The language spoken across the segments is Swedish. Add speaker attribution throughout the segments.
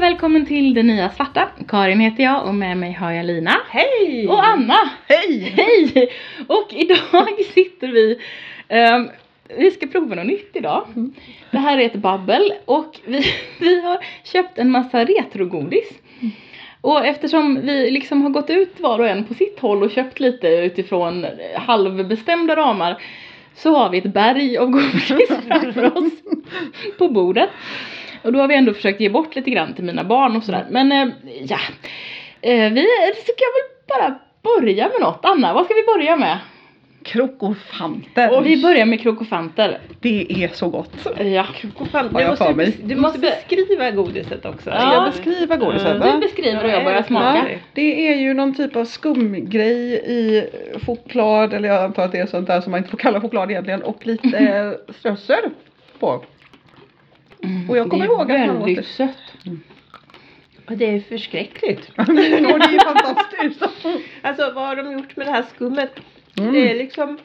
Speaker 1: välkommen till Det Nya Svarta. Karin heter jag och med mig har jag Lina.
Speaker 2: Hej!
Speaker 1: Och Anna!
Speaker 2: Hej!
Speaker 1: Hej! Och idag sitter vi, ehm, vi ska prova något nytt idag.
Speaker 2: Mm.
Speaker 1: Det här är ett babbel och vi, vi har köpt en massa retrogodis. Och eftersom vi liksom har gått ut var och en på sitt håll och köpt lite utifrån halvbestämda ramar så har vi ett berg av godis framför oss på bordet. Och då har vi ändå försökt ge bort lite grann till mina barn och sådär. Men eh, ja, eh, vi ska väl bara börja med något. Anna, vad ska vi börja med?
Speaker 2: Krokofanter.
Speaker 1: Och vi börjar med krokofanter. Eh,
Speaker 2: Det är så gott.
Speaker 1: Ja.
Speaker 2: Krokofanter har jag för mig.
Speaker 3: Du måste beskriva godiset också.
Speaker 1: Ja.
Speaker 2: Ska jag beskriva godiset?
Speaker 3: Mm.
Speaker 1: Du
Speaker 2: va?
Speaker 1: beskriver och jag
Speaker 3: Nej,
Speaker 1: börjar
Speaker 3: jag
Speaker 1: smaka.
Speaker 3: klarar
Speaker 2: Det är ju någon typ av skumgrej i choklad, eller jag antar att det är sånt där som man inte får kalla choklad egentligen, och lite eh, strössel på.
Speaker 1: Mm,
Speaker 2: Och jag kommer
Speaker 1: det är
Speaker 2: ihåg att man åt det.
Speaker 1: väldigt sött.
Speaker 3: Och det är ju förskräckligt.
Speaker 2: Och det är ju fantastiskt.
Speaker 3: Alltså vad har de gjort med det här skummet? Det är
Speaker 2: Mm.
Speaker 3: liksom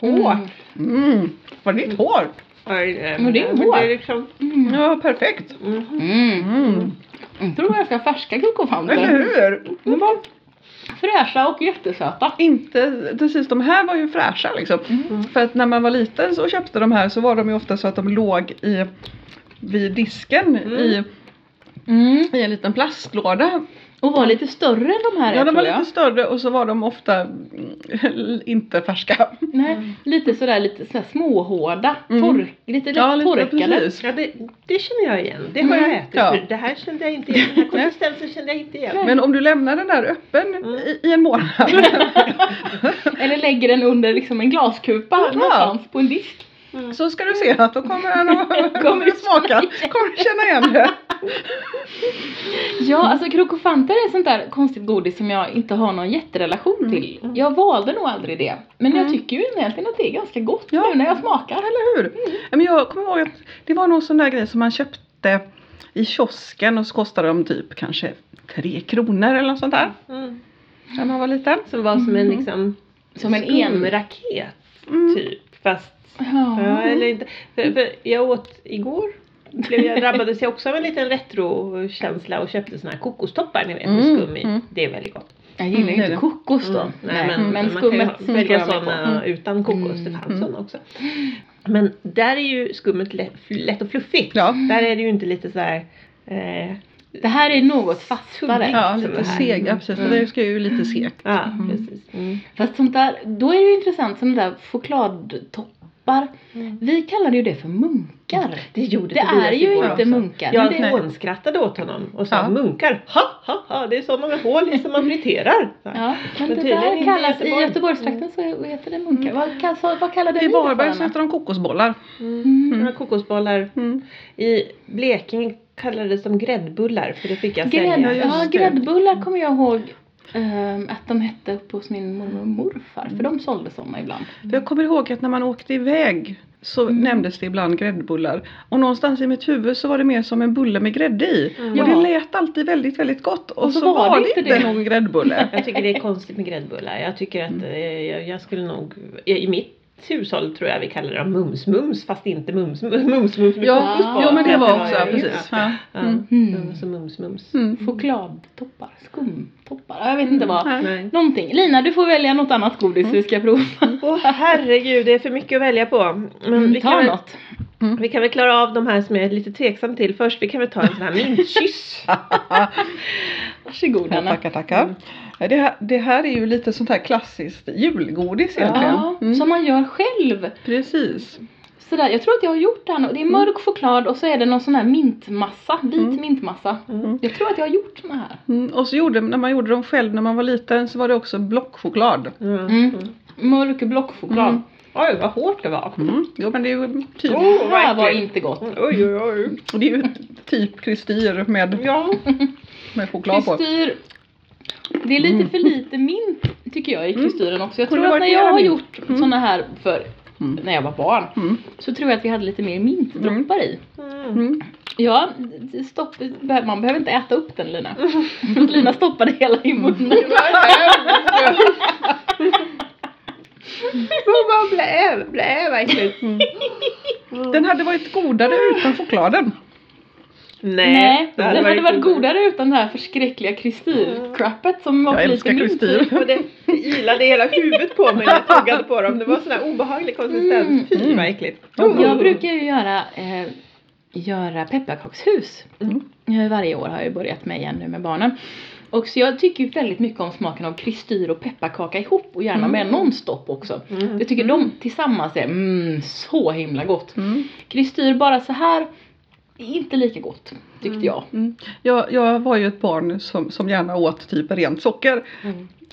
Speaker 3: hårt.
Speaker 1: Mm.
Speaker 2: Mm. Var det ditt hår?
Speaker 3: Aj, nej,
Speaker 1: Men det är
Speaker 3: Men
Speaker 1: hårt.
Speaker 3: det är liksom,
Speaker 1: Mm.
Speaker 2: Ja, perfekt.
Speaker 3: mhm.
Speaker 1: Mm.
Speaker 2: Mm.
Speaker 1: Jag tror det var ganska färska
Speaker 2: Eller
Speaker 1: krokofanter.
Speaker 2: hur?
Speaker 1: De var fräscha och jättesöta.
Speaker 2: Inte precis, de här var ju fräscha liksom.
Speaker 1: Mm.
Speaker 2: För att när man var liten så köpte de här så var de ju ofta så att de låg i, vid disken
Speaker 3: Mm.
Speaker 2: i,
Speaker 1: Mm.
Speaker 2: i en liten plastlåda.
Speaker 1: Och var lite större än de här
Speaker 2: Ja, de
Speaker 1: tror
Speaker 2: var lite
Speaker 1: jag.
Speaker 2: större och så var de ofta mm, inte färska.
Speaker 1: Nej, lite sådär lite sådär småhårda,
Speaker 2: Mm.
Speaker 1: tork, lite lätt torkade.
Speaker 2: precis.
Speaker 3: Ja, det, det känner jag igen. Det har
Speaker 1: Mm.
Speaker 3: jag ätit.
Speaker 2: Ja.
Speaker 3: förut. Det här kände jag inte igen. Den här konsistensen kände jag inte igen.
Speaker 2: Men om du lämnar den där öppen
Speaker 3: Mm.
Speaker 2: i, i en månad.
Speaker 1: Eller lägger den under liksom en glaskupa någonstans på en disk.
Speaker 3: Mm.
Speaker 2: Så ska du se att då kommer den att
Speaker 1: Kommer
Speaker 2: kommer
Speaker 1: du
Speaker 2: det smaka. Kommer du känna igen det?
Speaker 1: Ja, alltså krokofanter är sånt där konstigt godis som jag inte har någon jätterelation
Speaker 2: Mm.
Speaker 1: till. Jag valde nog aldrig det. Men jag
Speaker 2: Mm.
Speaker 1: tycker ju egentligen att det är ganska gott
Speaker 2: Ja.
Speaker 1: nu när jag smakar.
Speaker 2: Eller hur? Ja, Men jag kommer ihåg att det var någon sån där grej som man köpte i kiosken och så kostade de typ kanske tre kronor eller något sånt där.
Speaker 3: Mm.
Speaker 2: När man var liten.
Speaker 3: Som var som en
Speaker 1: Mhm.
Speaker 3: liksom
Speaker 1: Som en en...
Speaker 3: skumraket
Speaker 2: Mm.
Speaker 3: typ. Fast Ja,
Speaker 1: Ja.
Speaker 3: eller inte. För, för jag åt igår. Blev jag, drabbades jag också av en liten retrokänsla och köpte såna här kokostoppar ni vet med
Speaker 2: Mm,
Speaker 3: skum i.
Speaker 2: mm.
Speaker 3: Det är väldigt gott.
Speaker 1: Jag gillar ju
Speaker 2: Mm, det är
Speaker 1: inte
Speaker 2: det.
Speaker 1: kokos då.
Speaker 3: Mm,
Speaker 1: Nej, men,
Speaker 3: man kan ju
Speaker 1: skummet
Speaker 3: ha-
Speaker 1: tror jag
Speaker 3: välja
Speaker 1: mig på. Mm.
Speaker 3: sådana utan kokos. Det fanns
Speaker 2: Mm.
Speaker 3: sådana också. Men där är ju skummet lätt, lätt och fluffigt.
Speaker 2: Ja.
Speaker 3: Där är det ju inte lite så här. Eh,
Speaker 1: Det här är något fastare.
Speaker 2: Ja,
Speaker 3: som
Speaker 2: lite
Speaker 3: det här.
Speaker 2: seg. Ja, precis.
Speaker 3: Mm.
Speaker 2: Det ska ju lite segt.
Speaker 3: ja,
Speaker 2: Mm.
Speaker 3: ah, precis. Mm.
Speaker 1: Fast sånt där, då är det ju intressant, sådana där chokladtoppar.
Speaker 3: Mm.
Speaker 1: Vi kallade ju det för munkar.
Speaker 3: Det gjorde
Speaker 1: Det
Speaker 3: Tobias
Speaker 1: är ju
Speaker 3: igår
Speaker 1: inte
Speaker 3: också.
Speaker 1: munkar.
Speaker 3: Jag
Speaker 1: men det,
Speaker 2: nej.
Speaker 3: hånskrattade åt honom och sa
Speaker 2: Ja.
Speaker 3: munkar. Ha, ha, ha. Det är så många hål i som man friterar.
Speaker 1: ja, men
Speaker 3: Men
Speaker 1: det
Speaker 3: tydligen
Speaker 1: där
Speaker 3: inte i
Speaker 1: kallas, i
Speaker 3: Göteborg.
Speaker 1: Göteborgstrakten så heter det munkar. Vad, kall- så- vad kallade ni
Speaker 2: I
Speaker 1: det för,
Speaker 2: Varberg så
Speaker 1: Anna?
Speaker 2: heter de kokosbollar.
Speaker 3: Mm.
Speaker 1: Mm.
Speaker 3: Några kokosbollar.
Speaker 2: Mm.
Speaker 3: I Blekinge kallades de gräddbullar för det fick jag
Speaker 1: Grädd,
Speaker 2: Ja,
Speaker 3: sälja.
Speaker 1: ja,
Speaker 2: just det.
Speaker 1: gräddbullar kommer jag ihåg ehm, att de hette uppe hos min mormor och morfar. För de sålde sådana ibland.
Speaker 2: För jag kommer ihåg att när man åkte iväg så
Speaker 1: Mm.
Speaker 2: nämndes det ibland gräddbullar. Och någonstans i mitt huvud så var det mer som en bulle med grädde i.
Speaker 3: Mm.
Speaker 2: Och
Speaker 1: Ja.
Speaker 2: det lät alltid väldigt, väldigt gott. Och, så, var det inte någon gräddbulle.
Speaker 3: Jag tycker det är konstigt med gräddbullar. Jag tycker att eh, jag, jag skulle nog, i i mitt hushåll tror jag vi kallar dem mums-mums fast inte mums-mums mums, mums med
Speaker 2: Ja,
Speaker 3: kokos på.
Speaker 2: jo men det var också,
Speaker 3: Ja,
Speaker 2: ja,
Speaker 3: ja,
Speaker 2: precis.
Speaker 3: Ja.
Speaker 2: Ja.
Speaker 3: Ja,
Speaker 2: Mm.
Speaker 3: det var så mums-mums.
Speaker 2: Mm.
Speaker 1: Chokladtoppar, skumtoppar, jag vet inte
Speaker 3: Mm.
Speaker 1: vad.
Speaker 2: Nej.
Speaker 3: Nej.
Speaker 1: Någonting. Lina du får välja något annat godis vi ska prova.
Speaker 3: Mm. Åh herregud, det är för mycket att välja på. Men vi,
Speaker 1: Mm, Ta
Speaker 3: kan väl,
Speaker 1: något.
Speaker 3: vi kan väl klara av de här som jag är lite tveksam till först. Vi kan väl ta en sån här mintkyss.
Speaker 1: Varsågod
Speaker 2: Ja,
Speaker 1: Anna.
Speaker 2: tackar, Mm. tackar. Det här, det här är ju lite sånt här klassiskt julgodis egentligen.
Speaker 1: Ja,
Speaker 2: Mm.
Speaker 1: Som man gör själv.
Speaker 2: Precis.
Speaker 1: Sådär, jag tror att jag har gjort det här nu. Det är mörk choklad och så är det någon sån här mintmassa, vit
Speaker 2: Mm.
Speaker 1: mintmassa.
Speaker 3: Mm.
Speaker 1: Jag tror att jag har gjort såna här.
Speaker 2: Mm. Och så gjorde, när man gjorde dem själv när man var liten så var det också blockchoklad.
Speaker 3: Mm.
Speaker 1: Mm. Mörk blockchoklad.
Speaker 2: Mm.
Speaker 3: Oj vad hårt det var.
Speaker 2: Mm. Jo men det är ju typ,
Speaker 3: Åh,
Speaker 1: Det här var
Speaker 3: verkligen.
Speaker 1: inte gott.
Speaker 3: Oj oj oj.
Speaker 2: och det är ju typ kristyr med,
Speaker 3: Ja.
Speaker 2: med choklad på.
Speaker 1: Kristyr. Det är lite för lite mint tycker jag i
Speaker 2: Mm.
Speaker 1: kristyren också. Jag
Speaker 2: Kunde
Speaker 1: tror att
Speaker 2: varit
Speaker 1: när jag
Speaker 2: mera
Speaker 1: har
Speaker 2: mint.
Speaker 1: gjort såna här för
Speaker 2: Mm.
Speaker 1: när jag var barn
Speaker 2: Mm.
Speaker 1: så tror jag att vi hade lite mer mintdroppar i.
Speaker 3: Mm.
Speaker 2: Mm.
Speaker 1: Ja, stopp, man behöver inte äta upp den Lina. Lina stoppade hela i munnen.
Speaker 3: Vad blä,
Speaker 2: Mm.
Speaker 3: blä verkligen. Mm.
Speaker 2: Den hade varit godare utan chokladen.
Speaker 3: Nej, det
Speaker 1: den hade varit
Speaker 3: godare.
Speaker 1: godare utan det här förskräckliga kristyrcrappet som var
Speaker 2: Jag
Speaker 1: för
Speaker 2: älskar
Speaker 1: lite min
Speaker 2: kristyr.
Speaker 1: typ.
Speaker 3: Och det ilade hela huvudet på mig när jag tuggade på dem. Det var sån här obehaglig
Speaker 1: Mm.
Speaker 3: konsistens. Fy
Speaker 2: Mm.
Speaker 3: vad äckligt.
Speaker 2: Mm.
Speaker 1: Jag brukar ju göra, eh, göra pepparkakshus.
Speaker 3: Mm.
Speaker 1: Eh, Varje år har jag ju börjat med igen nu med barnen. Och så jag tycker ju väldigt mycket om smaken av kristyr och pepparkaka ihop och gärna med nonstop också.
Speaker 3: Mm.
Speaker 1: Jag tycker de tillsammans är mm, så himla gott.
Speaker 2: Mm.
Speaker 1: Kristyr bara så här inte lika gott tyckte jag.
Speaker 2: Mm. Jag, jag var ju ett barn som, som gärna åt typ rent socker.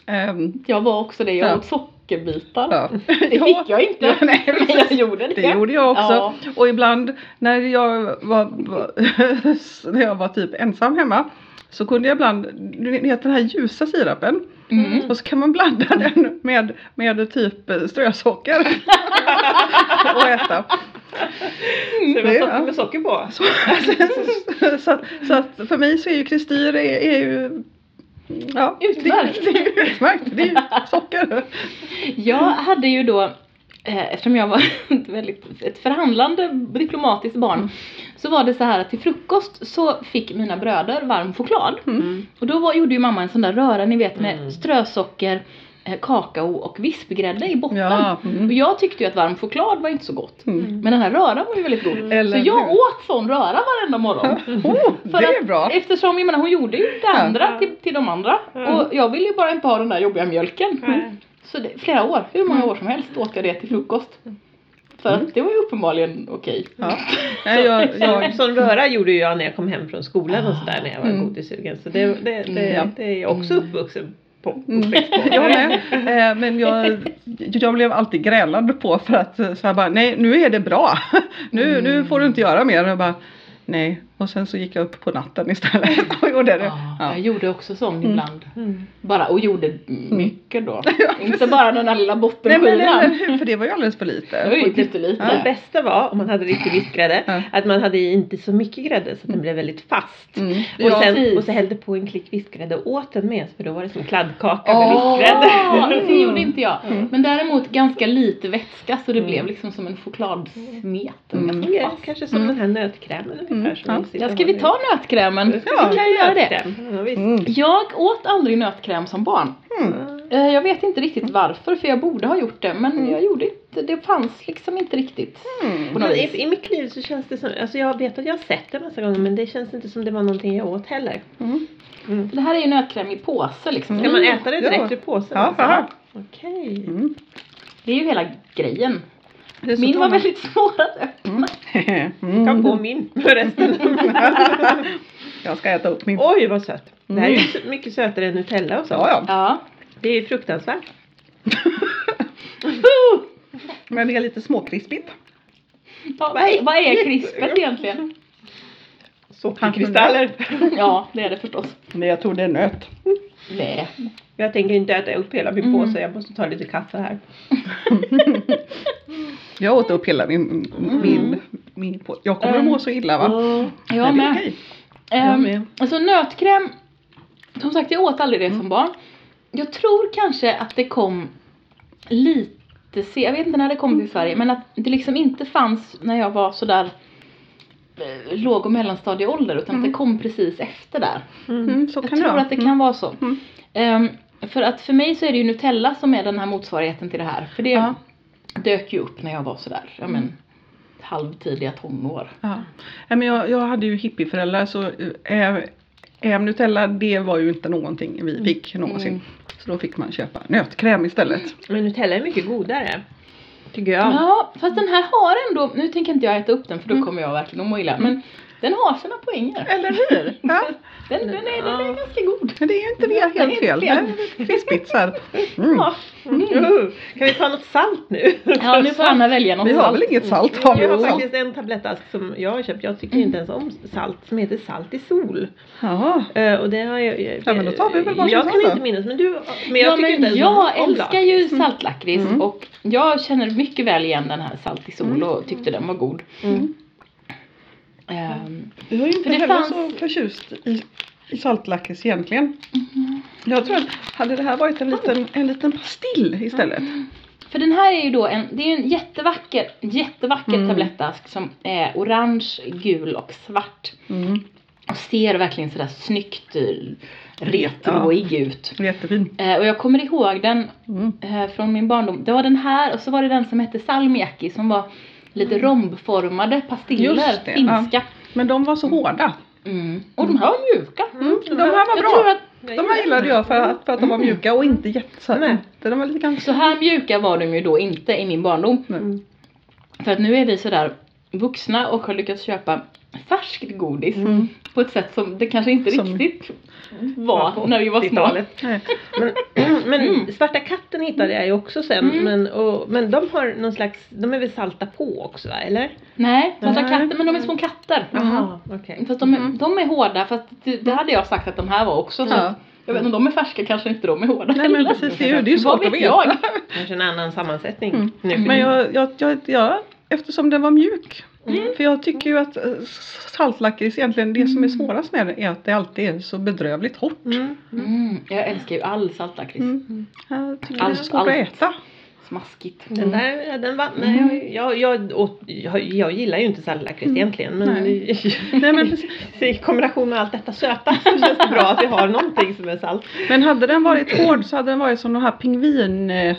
Speaker 2: Ehm,
Speaker 1: Jag var också det, jag
Speaker 2: Ja.
Speaker 1: åt sockerbitar.
Speaker 2: ja.
Speaker 1: Det fick jag inte,
Speaker 2: Ja, nej,
Speaker 1: men jag gjorde det.
Speaker 2: Det gjorde jag också.
Speaker 1: Ja.
Speaker 2: Och ibland när jag var, var, när jag var typ ensam hemma så kunde jag ibland, ni vet den här ljusa sirapen
Speaker 1: Mm.
Speaker 2: och så kan man blanda den med, med typ strösocker och äta.
Speaker 3: Så det var
Speaker 2: Ja.
Speaker 3: socker med socker på.
Speaker 2: Så, så, så, att- så att för mig så är ju kristyr är, är ju Ja,
Speaker 1: Utmärkt.
Speaker 2: Det, det är ju utmärkt. Det är ju socker.
Speaker 1: Jag hade ju då, eh, eftersom jag var ett väldigt, ett förhandlande diplomatiskt
Speaker 2: Mm.
Speaker 1: barn, så var det så här att till frukost så fick mina bröder varm choklad.
Speaker 3: Mm.
Speaker 1: Och då var, gjorde ju mamma en sån där röra ni vet med
Speaker 3: Mm.
Speaker 1: strösocker, eh, kakao och vispgrädde i botten.
Speaker 2: Ja.
Speaker 1: Och
Speaker 2: Mm.
Speaker 1: jag tyckte ju att varm choklad var inte så gott.
Speaker 2: Mm.
Speaker 1: Men den här röran var ju väldigt god.
Speaker 2: Eller
Speaker 1: så jag
Speaker 2: hur?
Speaker 1: åt sån röra varenda morgon.
Speaker 2: Oh,
Speaker 1: För
Speaker 2: det är
Speaker 1: att-
Speaker 2: bra.
Speaker 1: Eftersom jag menar, hon gjorde ju det andra
Speaker 3: Ja.
Speaker 1: till, till de andra.
Speaker 3: Ja.
Speaker 1: Och jag ville ju bara inte ha den där jobbiga mjölken.
Speaker 3: Nej.
Speaker 1: Så det, flera år, hur många år som helst åt jag det till frukost. För att det var ju uppenbarligen okej.
Speaker 2: Ja. Nej, jag, jag,
Speaker 3: Sån, sån röra gjorde ju jag när jag kom hem från skolan och sådär när jag var
Speaker 2: Mm.
Speaker 3: godissugen. Så det, det, det,
Speaker 1: Ja.
Speaker 3: det är jag också uppvuxen på.
Speaker 2: Mm. Jag med. Eh, Men jag, jag blev alltid grälad på för att eh, så här bara, nej nu är det bra. Nu, nu
Speaker 3: Mm.
Speaker 2: får du inte göra mer. Och Jag bara, nej. Och sen så gick jag upp på natten istället och gjorde det.
Speaker 3: Ah,
Speaker 1: Ja,
Speaker 2: Ja.
Speaker 1: Jag gjorde också sån ibland. Mm.
Speaker 3: Mm.
Speaker 1: Bara, och gjorde mycket då. inte bara den där lilla
Speaker 2: Nej men eller
Speaker 1: bottenskivan.
Speaker 2: hur, för det var ju alldeles för
Speaker 1: Det var
Speaker 2: lite.
Speaker 1: ju pyttelite.
Speaker 3: Det bästa var, om man hade riktig vispgrädde,
Speaker 2: Ja.
Speaker 3: att man hade inte så mycket grädde så att den blev väldigt fast.
Speaker 2: Mm.
Speaker 3: Och,
Speaker 1: Ja,
Speaker 3: sen,
Speaker 1: precis.
Speaker 3: och så hällde på en klick vispgrädde och åt den med för då var det som kladdkaka med
Speaker 1: Åh,
Speaker 3: vispgrädde.
Speaker 1: det gjorde inte jag.
Speaker 2: Mm.
Speaker 1: Men däremot ganska lite vätska så det
Speaker 3: Mm.
Speaker 1: blev liksom som en chokladsmet.
Speaker 2: Mm.
Speaker 1: Ganska
Speaker 3: Ja,
Speaker 1: fast.
Speaker 3: Kanske som den här nötkrämen ungefär.
Speaker 2: Mm,
Speaker 3: som
Speaker 2: ja.
Speaker 3: vi sitter
Speaker 1: Ja, ska vi
Speaker 3: och
Speaker 1: ta
Speaker 3: har
Speaker 1: nötkrämen?
Speaker 2: Ja,
Speaker 1: vi kan
Speaker 3: nu.
Speaker 1: ju göra det.
Speaker 3: Nötkräm, Ja, visst.
Speaker 2: Mm.
Speaker 1: Jag åt aldrig nötkräm som barn.
Speaker 2: Mm.
Speaker 1: Eh, Jag vet inte riktigt varför, för jag borde ha gjort det, men jag gjorde inte, det fanns liksom inte riktigt.
Speaker 2: Mm.
Speaker 1: På något
Speaker 3: Men
Speaker 1: vis.
Speaker 3: i, I mitt liv så känns det som, alltså jag vet att jag har sett det massa gånger men det känns inte som det var någonting jag åt heller.
Speaker 2: Mm.
Speaker 1: Det här är ju nötkräm i påse liksom.
Speaker 3: Ska man äta det direkt
Speaker 2: Ja.
Speaker 3: ur
Speaker 2: Ja,
Speaker 3: påsen? alltså?
Speaker 2: aha.
Speaker 3: Okej.
Speaker 2: Mm.
Speaker 1: Det är ju hela grejen.
Speaker 2: Det är så
Speaker 1: Min var
Speaker 2: dåligt.
Speaker 1: väldigt svår att öppna.
Speaker 2: Mm.
Speaker 3: Kan få min förresten.
Speaker 2: Jag ska äta upp min.
Speaker 3: Oj vad söt. Det här är ju
Speaker 2: Mm.
Speaker 3: så- mycket sötare än Nutella och så.
Speaker 2: Ja, ja.
Speaker 1: Ja.
Speaker 3: Det är ju fruktansvärt.
Speaker 2: Men det är lite småkrispigt.
Speaker 1: Ja, vad, är, vad är krispet egentligen?
Speaker 3: Sockerkristaller.
Speaker 1: Ja, det är det förstås.
Speaker 2: Men jag tror det är nöt.
Speaker 1: Nej.
Speaker 3: Jag tänker inte äta upp hela min
Speaker 1: Mm.
Speaker 3: påse. Jag måste ta lite kaffe här.
Speaker 2: Jag åt upp hela min, min, min på. Jag kommer att må så illa va?
Speaker 3: Mm.
Speaker 1: Jag
Speaker 2: Men det är
Speaker 1: med.
Speaker 2: okej.
Speaker 1: Ehm,
Speaker 3: med.
Speaker 1: Alltså nötkräm, som sagt jag åt aldrig det
Speaker 2: Mm.
Speaker 1: som barn. Jag tror kanske att det kom lite se, jag vet inte när det kom
Speaker 2: Mm.
Speaker 1: till Sverige, men att det liksom inte fanns när jag var sådär eh, låg och mellanstadieålder utan att det kom precis efter där.
Speaker 3: Mm.
Speaker 2: Mm, så
Speaker 1: Jag
Speaker 2: kan
Speaker 1: tror
Speaker 2: vara.
Speaker 1: att det
Speaker 2: Mm.
Speaker 1: kan vara så.
Speaker 2: Mm.
Speaker 1: Ehm, för att för mig så är det ju Nutella som är den här motsvarigheten till det här. För det
Speaker 2: Ja. Mm.
Speaker 1: dök ju upp när jag var sådär, ja men halvtidiga tonår.
Speaker 2: Ja. Nej, Men jag, jag hade ju hippieföräldrar så eh, eh, Nutella det var ju inte någonting vi fick någonsin.
Speaker 1: Mm.
Speaker 2: Så då fick man köpa nötkräm istället.
Speaker 3: Men Nutella är mycket godare. Tycker jag.
Speaker 1: Ja, Mm. fast den här har ändå, nu tänker inte jag äta upp den för då kommer jag verkligen att må illa, men den har sina poänger.
Speaker 2: Eller hur? Ja,
Speaker 1: Den, den, är, den är
Speaker 3: Ja.
Speaker 1: ganska god.
Speaker 2: men det är ju inte det
Speaker 1: Det är
Speaker 2: helt
Speaker 1: inte
Speaker 2: fel.
Speaker 1: fel.
Speaker 2: Nej, Krispigt så här. Mm.
Speaker 1: Ja, mm.
Speaker 3: Uh, Kan vi ta något salt nu?
Speaker 1: ja nu får Anna välja något
Speaker 2: Vi har väl
Speaker 1: salt.
Speaker 2: inget salt? Har vi
Speaker 3: Jag har
Speaker 2: något salt?
Speaker 3: faktiskt en tablettask som jag har köpt. Jag tycker inte ens om salt som heter salt i sol.
Speaker 2: Ja.
Speaker 3: Eh, och det har jag,
Speaker 2: Ja, men då tar vi väl varsin
Speaker 3: Jag kan
Speaker 2: salt då.
Speaker 3: inte minnas men du men jag
Speaker 1: Ja,
Speaker 3: tycker
Speaker 1: men
Speaker 3: inte ens
Speaker 1: jag
Speaker 3: om
Speaker 1: älskar
Speaker 3: lakrits.
Speaker 1: ju saltlakrits
Speaker 2: Mm.
Speaker 1: och jag känner mycket väl igen den här salt i sol och tyckte den var god.
Speaker 3: Mm.
Speaker 1: Ehm,
Speaker 2: Jag är
Speaker 1: För
Speaker 2: inte
Speaker 1: det
Speaker 2: heller
Speaker 1: fanns-
Speaker 2: så förtjust i, i saltlakrits
Speaker 1: Mhm. Mm.
Speaker 2: egentligen. Jag tror att hade det här varit en liten, en liten pastill istället
Speaker 1: För den här är ju då en, det är ju en jättevacker, jättevacker
Speaker 2: Mm.
Speaker 1: tablettask som är orange, gul och svart.
Speaker 2: Mm.
Speaker 1: Och ser verkligen sådär snyggt eh, retroig ut.
Speaker 2: Jättefin.
Speaker 1: Eh, och jag kommer ihåg den
Speaker 2: Mm.
Speaker 1: eh, från min barndom. Det var den här och så var det den som hette salmiakki som var lite rombformade pastiller,
Speaker 2: Mm. Just det,
Speaker 1: finska.
Speaker 2: Men de var så hårda.
Speaker 1: Mm. Och de här var mjuka.
Speaker 3: Mm,
Speaker 2: De här var
Speaker 1: Jag
Speaker 2: bra.
Speaker 1: tror att
Speaker 2: De här gillade jag för att, för att de var
Speaker 1: Mm.
Speaker 2: mjuka och inte jätte... så-
Speaker 3: Nej.
Speaker 2: Inte, de var lite ganska...
Speaker 1: så här mjuka var de ju då inte i min barndom.
Speaker 3: Mm.
Speaker 1: För att nu är vi sådär vuxna och har lyckats köpa färskt godis
Speaker 2: Mm.
Speaker 1: på ett sätt som det kanske inte
Speaker 2: Som-
Speaker 1: riktigt
Speaker 3: Ja, på
Speaker 1: var när vi var små.
Speaker 3: 80-talet.
Speaker 2: Nej.
Speaker 3: Men, men Svarta katten hittade jag ju också sen.
Speaker 1: Mm.
Speaker 3: Men, och, men de har någon slags, de är väl salta på också va? Eller?
Speaker 1: Nej, svarta
Speaker 2: Nej.
Speaker 1: katter, men de är små katter.
Speaker 2: Jaha.
Speaker 3: Jaha, okej.
Speaker 1: Fast de, är-
Speaker 2: Mhm.
Speaker 1: de är hårda, fast det, det hade jag sagt att de här var också. Så
Speaker 2: Ja.
Speaker 1: att, jag vet inte, om de är färska kanske inte de är hårda
Speaker 2: Nej men
Speaker 1: heller.
Speaker 2: precis, det är ju, det är ju
Speaker 1: Vad
Speaker 2: svårt att
Speaker 1: vet
Speaker 2: veta.
Speaker 1: jag?
Speaker 3: Kanske en annan sammansättning
Speaker 2: Mm.
Speaker 3: nu.
Speaker 2: Men jag, jag, jag, jag, eftersom den var mjuk.
Speaker 1: Mm.
Speaker 2: För jag tycker ju att eh, s- saltlakrits egentligen, det som är
Speaker 1: Mm.
Speaker 2: svårast med det är att det alltid är så bedrövligt hårt.
Speaker 3: Mm. Mm.
Speaker 1: Mm, jag älskar ju all saltlakrits.
Speaker 2: Mm. Jag tycker det är
Speaker 1: Allt-
Speaker 2: så svårt
Speaker 1: allt.
Speaker 2: att äta.
Speaker 1: Smaskigt.
Speaker 3: Den där, ja, den vann.
Speaker 2: Mm.
Speaker 3: Nej, jag, jag, jag, åt- jag, jag gillar ju inte sallakrits egentligen men
Speaker 2: Nej, men, precis.
Speaker 3: i kombination med allt detta söta så känns det bra att vi har någonting som är salt.
Speaker 2: men hade den varit hård så hade den varit som de här pingvin eh,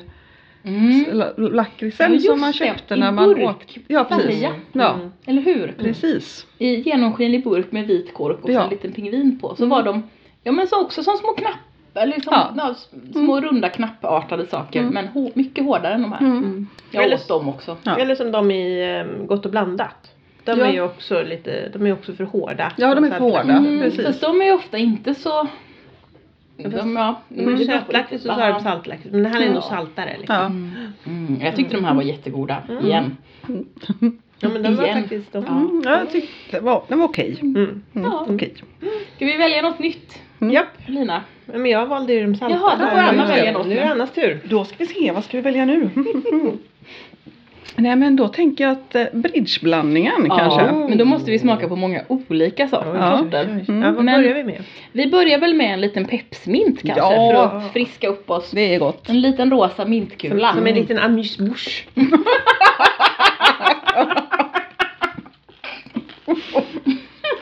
Speaker 1: Mm.
Speaker 2: la- lakritsen
Speaker 1: Ja,
Speaker 2: som
Speaker 1: just det.
Speaker 2: man köpte
Speaker 1: I
Speaker 2: när man
Speaker 1: burk.
Speaker 2: åkte. Ja precis.
Speaker 1: Paria.
Speaker 2: Ja,
Speaker 3: Mm.
Speaker 1: Eller hur?
Speaker 2: precis.
Speaker 1: I genomskinlig burk med vit kork och så
Speaker 2: Ja.
Speaker 1: en liten pingvin på. Så
Speaker 2: Mm.
Speaker 1: var de, ja men så också som små knappar, eller som,
Speaker 2: Ja.
Speaker 1: ja, s- små runda knappartade saker.
Speaker 2: Mm.
Speaker 1: Men hå- mycket hårdare än de här.
Speaker 2: Mm.
Speaker 3: Mm.
Speaker 1: Jag
Speaker 3: Eller-
Speaker 1: åt dem också.
Speaker 2: Ja.
Speaker 3: Eller som de i ehm, Gott och blandat. De
Speaker 2: Ja.
Speaker 3: är ju också lite, de är också för hårda.
Speaker 2: Ja, de är för hårda.
Speaker 1: Mm,
Speaker 2: precis.
Speaker 1: Fast de är ju ofta inte så...
Speaker 3: Ja,
Speaker 1: De,
Speaker 3: fast-
Speaker 1: ja,
Speaker 3: De Mm, är
Speaker 1: det beror på
Speaker 3: sötlakrits och
Speaker 1: lite
Speaker 3: så har de
Speaker 1: vad-
Speaker 3: saltlakrits. Men det här är
Speaker 1: Ja.
Speaker 3: nog saltare liksom.
Speaker 2: Mm. Ja.
Speaker 1: Mm. Mm. Jag tyckte de här var jättegoda,
Speaker 3: Mm.
Speaker 1: igen. Mm.
Speaker 3: Ja men de var
Speaker 1: Igen.
Speaker 3: faktiskt de.
Speaker 1: Ja.
Speaker 2: Mm, jag tyckte det var, den var okej.
Speaker 3: Mm.
Speaker 2: Mm,
Speaker 1: Ja.
Speaker 2: okej.
Speaker 1: Ska vi välja något nytt,
Speaker 2: Mm.
Speaker 3: Japp,
Speaker 1: Lina?
Speaker 3: men jag valde ju de salta.
Speaker 1: Jaha, då får
Speaker 3: Ja,
Speaker 2: Anna
Speaker 3: just
Speaker 2: välja
Speaker 3: det.
Speaker 1: något
Speaker 3: Nu är
Speaker 1: nu.
Speaker 3: det Annas tur.
Speaker 2: Då ska vi se, vad ska vi välja nu? Nej men då tänker jag att eh, bridgeblandningen kanske.
Speaker 1: Ja, men då måste vi smaka på många olika saker.
Speaker 2: Ja.
Speaker 1: sorter.
Speaker 2: Mm.
Speaker 3: Ja, vad
Speaker 1: Men-
Speaker 3: börjar vi med?
Speaker 1: Vi börjar väl med en liten pepsmint kanske
Speaker 2: Ja.
Speaker 1: för att friska upp oss.
Speaker 2: Det är gott.
Speaker 1: En liten rosa
Speaker 3: Som,
Speaker 1: mintkula.
Speaker 3: som en liten amuse-bouche.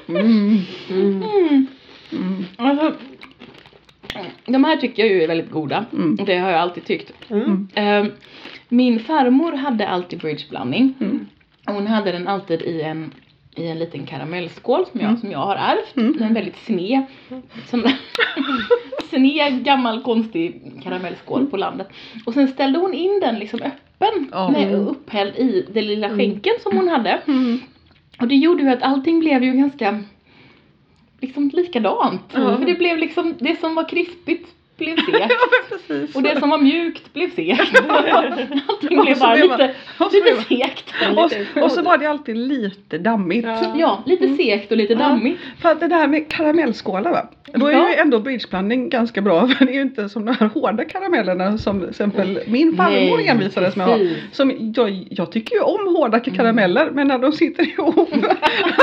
Speaker 2: Mm.
Speaker 3: Mm.
Speaker 1: Mm.
Speaker 2: Mm.
Speaker 1: Alltså, de här tycker jag ju är väldigt goda.
Speaker 2: Mm.
Speaker 1: Det har jag alltid tyckt.
Speaker 3: Mm.
Speaker 1: Ehm, Min farmor hade alltid bridgeblandning.
Speaker 2: Mm.
Speaker 1: Hon hade den alltid i en, i en liten karamellskål som jag, som jag har ärvt.
Speaker 2: Mm.
Speaker 1: En väldigt sned, som, sned gammal konstig
Speaker 2: Mm.
Speaker 1: karamellskål på landet. Och sen ställde hon in den liksom öppen
Speaker 2: Ja.
Speaker 1: med upphälld i det lilla skänken som hon hade.
Speaker 2: Mm.
Speaker 1: Och det gjorde ju att allting blev ju ganska liksom likadant.
Speaker 2: Ja.
Speaker 1: För det blev liksom, det som var krispigt blev segt.
Speaker 2: Ja men precis.
Speaker 1: Och det som var mjukt blev segt. Allting blev
Speaker 2: så
Speaker 1: bara
Speaker 2: blev man-
Speaker 1: lite,
Speaker 2: och så blev
Speaker 1: lite
Speaker 2: man-
Speaker 1: segt.
Speaker 2: och, och så var det alltid lite dammigt.
Speaker 3: Ja.
Speaker 1: Ja, lite segt och lite
Speaker 2: Mm. Ja.
Speaker 1: dammigt.
Speaker 2: För att det där med karamellskålar va. Då är
Speaker 1: Ja.
Speaker 2: ju ändå bridgeblandning ganska bra. För det är ju inte som de här hårda karamellerna som till exempel min farmor
Speaker 1: Nej,
Speaker 2: envisades med att ha.
Speaker 1: precis. Mm.
Speaker 2: Som jag, jag tycker ju om hårda karameller men när de sitter ihop.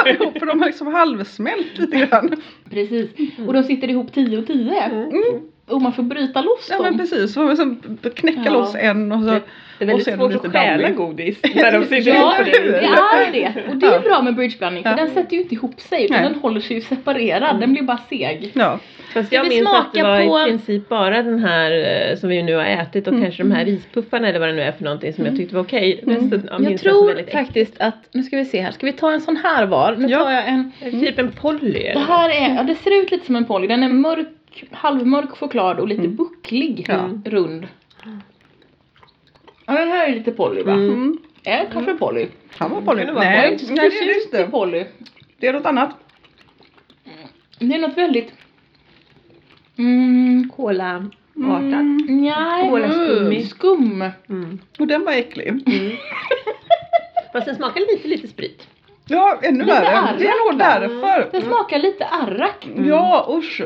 Speaker 2: allihop, för de har liksom halvsmält lite grann.
Speaker 1: Precis. Mm. Och de sitter ihop 10 och 10.
Speaker 2: Mm.
Speaker 1: Och man får bryta loss
Speaker 2: Ja men
Speaker 1: dem.
Speaker 2: precis, så man liksom knäcka
Speaker 1: Ja.
Speaker 2: loss en och så.
Speaker 3: Det- Det är väldigt
Speaker 2: Och sen
Speaker 3: svårt
Speaker 2: lite
Speaker 3: att stjäla
Speaker 2: dammig.
Speaker 3: godis när de sitter
Speaker 1: Ja,
Speaker 3: ihop.
Speaker 2: hur?
Speaker 1: det är det. Och det är bra med bridgeblandning för
Speaker 2: Ja.
Speaker 1: den sätter ju inte ihop sig utan
Speaker 2: Nej. Mm.
Speaker 1: den håller sig ju separerad. Den blir bara seg.
Speaker 2: Ja.
Speaker 3: Fast
Speaker 1: Ska
Speaker 3: jag
Speaker 1: vi
Speaker 3: minns att det
Speaker 1: smaka
Speaker 3: var
Speaker 1: på-
Speaker 3: i princip bara den här eh, som vi nu har ätit och
Speaker 2: Mm.
Speaker 3: kanske de här rispuffarna eller vad det nu är för någonting som jag tyckte var okej. Resten av
Speaker 1: Jag
Speaker 3: minns som
Speaker 1: tror
Speaker 3: väldigt äckligt.
Speaker 1: faktiskt att, nu ska vi se här, ska vi ta en sån här var? Nu
Speaker 2: Ja.
Speaker 1: tar jag en,
Speaker 3: Typ en Polly
Speaker 1: det
Speaker 3: eller?
Speaker 1: här är, ja det ser ut lite som en Polly, den är mörk, halvmörk choklad och lite
Speaker 2: Mm.
Speaker 1: bucklig,
Speaker 2: Ja.
Speaker 1: rund. Ja den här är lite Polly va?
Speaker 3: Mm.
Speaker 2: Mm.
Speaker 1: Är det kanske Polly?
Speaker 2: Kan vara Polly.
Speaker 3: Kan det vara
Speaker 2: Nej,
Speaker 1: Jag är
Speaker 2: nej det är det
Speaker 1: förtjust i
Speaker 2: inte.
Speaker 1: Polly.
Speaker 2: Det är något annat.
Speaker 1: Det är något väldigt, mm,
Speaker 3: Cola artat.
Speaker 2: Mm.
Speaker 1: nej,
Speaker 3: Kolaskummi.
Speaker 1: mm, skum.
Speaker 3: Mm.
Speaker 2: Och den var äcklig.
Speaker 3: Fast den smakar lite lite sprit.
Speaker 2: Ja, ännu
Speaker 1: Lite
Speaker 2: värre. Det är nog
Speaker 1: arrak,
Speaker 2: därför.
Speaker 1: Den smakar lite arrak.
Speaker 2: Ja, usch.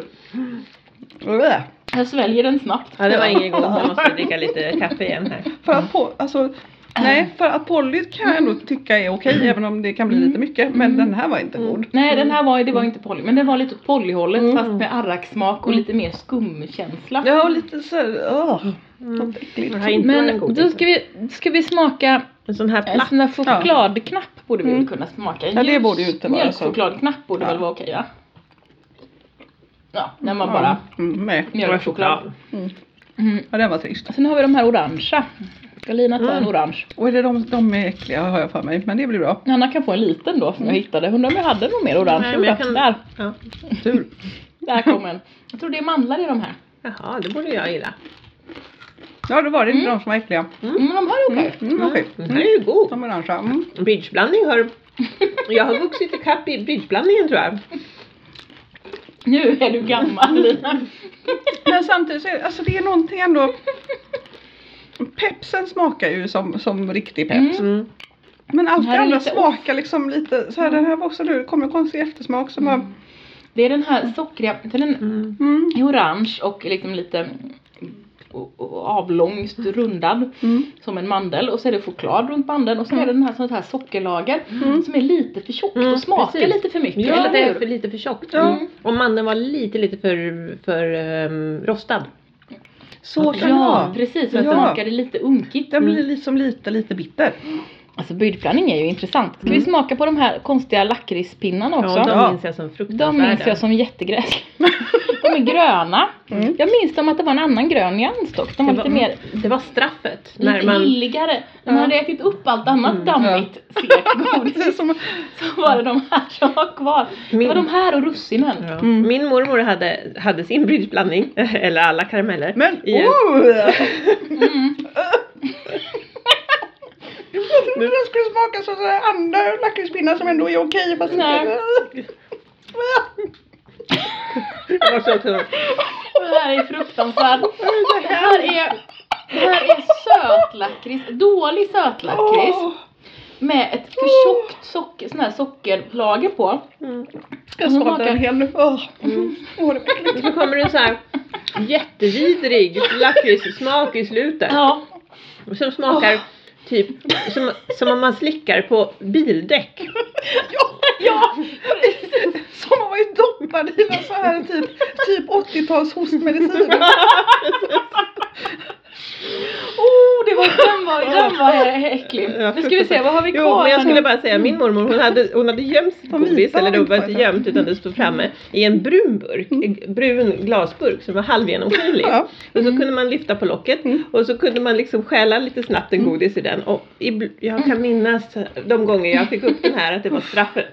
Speaker 2: Blä.
Speaker 1: Jag sväljer den snabbt.
Speaker 3: Ja det var ingen god, jag måste dricka lite kaffe igen här.
Speaker 2: För att på, alltså, Nej, för Apollyt kan jag nog tycka är okej även om det kan bli lite mycket. Men den här var inte
Speaker 3: Mm.
Speaker 2: god.
Speaker 1: Nej den här var, det var inte polly, men den var lite åt pollyhållet
Speaker 3: Mm.
Speaker 1: fast med arraksmak och lite mer skumkänsla.
Speaker 2: Ja, och lite såhär, åh,
Speaker 3: Mm.
Speaker 2: något äckligt.
Speaker 3: Den här är inte en
Speaker 1: Men
Speaker 3: god
Speaker 1: då ska vi, ska vi smaka
Speaker 3: En sån här
Speaker 1: en
Speaker 3: platt.
Speaker 1: sån där chokladknapp borde vi väl
Speaker 2: Mm.
Speaker 1: kunna smaka.
Speaker 2: Ja, det borde ju inte vara så.
Speaker 1: Mjölkchokladknapp borde
Speaker 2: Ja.
Speaker 1: väl vara okej va? Ja, när man
Speaker 2: Ja.
Speaker 1: bara
Speaker 2: Mm, nej.
Speaker 1: mjölkchoklad. Mm.
Speaker 2: Ja, den var trist.
Speaker 1: Sen har vi de här orangea. Ska Lina ta en
Speaker 3: Mm.
Speaker 1: orange?
Speaker 2: Och är det de, de är äckliga har jag för mig. Men det blir bra.
Speaker 1: Hanna kan få en liten då som jag hittade. Undrar om jag hade någon mer orange.
Speaker 3: Mm. Nej, men jag
Speaker 1: Jo då,
Speaker 3: kan-
Speaker 1: Där,
Speaker 3: Ja.
Speaker 2: Tur.
Speaker 1: där kom en. Jag tror det är mandlar i de här.
Speaker 3: Jaha, det borde jag gilla.
Speaker 2: Ja, då var det inte de som var äckliga.
Speaker 1: Mm, men de här är okej.
Speaker 2: Mm, okej.
Speaker 3: Den här är ju god.
Speaker 2: De orangea. Mm.
Speaker 3: Bridgeblandning hör. Jag har vuxit ikapp i bridgeblandningen tror jag.
Speaker 1: Nu är du
Speaker 3: Mm.
Speaker 1: gammal Lina.
Speaker 2: Men samtidigt så är alltså det är någonting ändå. Pepsen smakar ju som, som riktig peps.
Speaker 1: Mm.
Speaker 3: Mm.
Speaker 2: Men allt
Speaker 1: Den här
Speaker 2: det
Speaker 1: är
Speaker 2: andra
Speaker 1: lite
Speaker 2: smakar liksom lite så här, den här var också nu, det kommer konstig eftersmak som bara,
Speaker 1: Det är den här sockriga, den är
Speaker 3: Mm.
Speaker 2: mm,
Speaker 1: i orange och liksom lite mm, o- o- avlångt rundad
Speaker 2: mm,
Speaker 1: som en mandel och så är det choklad runt mandeln och så är det den här sånt här sockerlager
Speaker 2: Mm.
Speaker 1: som är lite för tjockt
Speaker 3: Mm,
Speaker 1: och smakar
Speaker 3: precis.
Speaker 1: lite för mycket.
Speaker 3: Ja, det
Speaker 1: eller
Speaker 3: är
Speaker 1: hur?
Speaker 3: för lite för tjockt.
Speaker 2: Ja.
Speaker 3: Mm. Om mannen var lite, lite för, för ehm, rostad.
Speaker 2: så kan det
Speaker 1: Ja,
Speaker 2: vara.
Speaker 1: precis. Så det
Speaker 2: Ja.
Speaker 1: smakade lite unkigt.
Speaker 2: Den blir liksom lite, lite bitter.
Speaker 1: Alltså bridgeblandning är ju intressant. Ska vi
Speaker 3: Mm.
Speaker 1: smaka på de här konstiga lakritspinnarna också?
Speaker 3: Ja, de
Speaker 2: Ja.
Speaker 3: minns jag som fruktansvärda.
Speaker 1: De minns jag som jättegräs. De är gröna.
Speaker 2: Mm.
Speaker 1: Jag minns dem att det var en annan grön nyans dock. De var
Speaker 3: Det
Speaker 1: lite mer
Speaker 3: Det var straffet. när
Speaker 1: lite
Speaker 3: man,
Speaker 1: gilligare. När man hade ätit upp allt annat
Speaker 3: Mm,
Speaker 1: dammigt segt godis
Speaker 2: Det är som,
Speaker 1: så var det de här som var kvar. Det
Speaker 3: Min-
Speaker 1: var de här och russinen.
Speaker 3: ja.
Speaker 2: Mm.
Speaker 3: Min mormor hade, hade sin bridgeblandning, eller alla karameller.
Speaker 2: men oh!
Speaker 3: i en-
Speaker 2: åh!
Speaker 1: Mm.
Speaker 2: Jag trodde den skulle smaka som sådana här andra lakritspinnar som ändå är okej fast
Speaker 1: Nej.
Speaker 3: Det var så tungt.
Speaker 1: Det här är fruktansvärt. Det här är, det här är sötlakrits. Dålig sötlakrits.
Speaker 2: Åh,
Speaker 1: Med ett för tjockt socker, sån här sockerlager på.
Speaker 3: Mm.
Speaker 2: jag
Speaker 1: Hon
Speaker 2: svalde
Speaker 1: smakar- Mm.
Speaker 2: en hel nu. Åh, åh, det var äckligt.
Speaker 3: Så kommer det så här jättevidrig lakritssmak i slutet.
Speaker 1: Ja,
Speaker 3: Som smakar typ som, som om man slickar på bildäck.
Speaker 2: Ja, ja, precis. Som har varit doppad i någon så här typ, typ 80-tals hostmedicin.
Speaker 1: oh, det var, den var, den var ä- äcklig. Nu ska vi se, vad har vi
Speaker 3: Jo,
Speaker 1: kvar?
Speaker 3: men
Speaker 1: här
Speaker 3: jag
Speaker 1: nu?
Speaker 3: skulle bara säga min mormor hon hade, hon hade gömt sitt
Speaker 2: De vita
Speaker 3: godis, eller
Speaker 2: var
Speaker 3: det
Speaker 2: inte
Speaker 3: var inte
Speaker 2: kvar.
Speaker 3: gömt utan det stod framme, i en brun burk, en brun glasburk som var halvgenomskinlig.
Speaker 2: Ja.
Speaker 3: Och
Speaker 1: Mm.
Speaker 3: så kunde man lyfta på locket
Speaker 2: Mm.
Speaker 3: och så kunde man liksom stjäla lite snabbt
Speaker 1: Mm.
Speaker 3: en godis i den. Och ibl- jag kan minnas de gånger jag fick upp den här att det var straffet.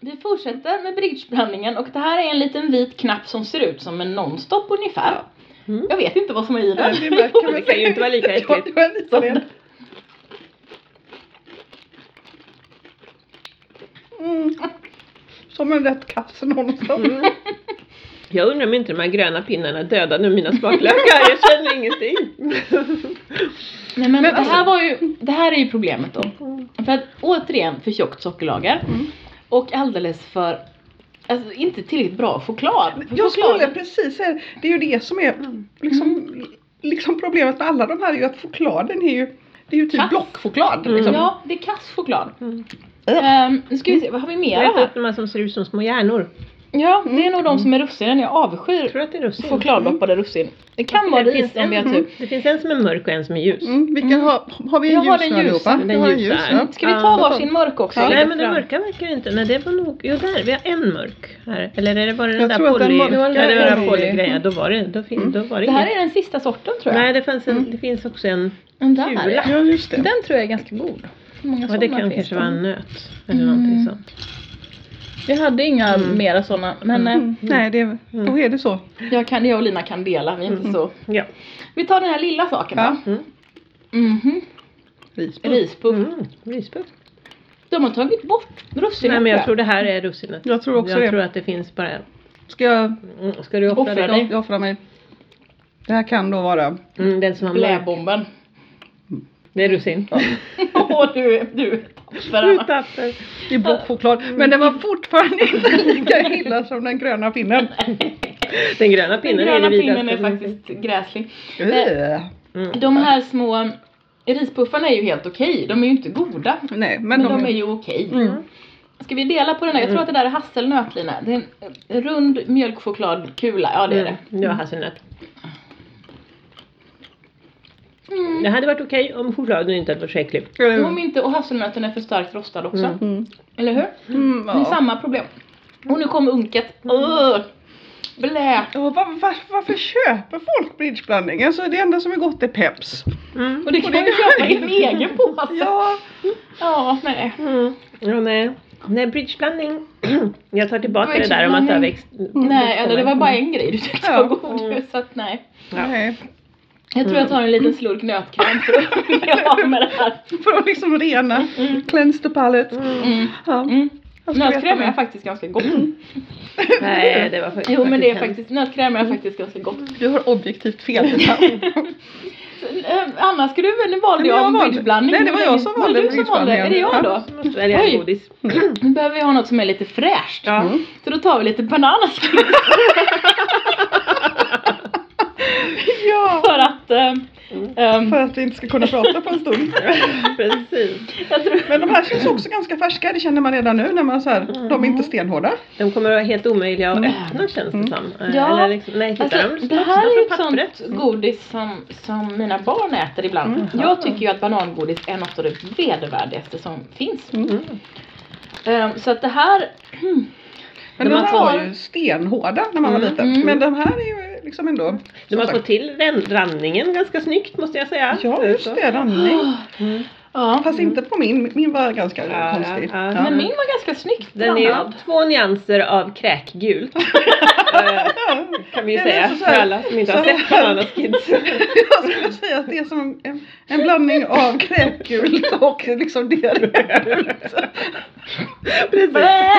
Speaker 1: Vi fortsätter med bridgeblandningen och det här är en liten vit knapp som ser ut som en nonstop ungefär.
Speaker 3: Mm.
Speaker 1: Jag vet inte vad som är i den.
Speaker 2: Det märker man
Speaker 3: Det kan ju inte vara lika
Speaker 2: Ja, det var lite det. Mm. Som en rätt kasse någonstans.
Speaker 3: Mm. Jag undrar om inte de här gröna pinnarna dödade mina smaklökar. Jag känner ingenting.
Speaker 1: Nej, men
Speaker 2: Men
Speaker 1: det, här
Speaker 2: alltså-
Speaker 1: var ju, det här är ju problemet då. För att återigen för tjockt sockerlager
Speaker 2: Mm.
Speaker 1: och alldeles för, alltså inte tillräckligt bra choklad. För
Speaker 2: Jag
Speaker 1: choklad-
Speaker 2: skulle precis säga det är ju det som är liksom, liksom problemet med alla de här är ju att chokladen är ju, det är ju typ
Speaker 1: Kass.
Speaker 2: blockchoklad.
Speaker 3: Mm.
Speaker 2: Liksom.
Speaker 1: Ja, det är kass choklad.
Speaker 3: Mm.
Speaker 1: Ehm, nu ska vi se, vad har vi mer
Speaker 3: Jag vet
Speaker 1: här?
Speaker 3: att de här som ser ut som små hjärnor.
Speaker 1: Ja, det är nog de som är russinen. Jag
Speaker 3: Jag
Speaker 1: avskyr
Speaker 3: tror att det är russin.
Speaker 1: chokladdoppade russin. Det kan vara ris om vi har tur.
Speaker 3: det finns en som är mörk och en som är ljus.
Speaker 2: Mm, vilken har, har vi
Speaker 1: Jag
Speaker 2: en
Speaker 1: har
Speaker 2: ljus
Speaker 1: en
Speaker 2: nu
Speaker 1: ljus.
Speaker 2: allihopa?
Speaker 3: Den
Speaker 2: Jag har en
Speaker 3: ljusa.
Speaker 2: ljus, ja.
Speaker 1: Ska vi ta
Speaker 3: Ja.
Speaker 1: varsin mörk också?
Speaker 2: Ja.
Speaker 1: Lägg
Speaker 3: Nej men den
Speaker 1: fram.
Speaker 3: mörka verkar inte, nej det var nog, jo där, vi har en mörk här. Eller är det bara den
Speaker 2: Jag
Speaker 3: där
Speaker 2: tror att den
Speaker 3: poly,
Speaker 2: mörka
Speaker 3: ja, det var
Speaker 2: är Mm.
Speaker 3: den
Speaker 2: rolig.
Speaker 3: polygrejen, då var det, då, fin, då var det,
Speaker 1: Det här
Speaker 3: inget.
Speaker 1: är den sista sorten tror jag.
Speaker 3: Nej det, fanns en,
Speaker 2: Mm.
Speaker 3: det finns också en,
Speaker 1: den där.
Speaker 3: gula.
Speaker 2: Ja just det.
Speaker 1: Den tror jag är ganska god. Hur många
Speaker 3: ja det
Speaker 1: sådana
Speaker 3: kan
Speaker 1: finns
Speaker 3: kanske
Speaker 1: det?
Speaker 3: vara en nöt. Eller
Speaker 2: Mm.
Speaker 3: någonting sånt.
Speaker 1: Jag hade inga mera sådana, men
Speaker 2: Mm. Nej, det, då är det så.
Speaker 1: eh, jag, kan, jag och Lina kan dela, vi är
Speaker 3: Mm.
Speaker 1: inte så...
Speaker 3: Ja.
Speaker 1: Vi tar den här lilla saken
Speaker 2: Ja.
Speaker 1: då. Mhm.
Speaker 2: Rispuff.
Speaker 1: Rispuff.
Speaker 3: Mm, rispuff.
Speaker 1: De har tagit bort
Speaker 3: Nej
Speaker 1: russinen
Speaker 3: men jag tror det här är russinet.
Speaker 2: Jag tror också
Speaker 3: jag
Speaker 2: det.
Speaker 3: tror att det finns bara,
Speaker 2: Ska jag,
Speaker 3: mm, ska du offra
Speaker 1: Offra
Speaker 3: dig?
Speaker 1: dig.
Speaker 2: jag offrar mig? Det här kan då vara...
Speaker 3: Mm, den som har mörk.
Speaker 1: Bläbomben.
Speaker 3: Det är russin.
Speaker 1: Åh du, du. För Anna.
Speaker 3: Utanför.
Speaker 2: Det är blockchoklad. Men den var fortfarande inte lika illa som den gröna pinnen.
Speaker 3: Den gröna
Speaker 1: Den
Speaker 3: pinnen
Speaker 1: gröna
Speaker 3: är det
Speaker 1: pinnen
Speaker 3: vidaste. Mm.
Speaker 1: är faktiskt gräslig.
Speaker 2: Äh.
Speaker 1: De här små rispuffarna är ju helt okej, de är ju inte goda.
Speaker 2: Nej, men,
Speaker 1: Men, de, är
Speaker 2: ju...
Speaker 1: ju okej.
Speaker 2: Mm.
Speaker 1: Ska vi dela på den där? Jag tror att det där är hasselnöt Lina. Det är en rund mjölkchokladkula, ja det är det.
Speaker 3: Mm, det var hasselnöt.
Speaker 1: Mm.
Speaker 3: Det hade varit okej om chokladen inte hade varit så äcklig.
Speaker 1: Om inte, och hasselnöten är för starkt rostad också.
Speaker 3: Mm.
Speaker 2: Mm.
Speaker 1: Eller hur?
Speaker 2: Mm,
Speaker 1: Det är
Speaker 2: ja.
Speaker 1: samma problem. Och nu kommer unket. Ugh. Blä!
Speaker 2: Ja, var, var, varför köper folk bridgeblandning? Alltså det enda som är gott är Peps.
Speaker 3: Mm.
Speaker 1: Och det kan man ju köpa i en egen påse.
Speaker 2: Ja,
Speaker 1: ja, nej.
Speaker 3: Mm. Ja, nej. Nej, bridgeblandning. Jag tar tillbaka det där om att det har växt.
Speaker 1: Nej, eller det var bara en grej du tyckte
Speaker 2: Ja.
Speaker 1: var god. Så att nej.
Speaker 2: nej.
Speaker 1: Jag tror jag tar en liten slurk nötkräm för att bli av med det här.
Speaker 2: För att liksom rena, cleanse the palate.
Speaker 1: Mm.
Speaker 2: Ja, Alltså,
Speaker 1: Mm.
Speaker 2: jag ska
Speaker 1: Nötkräm
Speaker 2: veta
Speaker 1: är
Speaker 2: mer.
Speaker 1: faktiskt ganska gott.
Speaker 3: Nej, det var faktiskt
Speaker 1: Jo men det är
Speaker 3: hemskt.
Speaker 1: faktiskt, nötkräm är faktiskt ganska gott.
Speaker 2: Du har objektivt fel. Tina.
Speaker 1: Eh, Anna, ska du, nu valde
Speaker 2: Nej, men jag
Speaker 1: jag en
Speaker 2: valde-
Speaker 1: bridgeblandning.
Speaker 2: Nej, det var jag som
Speaker 1: Var det
Speaker 2: valde
Speaker 1: du som valde? Är det jag då?
Speaker 2: bridgeblandningen.
Speaker 3: Jag måste välja
Speaker 1: Oj.
Speaker 3: godis.
Speaker 1: Nu behöver vi ha något som är lite fräscht.
Speaker 3: Ja.
Speaker 2: Mm.
Speaker 1: Så då tar vi lite bananaskal
Speaker 2: Ja,
Speaker 1: för att eh,
Speaker 2: Mm.
Speaker 1: ehm,
Speaker 2: för att vi inte ska kunna prata på en stund.
Speaker 3: Precis.
Speaker 1: jag tror,
Speaker 2: Men de här känns också ganska färska, det känner man redan nu när man så här, de är
Speaker 3: Mm.
Speaker 2: inte stenhårda.
Speaker 3: De kommer att vara helt omöjliga att
Speaker 2: Mm.
Speaker 3: öppna känns det
Speaker 2: Mm.
Speaker 3: som.
Speaker 1: Ja.
Speaker 3: Eller liksom, nej, titta,
Speaker 1: Alltså,
Speaker 3: de
Speaker 1: det här är ju ett
Speaker 3: pappret.
Speaker 1: sånt godis som, som mina barn äter ibland.
Speaker 2: Mm.
Speaker 1: Jag tycker ju att banangodis är något av det vedervärdigaste som finns.
Speaker 3: Mm.
Speaker 1: Ehm, så att det här,
Speaker 2: Men
Speaker 3: De
Speaker 2: de
Speaker 3: har
Speaker 2: här
Speaker 3: två-
Speaker 2: var ju stenhårda när man var
Speaker 3: Mm.
Speaker 2: liten.
Speaker 1: Mm.
Speaker 2: Men de här är ju liksom ändå... som
Speaker 3: De har
Speaker 2: sagt-
Speaker 3: fått till ren- randningen ganska snyggt måste jag säga.
Speaker 2: Ja, just
Speaker 3: Så.
Speaker 2: det. Randning.
Speaker 3: Mm.
Speaker 1: ja.
Speaker 2: Fast inte på min. Min var ganska
Speaker 3: Ja,
Speaker 2: konstig.
Speaker 3: ja, ja.
Speaker 1: Men min var ganska snyggt
Speaker 3: Den
Speaker 1: blandad.
Speaker 3: är två nyanser av kräkgult. Eh, kan vi ju
Speaker 2: Ja, det är
Speaker 3: säga
Speaker 2: så- så
Speaker 3: för
Speaker 2: här-
Speaker 3: alla som inte har
Speaker 2: så
Speaker 3: sett
Speaker 2: här-
Speaker 3: Banana Kids.
Speaker 2: Jag skulle säga att det är som en, en blandning av kräkgult och liksom diarrégult.
Speaker 3: Precis.
Speaker 1: Blä!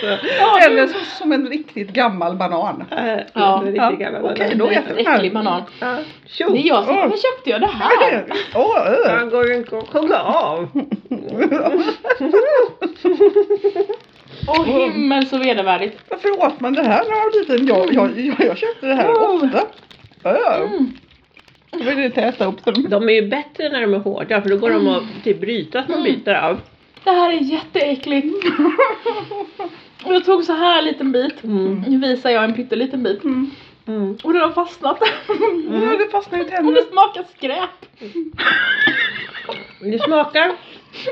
Speaker 3: Så,
Speaker 1: Ja,
Speaker 2: Eller så, som en riktigt gammal banan.
Speaker 3: eh,
Speaker 1: Ja.
Speaker 3: det är riktigt
Speaker 2: Ja,
Speaker 3: gammal
Speaker 2: okej
Speaker 3: banan.
Speaker 2: då.
Speaker 1: Det är en äcklig banan.
Speaker 3: Ja,
Speaker 1: Det
Speaker 3: tjo.
Speaker 1: är jag som,
Speaker 2: Åh.
Speaker 1: varför köpte jag det här?
Speaker 2: Åh, öh.
Speaker 3: Han går en kolla av.
Speaker 1: Åh
Speaker 2: Mm.
Speaker 1: himmel så vedervärdigt.
Speaker 2: Varför åt man det här när jag var liten? Jag, jag, jag, jag köpte det här
Speaker 1: Mm.
Speaker 2: ofta. Öh.
Speaker 1: Mm.
Speaker 2: Då vill jag inte äta upp dem.
Speaker 3: De är ju bättre när de är hårda för då går de att typ brytas på bitar av.
Speaker 1: Det här är jätteäckligt. Och jag tog så här liten bit.
Speaker 3: Mm.
Speaker 1: Nu visar jag en pytteliten bit.
Speaker 2: Mm.
Speaker 3: Mm.
Speaker 1: Och den har fastnat.
Speaker 2: Ja, det fastnar ju i
Speaker 1: Och det
Speaker 2: tänderna.
Speaker 1: smakar skräp.
Speaker 3: Det smakar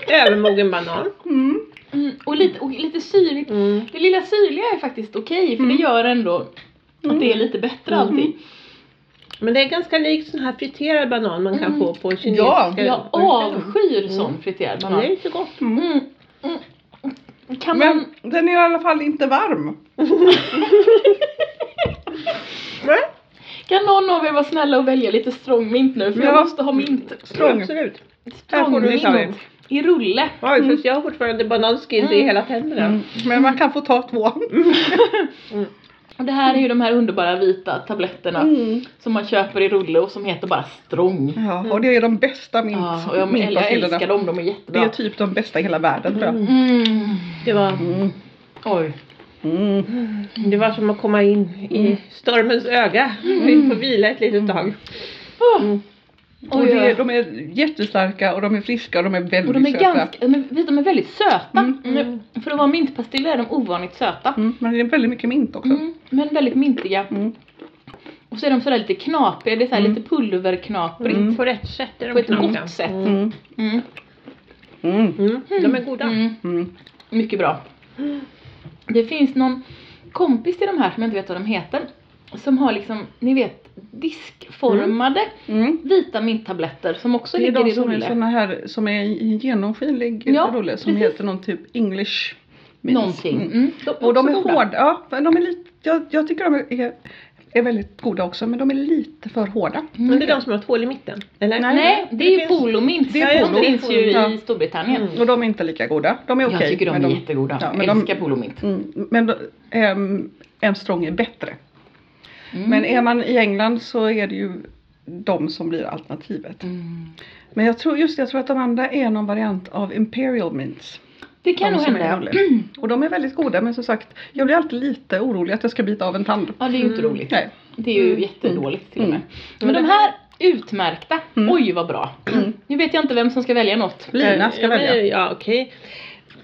Speaker 3: övermogen banan.
Speaker 2: Mm.
Speaker 1: Mm. Och, lite, och lite syrligt.
Speaker 3: Mm.
Speaker 1: Det lilla syrliga är faktiskt okej för
Speaker 2: Mm.
Speaker 1: det gör ändå att det är lite bättre
Speaker 2: Mm.
Speaker 1: allting.
Speaker 3: Men det är ganska likt sån här friterad banan man kan
Speaker 1: Mm.
Speaker 3: få på kinesiska
Speaker 2: Ja,
Speaker 3: Mm.
Speaker 1: Jag avskyr sån friterad
Speaker 3: Det är
Speaker 1: banan.
Speaker 3: inte gott.
Speaker 2: Mm.
Speaker 1: Mm. Mm. Kan man...
Speaker 2: Men den är i alla fall inte varm.
Speaker 3: Nej.
Speaker 1: Kan någon av er vara snälla och välja lite strongmint nu för
Speaker 2: Ja.
Speaker 1: jag måste ha mint.
Speaker 2: Strong.
Speaker 3: Absolut. Här får du
Speaker 1: Strongmint
Speaker 3: lite av det.
Speaker 1: i rulle.
Speaker 3: Oj, fast jag har fortfarande bananskins i
Speaker 1: Mm.
Speaker 3: hela tänderna.
Speaker 2: Mm. Men man kan få ta två.
Speaker 1: Och det här är ju de här underbara vita tabletterna
Speaker 2: Mm.
Speaker 1: som man köper i rulle och som heter bara strong.
Speaker 2: Ja, och det är de bästa mint,
Speaker 1: Mm. Ja, och jag, jag, jag
Speaker 2: mintpastillerna.
Speaker 1: älskar dem, de är
Speaker 2: Det är
Speaker 1: jättebra.
Speaker 2: typ de bästa i hela världen tror jag.
Speaker 3: Mm.
Speaker 1: Mm.
Speaker 3: Det, var,
Speaker 2: Mm.
Speaker 1: Oj.
Speaker 2: Mm.
Speaker 3: det var som att komma in i stormens öga. Vi får vila ett litet tag.
Speaker 1: Åh.
Speaker 3: Mm.
Speaker 2: Och
Speaker 1: Oj,
Speaker 2: det,
Speaker 1: oj.
Speaker 2: de är jättestarka och de är friska och de är väldigt
Speaker 1: Och de är
Speaker 2: söta.
Speaker 1: ganska, de är, de är väldigt söta.
Speaker 2: Mm.
Speaker 1: Nu- För att vara mintpastiller är de ovanligt söta.
Speaker 2: Mm. Men det är väldigt mycket mint också.
Speaker 1: Mm. Men väldigt mintiga.
Speaker 2: Mm.
Speaker 1: Och så är de sådär lite knapriga, det är såhär
Speaker 2: Mm.
Speaker 1: lite pulverknaprigt.
Speaker 2: Mm.
Speaker 3: På rätt sätt är de
Speaker 1: På ett
Speaker 3: knappa.
Speaker 1: gott sätt.
Speaker 3: Mm.
Speaker 2: Mm.
Speaker 1: Mm.
Speaker 2: Mm.
Speaker 3: Mm. De är goda.
Speaker 1: Mm.
Speaker 2: Mm.
Speaker 1: Mycket bra. Det finns någon kompis till de här som jag inte vet vad de heter. Som har liksom, ni vet, diskformade
Speaker 2: Mm.
Speaker 1: vita minttabletter som också
Speaker 2: Det är
Speaker 1: ligger
Speaker 2: de
Speaker 1: i
Speaker 2: som är
Speaker 1: rulle.
Speaker 2: såna här som är i en genomskinlig
Speaker 1: Ja,
Speaker 2: rulle som
Speaker 1: precis.
Speaker 2: heter någon typ English mint.
Speaker 1: Någonting.
Speaker 2: Mm.
Speaker 1: Mm. De,
Speaker 2: Och de
Speaker 1: också
Speaker 2: är
Speaker 1: goda.
Speaker 2: hårda. Ja, men de är lite, jag, jag tycker de är- är, är väldigt goda också men de är lite för hårda.
Speaker 1: Mm.
Speaker 3: Men det är de som har ett hål i mitten? Eller?
Speaker 1: Nej, det är ju
Speaker 3: finns-
Speaker 1: polomint.
Speaker 2: Det
Speaker 1: Det
Speaker 2: är
Speaker 1: är
Speaker 2: polo.
Speaker 1: finns ju
Speaker 2: Ja.
Speaker 1: i Storbritannien.
Speaker 3: Mm.
Speaker 2: Och de är inte lika goda. De är okej.
Speaker 1: jag tycker de är
Speaker 2: men
Speaker 1: jättegoda.
Speaker 2: ja, men
Speaker 1: jag
Speaker 2: de-
Speaker 1: älskar polomint.
Speaker 2: Mm, men då, ehm, en strong är bättre.
Speaker 1: Mm.
Speaker 2: Men är man i England så är det ju de som blir alternativet.
Speaker 1: Mm.
Speaker 2: Men jag tror just det, jag tror att de andra är någon variant av Imperial Mints.
Speaker 1: Det kan
Speaker 2: de
Speaker 1: nog
Speaker 2: som är
Speaker 1: hända.
Speaker 2: roliga. Och de är väldigt goda men som sagt, jag blir alltid lite orolig att jag ska bita av en tand.
Speaker 1: Ja, det är ju inte
Speaker 3: Mm.
Speaker 1: roligt.
Speaker 2: Nej.
Speaker 1: Det är ju
Speaker 3: Mm.
Speaker 1: jättedåligt till och med.
Speaker 3: Men
Speaker 1: Men de
Speaker 3: det-
Speaker 1: här Utmärkta!
Speaker 2: Mm.
Speaker 1: Oj vad bra! Nu vet jag inte vem som ska välja något.
Speaker 2: Lina ska
Speaker 3: Ja, men-
Speaker 2: välja.
Speaker 3: Ja, okej.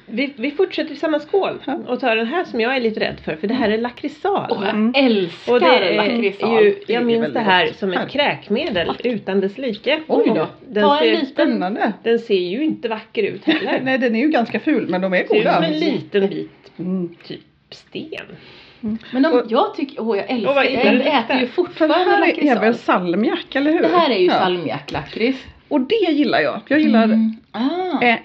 Speaker 3: Vi, vi fortsätter i samma skål
Speaker 2: Ja.
Speaker 3: och tar den här som jag är lite rädd för, för det här är lakritsal.
Speaker 1: Åh,
Speaker 2: Mm.
Speaker 1: jag älskar
Speaker 3: Och det
Speaker 1: lakritsal!
Speaker 3: är ju,
Speaker 2: Det är
Speaker 3: jag minns
Speaker 2: väldigt
Speaker 3: det här
Speaker 2: gott.
Speaker 3: som
Speaker 2: Här.
Speaker 3: ett kräkmedel utan dess like.
Speaker 1: Oj då.
Speaker 3: Den
Speaker 1: Ta en
Speaker 3: ser-
Speaker 1: liten.
Speaker 2: Spännande.
Speaker 3: Den ser ju inte vacker ut heller.
Speaker 2: Nej den är ju ganska ful men de är
Speaker 3: ser ut som
Speaker 2: goda.
Speaker 3: en liten bit
Speaker 2: Mm.
Speaker 3: sten.
Speaker 1: Men om,
Speaker 2: Och-
Speaker 1: jag tycker, åh jag älskar,
Speaker 3: Och vad
Speaker 1: jag
Speaker 3: är det?
Speaker 1: äter ju
Speaker 2: För det
Speaker 1: fortfarande
Speaker 2: här är väl
Speaker 1: lakritsal.
Speaker 2: salmiak eller hur?
Speaker 1: Det här är ju
Speaker 2: Ja.
Speaker 1: salmiaklakrits.
Speaker 2: Och det gillar jag. Jag gillar
Speaker 1: Mm. Ah.
Speaker 2: eh,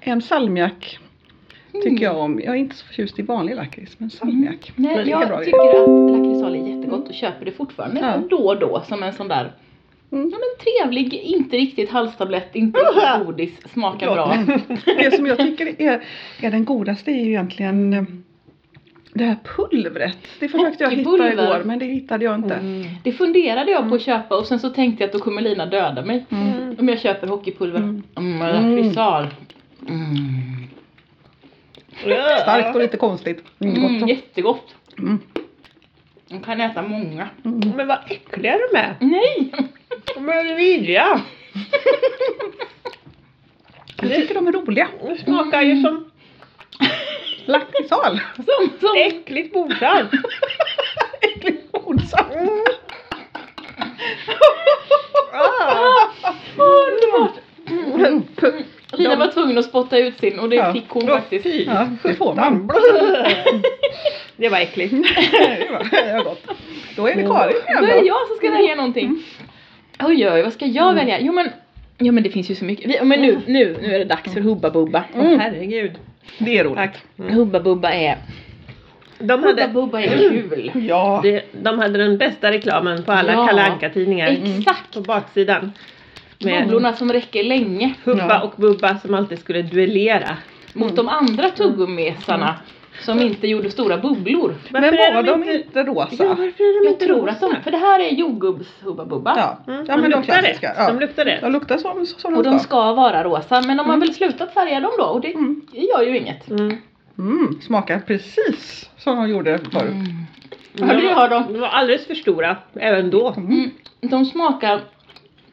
Speaker 2: en salmiak
Speaker 1: Mm. Mm.
Speaker 2: tycker jag om. Jag är inte så förtjust i vanlig lakrits men salmiak.
Speaker 1: Nej,
Speaker 2: Men
Speaker 1: jag
Speaker 2: bra
Speaker 1: tycker att lakritsal är jättegott och köper det fortfarande
Speaker 2: Ja.
Speaker 1: då och då som en sån där
Speaker 2: Mm.
Speaker 1: ja, men trevlig, inte riktigt halstablett, inte riktigt godis, smakar bra.
Speaker 2: Det som jag tycker är, är den godaste är ju egentligen eh, det här pulvret. Det försökte jag hitta
Speaker 1: Hockeypulver.
Speaker 2: igår men det hittade jag inte.
Speaker 3: Mm.
Speaker 1: Det funderade jag på att
Speaker 2: Mm.
Speaker 1: köpa och sen så tänkte jag att då kommer Lina döda mig
Speaker 3: Mm.
Speaker 1: om jag köper hockeypulver.
Speaker 2: Mm.
Speaker 1: Mm.
Speaker 2: Mm.
Speaker 1: lakritsal. Mm.
Speaker 2: Starkt och lite konstigt. Mm, gott.
Speaker 1: Mm, jättegott.
Speaker 2: Mm.
Speaker 1: Man kan äta många.
Speaker 2: Mm.
Speaker 3: Men vad äckliga de är.
Speaker 1: Nej!
Speaker 3: De är vidriga.
Speaker 2: Jag tycker de är roliga.
Speaker 3: De smakar ju som
Speaker 2: Lakritsal.
Speaker 1: Som, som,
Speaker 3: äckligt bordsarv.
Speaker 2: Äckligt ordsalt.
Speaker 3: Ah.
Speaker 1: underbart!
Speaker 2: Pu-
Speaker 1: Lina
Speaker 2: De-
Speaker 1: var tvungen att spotta ut sin och det
Speaker 2: Ja.
Speaker 1: fick hon faktiskt.
Speaker 3: Fy.
Speaker 2: Ja, det får man.
Speaker 3: Det var äckligt.
Speaker 2: Mm. Det var- det var gott. Då är det Karin igen
Speaker 1: Då är det
Speaker 2: då.
Speaker 1: jag som ska välja någonting. Oj, oj, vad ska jag välja? Jo men, ja men det finns ju så mycket. Vi, men nu, nu, nu är det dags för Hubba Bubba.
Speaker 3: Åh
Speaker 2: Mm.
Speaker 3: herregud.
Speaker 2: Det är roligt.
Speaker 3: Tack. Mm.
Speaker 1: Hubba Bubba är,
Speaker 3: De
Speaker 1: Hubba
Speaker 3: hade,
Speaker 1: Bubba är kul.
Speaker 2: Ja.
Speaker 3: de, de hade den bästa reklamen på alla
Speaker 1: Ja.
Speaker 3: Kalle Anka-tidningar.
Speaker 1: Exakt!
Speaker 3: På baksidan. Med
Speaker 1: Bubblorna som räcker länge
Speaker 3: Hubba
Speaker 2: Ja.
Speaker 3: och Bubba som alltid skulle duellera.
Speaker 1: mot de andra tuggummisarna som inte gjorde stora bubblor.
Speaker 2: Men
Speaker 3: Varför är
Speaker 2: var de inte
Speaker 3: Ja,
Speaker 2: rosa?
Speaker 3: varför är de
Speaker 1: Jag
Speaker 3: inte
Speaker 1: tror att
Speaker 3: rosa?
Speaker 1: de, för det här är jordgubbs Hubba Bubba.
Speaker 2: Ja,
Speaker 3: Mm,
Speaker 2: ja men de
Speaker 3: luktar rätt.
Speaker 2: klassiska. Ja.
Speaker 3: De luktar rätt.
Speaker 2: De luktar som, som
Speaker 1: Och de
Speaker 2: de
Speaker 1: ska vara rosa, men de har väl slutat färga dem då och det
Speaker 2: Mm.
Speaker 1: gör ju inget.
Speaker 3: Mm.
Speaker 2: Mm, smakar precis som de gjorde förut.
Speaker 1: Ja, det gör de.
Speaker 3: De var alldeles för stora, även då.
Speaker 1: Mm. De smakar,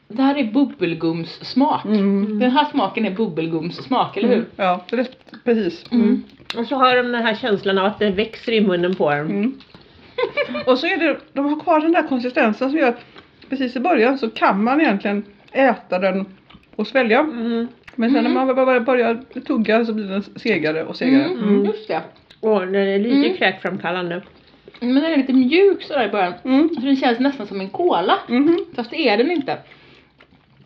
Speaker 1: det här är bubbelgumssmak.
Speaker 2: Mm.
Speaker 1: Den här smaken är bubbelgumssmak, eller hur?
Speaker 2: Ja, rätt, precis.
Speaker 1: Mm.
Speaker 3: Och så har de den här känslan av att det växer i munnen på dem.
Speaker 2: Mm. Och så är det, de har kvar den där konsistensen som gör att precis i början så kan man egentligen äta den och svälja.
Speaker 3: Mm.
Speaker 2: Men sen
Speaker 1: Mm.
Speaker 2: när man bara börjar tugga så blir den segare och segare.
Speaker 1: Mm.
Speaker 2: Mm.
Speaker 3: Mm.
Speaker 1: Just det.
Speaker 3: Och den är lite
Speaker 1: Mm.
Speaker 3: kräkframkallande.
Speaker 1: Men den är lite mjuk sådär i början.
Speaker 2: Mm.
Speaker 1: Så den känns nästan som en cola.
Speaker 2: Mhm.
Speaker 1: Fast det är den inte.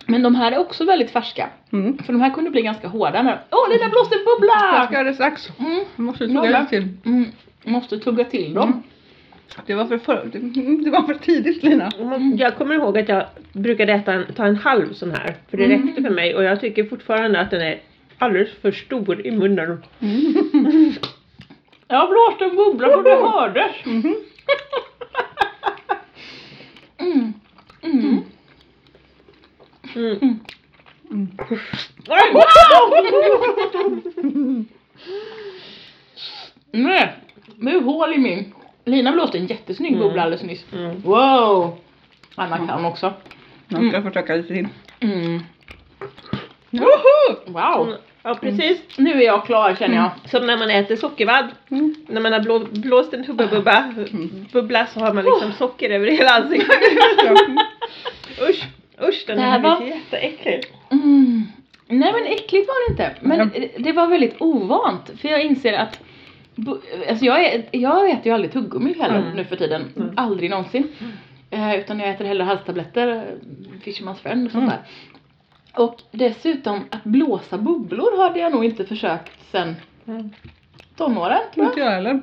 Speaker 1: Men de här är också väldigt färska.
Speaker 2: Mm.
Speaker 1: För de här kunde bli ganska hårda men... Åh, oh, Lina blåste en bubbla!
Speaker 2: Jag ska göra det strax.
Speaker 1: Mm.
Speaker 2: Jag måste
Speaker 1: Ja,
Speaker 2: tugga
Speaker 1: men.
Speaker 2: lite till.
Speaker 1: Mm. Måste tugga till
Speaker 2: Mm.
Speaker 1: dem.
Speaker 2: Det var för, för, det, mm, det var för tidigt Lina.
Speaker 1: Mm.
Speaker 3: Jag kommer ihåg att jag brukade äta en, ta en halv sån här. För det
Speaker 1: Mm.
Speaker 3: räckte för mig och jag tycker fortfarande att den är alldeles för stor i munnen.
Speaker 1: Jag blåste en bubbla så det hördes.
Speaker 2: Mhm.
Speaker 1: Mm. Mm.
Speaker 3: Mm.
Speaker 2: Mm.
Speaker 3: Oj!
Speaker 1: Mm. Nej, det är hål i min. Lina blåste en jättesnygg
Speaker 3: Mm.
Speaker 1: bubbla alldeles nyss.
Speaker 3: Mm.
Speaker 1: Wow! Anna kan också.
Speaker 2: Jag ska försöka lite till.
Speaker 1: Mm.
Speaker 2: Woho!
Speaker 1: Wow!
Speaker 3: Ja precis,
Speaker 1: Nu är jag klar känner jag.
Speaker 3: som när man äter sockervadd.
Speaker 2: Mm.
Speaker 3: När man har blå, blåst en hubba bubba, bubbla så har man liksom
Speaker 1: Oh.
Speaker 3: socker över hela ansiktet. Usch, usch den
Speaker 1: Det
Speaker 3: här
Speaker 1: här
Speaker 3: var
Speaker 1: var-
Speaker 3: jätteäcklig.
Speaker 1: Mm. Nej men äckligt var det inte. Men det var väldigt ovant. För jag inser att bu- Alltså jag, är, jag äter ju aldrig tuggummi heller
Speaker 3: Mm.
Speaker 1: nu för tiden.
Speaker 3: Mm.
Speaker 1: Aldrig någonsin. Eh, utan jag äter hellre halstabletter, eh, Fisherman's friend och sånt
Speaker 2: Mm.
Speaker 1: där. Och dessutom att blåsa bubblor hade jag nog inte försökt sen
Speaker 3: Mm.
Speaker 1: tonåren tror jag.
Speaker 2: Inte jag heller.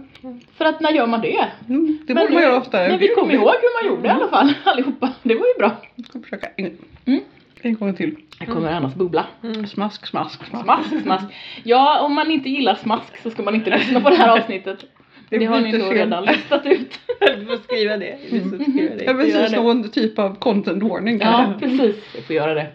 Speaker 1: För att när gör man det?
Speaker 2: Mm. Det Mm.
Speaker 1: Men-
Speaker 2: borde man göra oftare.
Speaker 1: Men vi kom ihåg hur man gjorde i alla fall allihopa. Det var ju bra.
Speaker 2: Jag ska försöka en,
Speaker 1: Mm.
Speaker 2: en gång till.
Speaker 1: Jag kommer annars bubbla.
Speaker 3: Mm.
Speaker 2: Smask, smask, smask.
Speaker 1: Mm. Smask, smask. Ja, om man inte gillar smask så ska man inte lyssna på det här avsnittet. Det, har
Speaker 2: blir
Speaker 1: ni
Speaker 2: inte
Speaker 1: nog
Speaker 2: fel.
Speaker 1: redan listat ut.
Speaker 3: Du får skriva det. Du får skriva
Speaker 2: Ja,
Speaker 3: det.
Speaker 2: precis.
Speaker 1: det.
Speaker 2: Någon typ av content warning Mm.
Speaker 1: Ja,
Speaker 2: kanske.
Speaker 1: precis. Vi får göra det.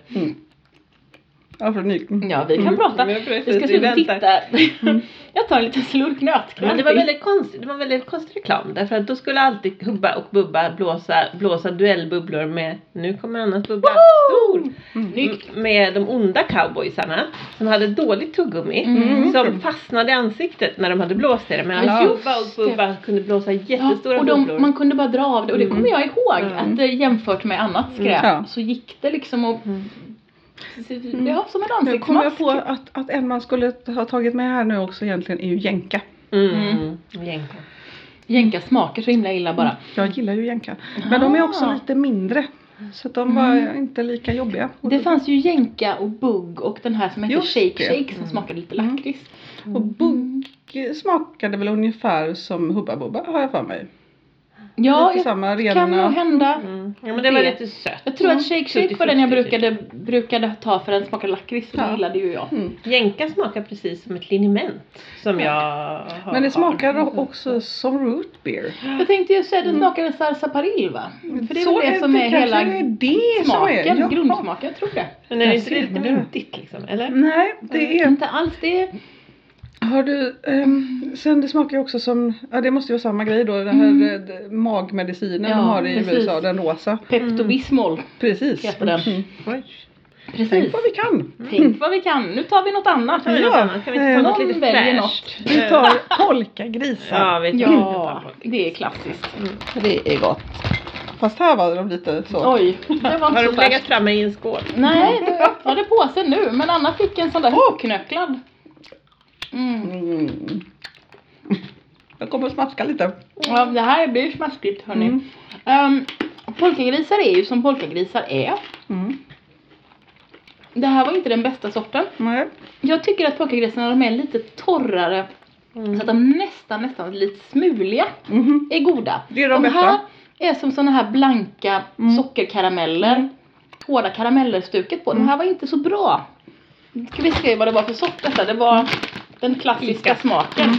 Speaker 2: Ja, för ny.
Speaker 1: Mm. Ja, vi kan prata.
Speaker 3: Men precis,
Speaker 1: Vi ska
Speaker 3: vi
Speaker 1: sluta
Speaker 3: väntar.
Speaker 2: Mm.
Speaker 1: titta. jag tar en liten slurk nötkräm
Speaker 3: Men det var
Speaker 1: till.
Speaker 3: väldigt konstigt, det var väldigt konstig reklam därför att då skulle alltid Hubba och Bubba blåsa, blåsa duellbubblor med nu kommer annars bubbla stor
Speaker 2: Mm.
Speaker 1: Snyggt.
Speaker 3: M- med de onda cowboysarna som hade dåligt tuggummi
Speaker 1: Mm.
Speaker 3: som fastnade i ansiktet när de hade blåst i det medan
Speaker 2: Ja,
Speaker 3: Hubba och
Speaker 1: just det.
Speaker 3: Bubba kunde blåsa jättestora
Speaker 1: och de,
Speaker 3: bubblor.
Speaker 1: man kunde bara dra av det och det
Speaker 3: Mm.
Speaker 1: kommer jag ihåg
Speaker 3: Mm.
Speaker 1: att eh, jämfört med annat skräp
Speaker 2: Mm. Ja. Mm.
Speaker 1: så gick det liksom och
Speaker 3: Mm.
Speaker 1: ja, som en
Speaker 2: Nu kom jag
Speaker 1: ansiktsmask.
Speaker 2: på att, att en man skulle ha tagit med här nu också egentligen är ju jänka.
Speaker 3: Mm. Jänka.
Speaker 1: Jänka smaker så himla illa bara.
Speaker 2: Jag gillar ju jänka. Men de är också
Speaker 1: Ah.
Speaker 2: lite mindre. Så att de var
Speaker 1: Mm.
Speaker 2: inte lika jobbiga.
Speaker 1: Det fanns ju jänka och bugg och den här som hette
Speaker 2: Just
Speaker 1: shake
Speaker 2: det.
Speaker 1: shake som
Speaker 3: Mm.
Speaker 1: smakade lite
Speaker 2: Mm.
Speaker 1: lakrits. Mm.
Speaker 2: Och bugg smakade väl ungefär som Hubba Bubba har jag för mig.
Speaker 1: Ja,
Speaker 2: lite
Speaker 1: jag,
Speaker 2: samma
Speaker 1: kan nog
Speaker 2: rena.
Speaker 1: hända.
Speaker 3: Mm. Ja men det var
Speaker 1: Det-
Speaker 3: lite sött. Mm.
Speaker 1: Jag
Speaker 2: Mm.
Speaker 1: tror att shake shake var den jag
Speaker 3: Tutti frutti,
Speaker 1: brukade, brukade ta för den smakade lakrits och det
Speaker 2: Ja.
Speaker 1: gillade ju jag.
Speaker 2: Mm.
Speaker 3: Jänka smakar precis som ett liniment som jag har
Speaker 2: Men det smakar
Speaker 3: har.
Speaker 2: också som root beer.
Speaker 1: Jag tänkte ju säga det smakade sarsaparil va? Mm, För det är väl det som
Speaker 2: det
Speaker 1: är
Speaker 2: kanske
Speaker 1: hela
Speaker 2: Mm. är det som är.
Speaker 1: smaken,
Speaker 2: Ja.
Speaker 1: grundsmaken, jag tror det.
Speaker 3: Men är det
Speaker 2: Där
Speaker 3: inte
Speaker 2: ser
Speaker 3: lite
Speaker 2: man det.
Speaker 3: myntigt liksom eller?
Speaker 1: Mm.
Speaker 2: Nej, det är...
Speaker 1: Inte alls, det är
Speaker 2: Har du... ehm, sen det smakar ju också som... Ja det måste ju vara samma grej då. Den här
Speaker 1: Mm.
Speaker 2: eh, magmedicinen
Speaker 1: Ja,
Speaker 2: de har i
Speaker 1: precis.
Speaker 2: USA, den rosa.
Speaker 1: Pepto Bismol.
Speaker 2: Precis.
Speaker 1: Heter den.
Speaker 2: Mm.
Speaker 3: Oj.
Speaker 1: Precis. Mm.
Speaker 2: Tänk vad vi Mm. kan.
Speaker 1: Tänk vad vi kan, nu tar vi något annat.
Speaker 3: Kan vi något
Speaker 2: Ja,
Speaker 3: annat? Kan vi inte ta något
Speaker 1: någon
Speaker 3: lite
Speaker 1: väljer
Speaker 3: fräscht?
Speaker 2: Vi tar polkagrisar.
Speaker 3: Ja, vi tar
Speaker 1: Ja,
Speaker 3: lite
Speaker 2: Mm.
Speaker 1: det är klassiskt.
Speaker 2: Det är gott. Fast här var de lite så.
Speaker 1: Oj, det var
Speaker 3: Har
Speaker 1: inte
Speaker 3: de
Speaker 1: så
Speaker 3: legat
Speaker 1: färskt.
Speaker 3: framme i en skål?
Speaker 1: Nej, jag öppnade påsen nu, men Anna fick en sån där hopknöcklad. Mm.
Speaker 2: Mm. Jag kommer att smaska lite.
Speaker 1: Ja, det här blir smaskigt hörni.
Speaker 2: Mm.
Speaker 1: Ehm, polkagrisar är ju som polkagrisar är.
Speaker 2: Mm.
Speaker 1: Det här var inte den bästa sorten.
Speaker 2: Nej.
Speaker 1: Jag tycker att polkagrisarna de är lite torrare,
Speaker 3: Mm.
Speaker 1: så att de nästan, nästan lite smuliga
Speaker 2: Mhm.
Speaker 1: är goda.
Speaker 2: Det är de bästa.
Speaker 1: här är som såna här blanka
Speaker 2: Mm.
Speaker 1: sockerkarameller. Hårda karamellerstuket på.
Speaker 2: Mm.
Speaker 1: De här var inte så bra. Ska vi se vad det var för sort detta. Det var den klassiska
Speaker 3: Icas.
Speaker 1: smaken.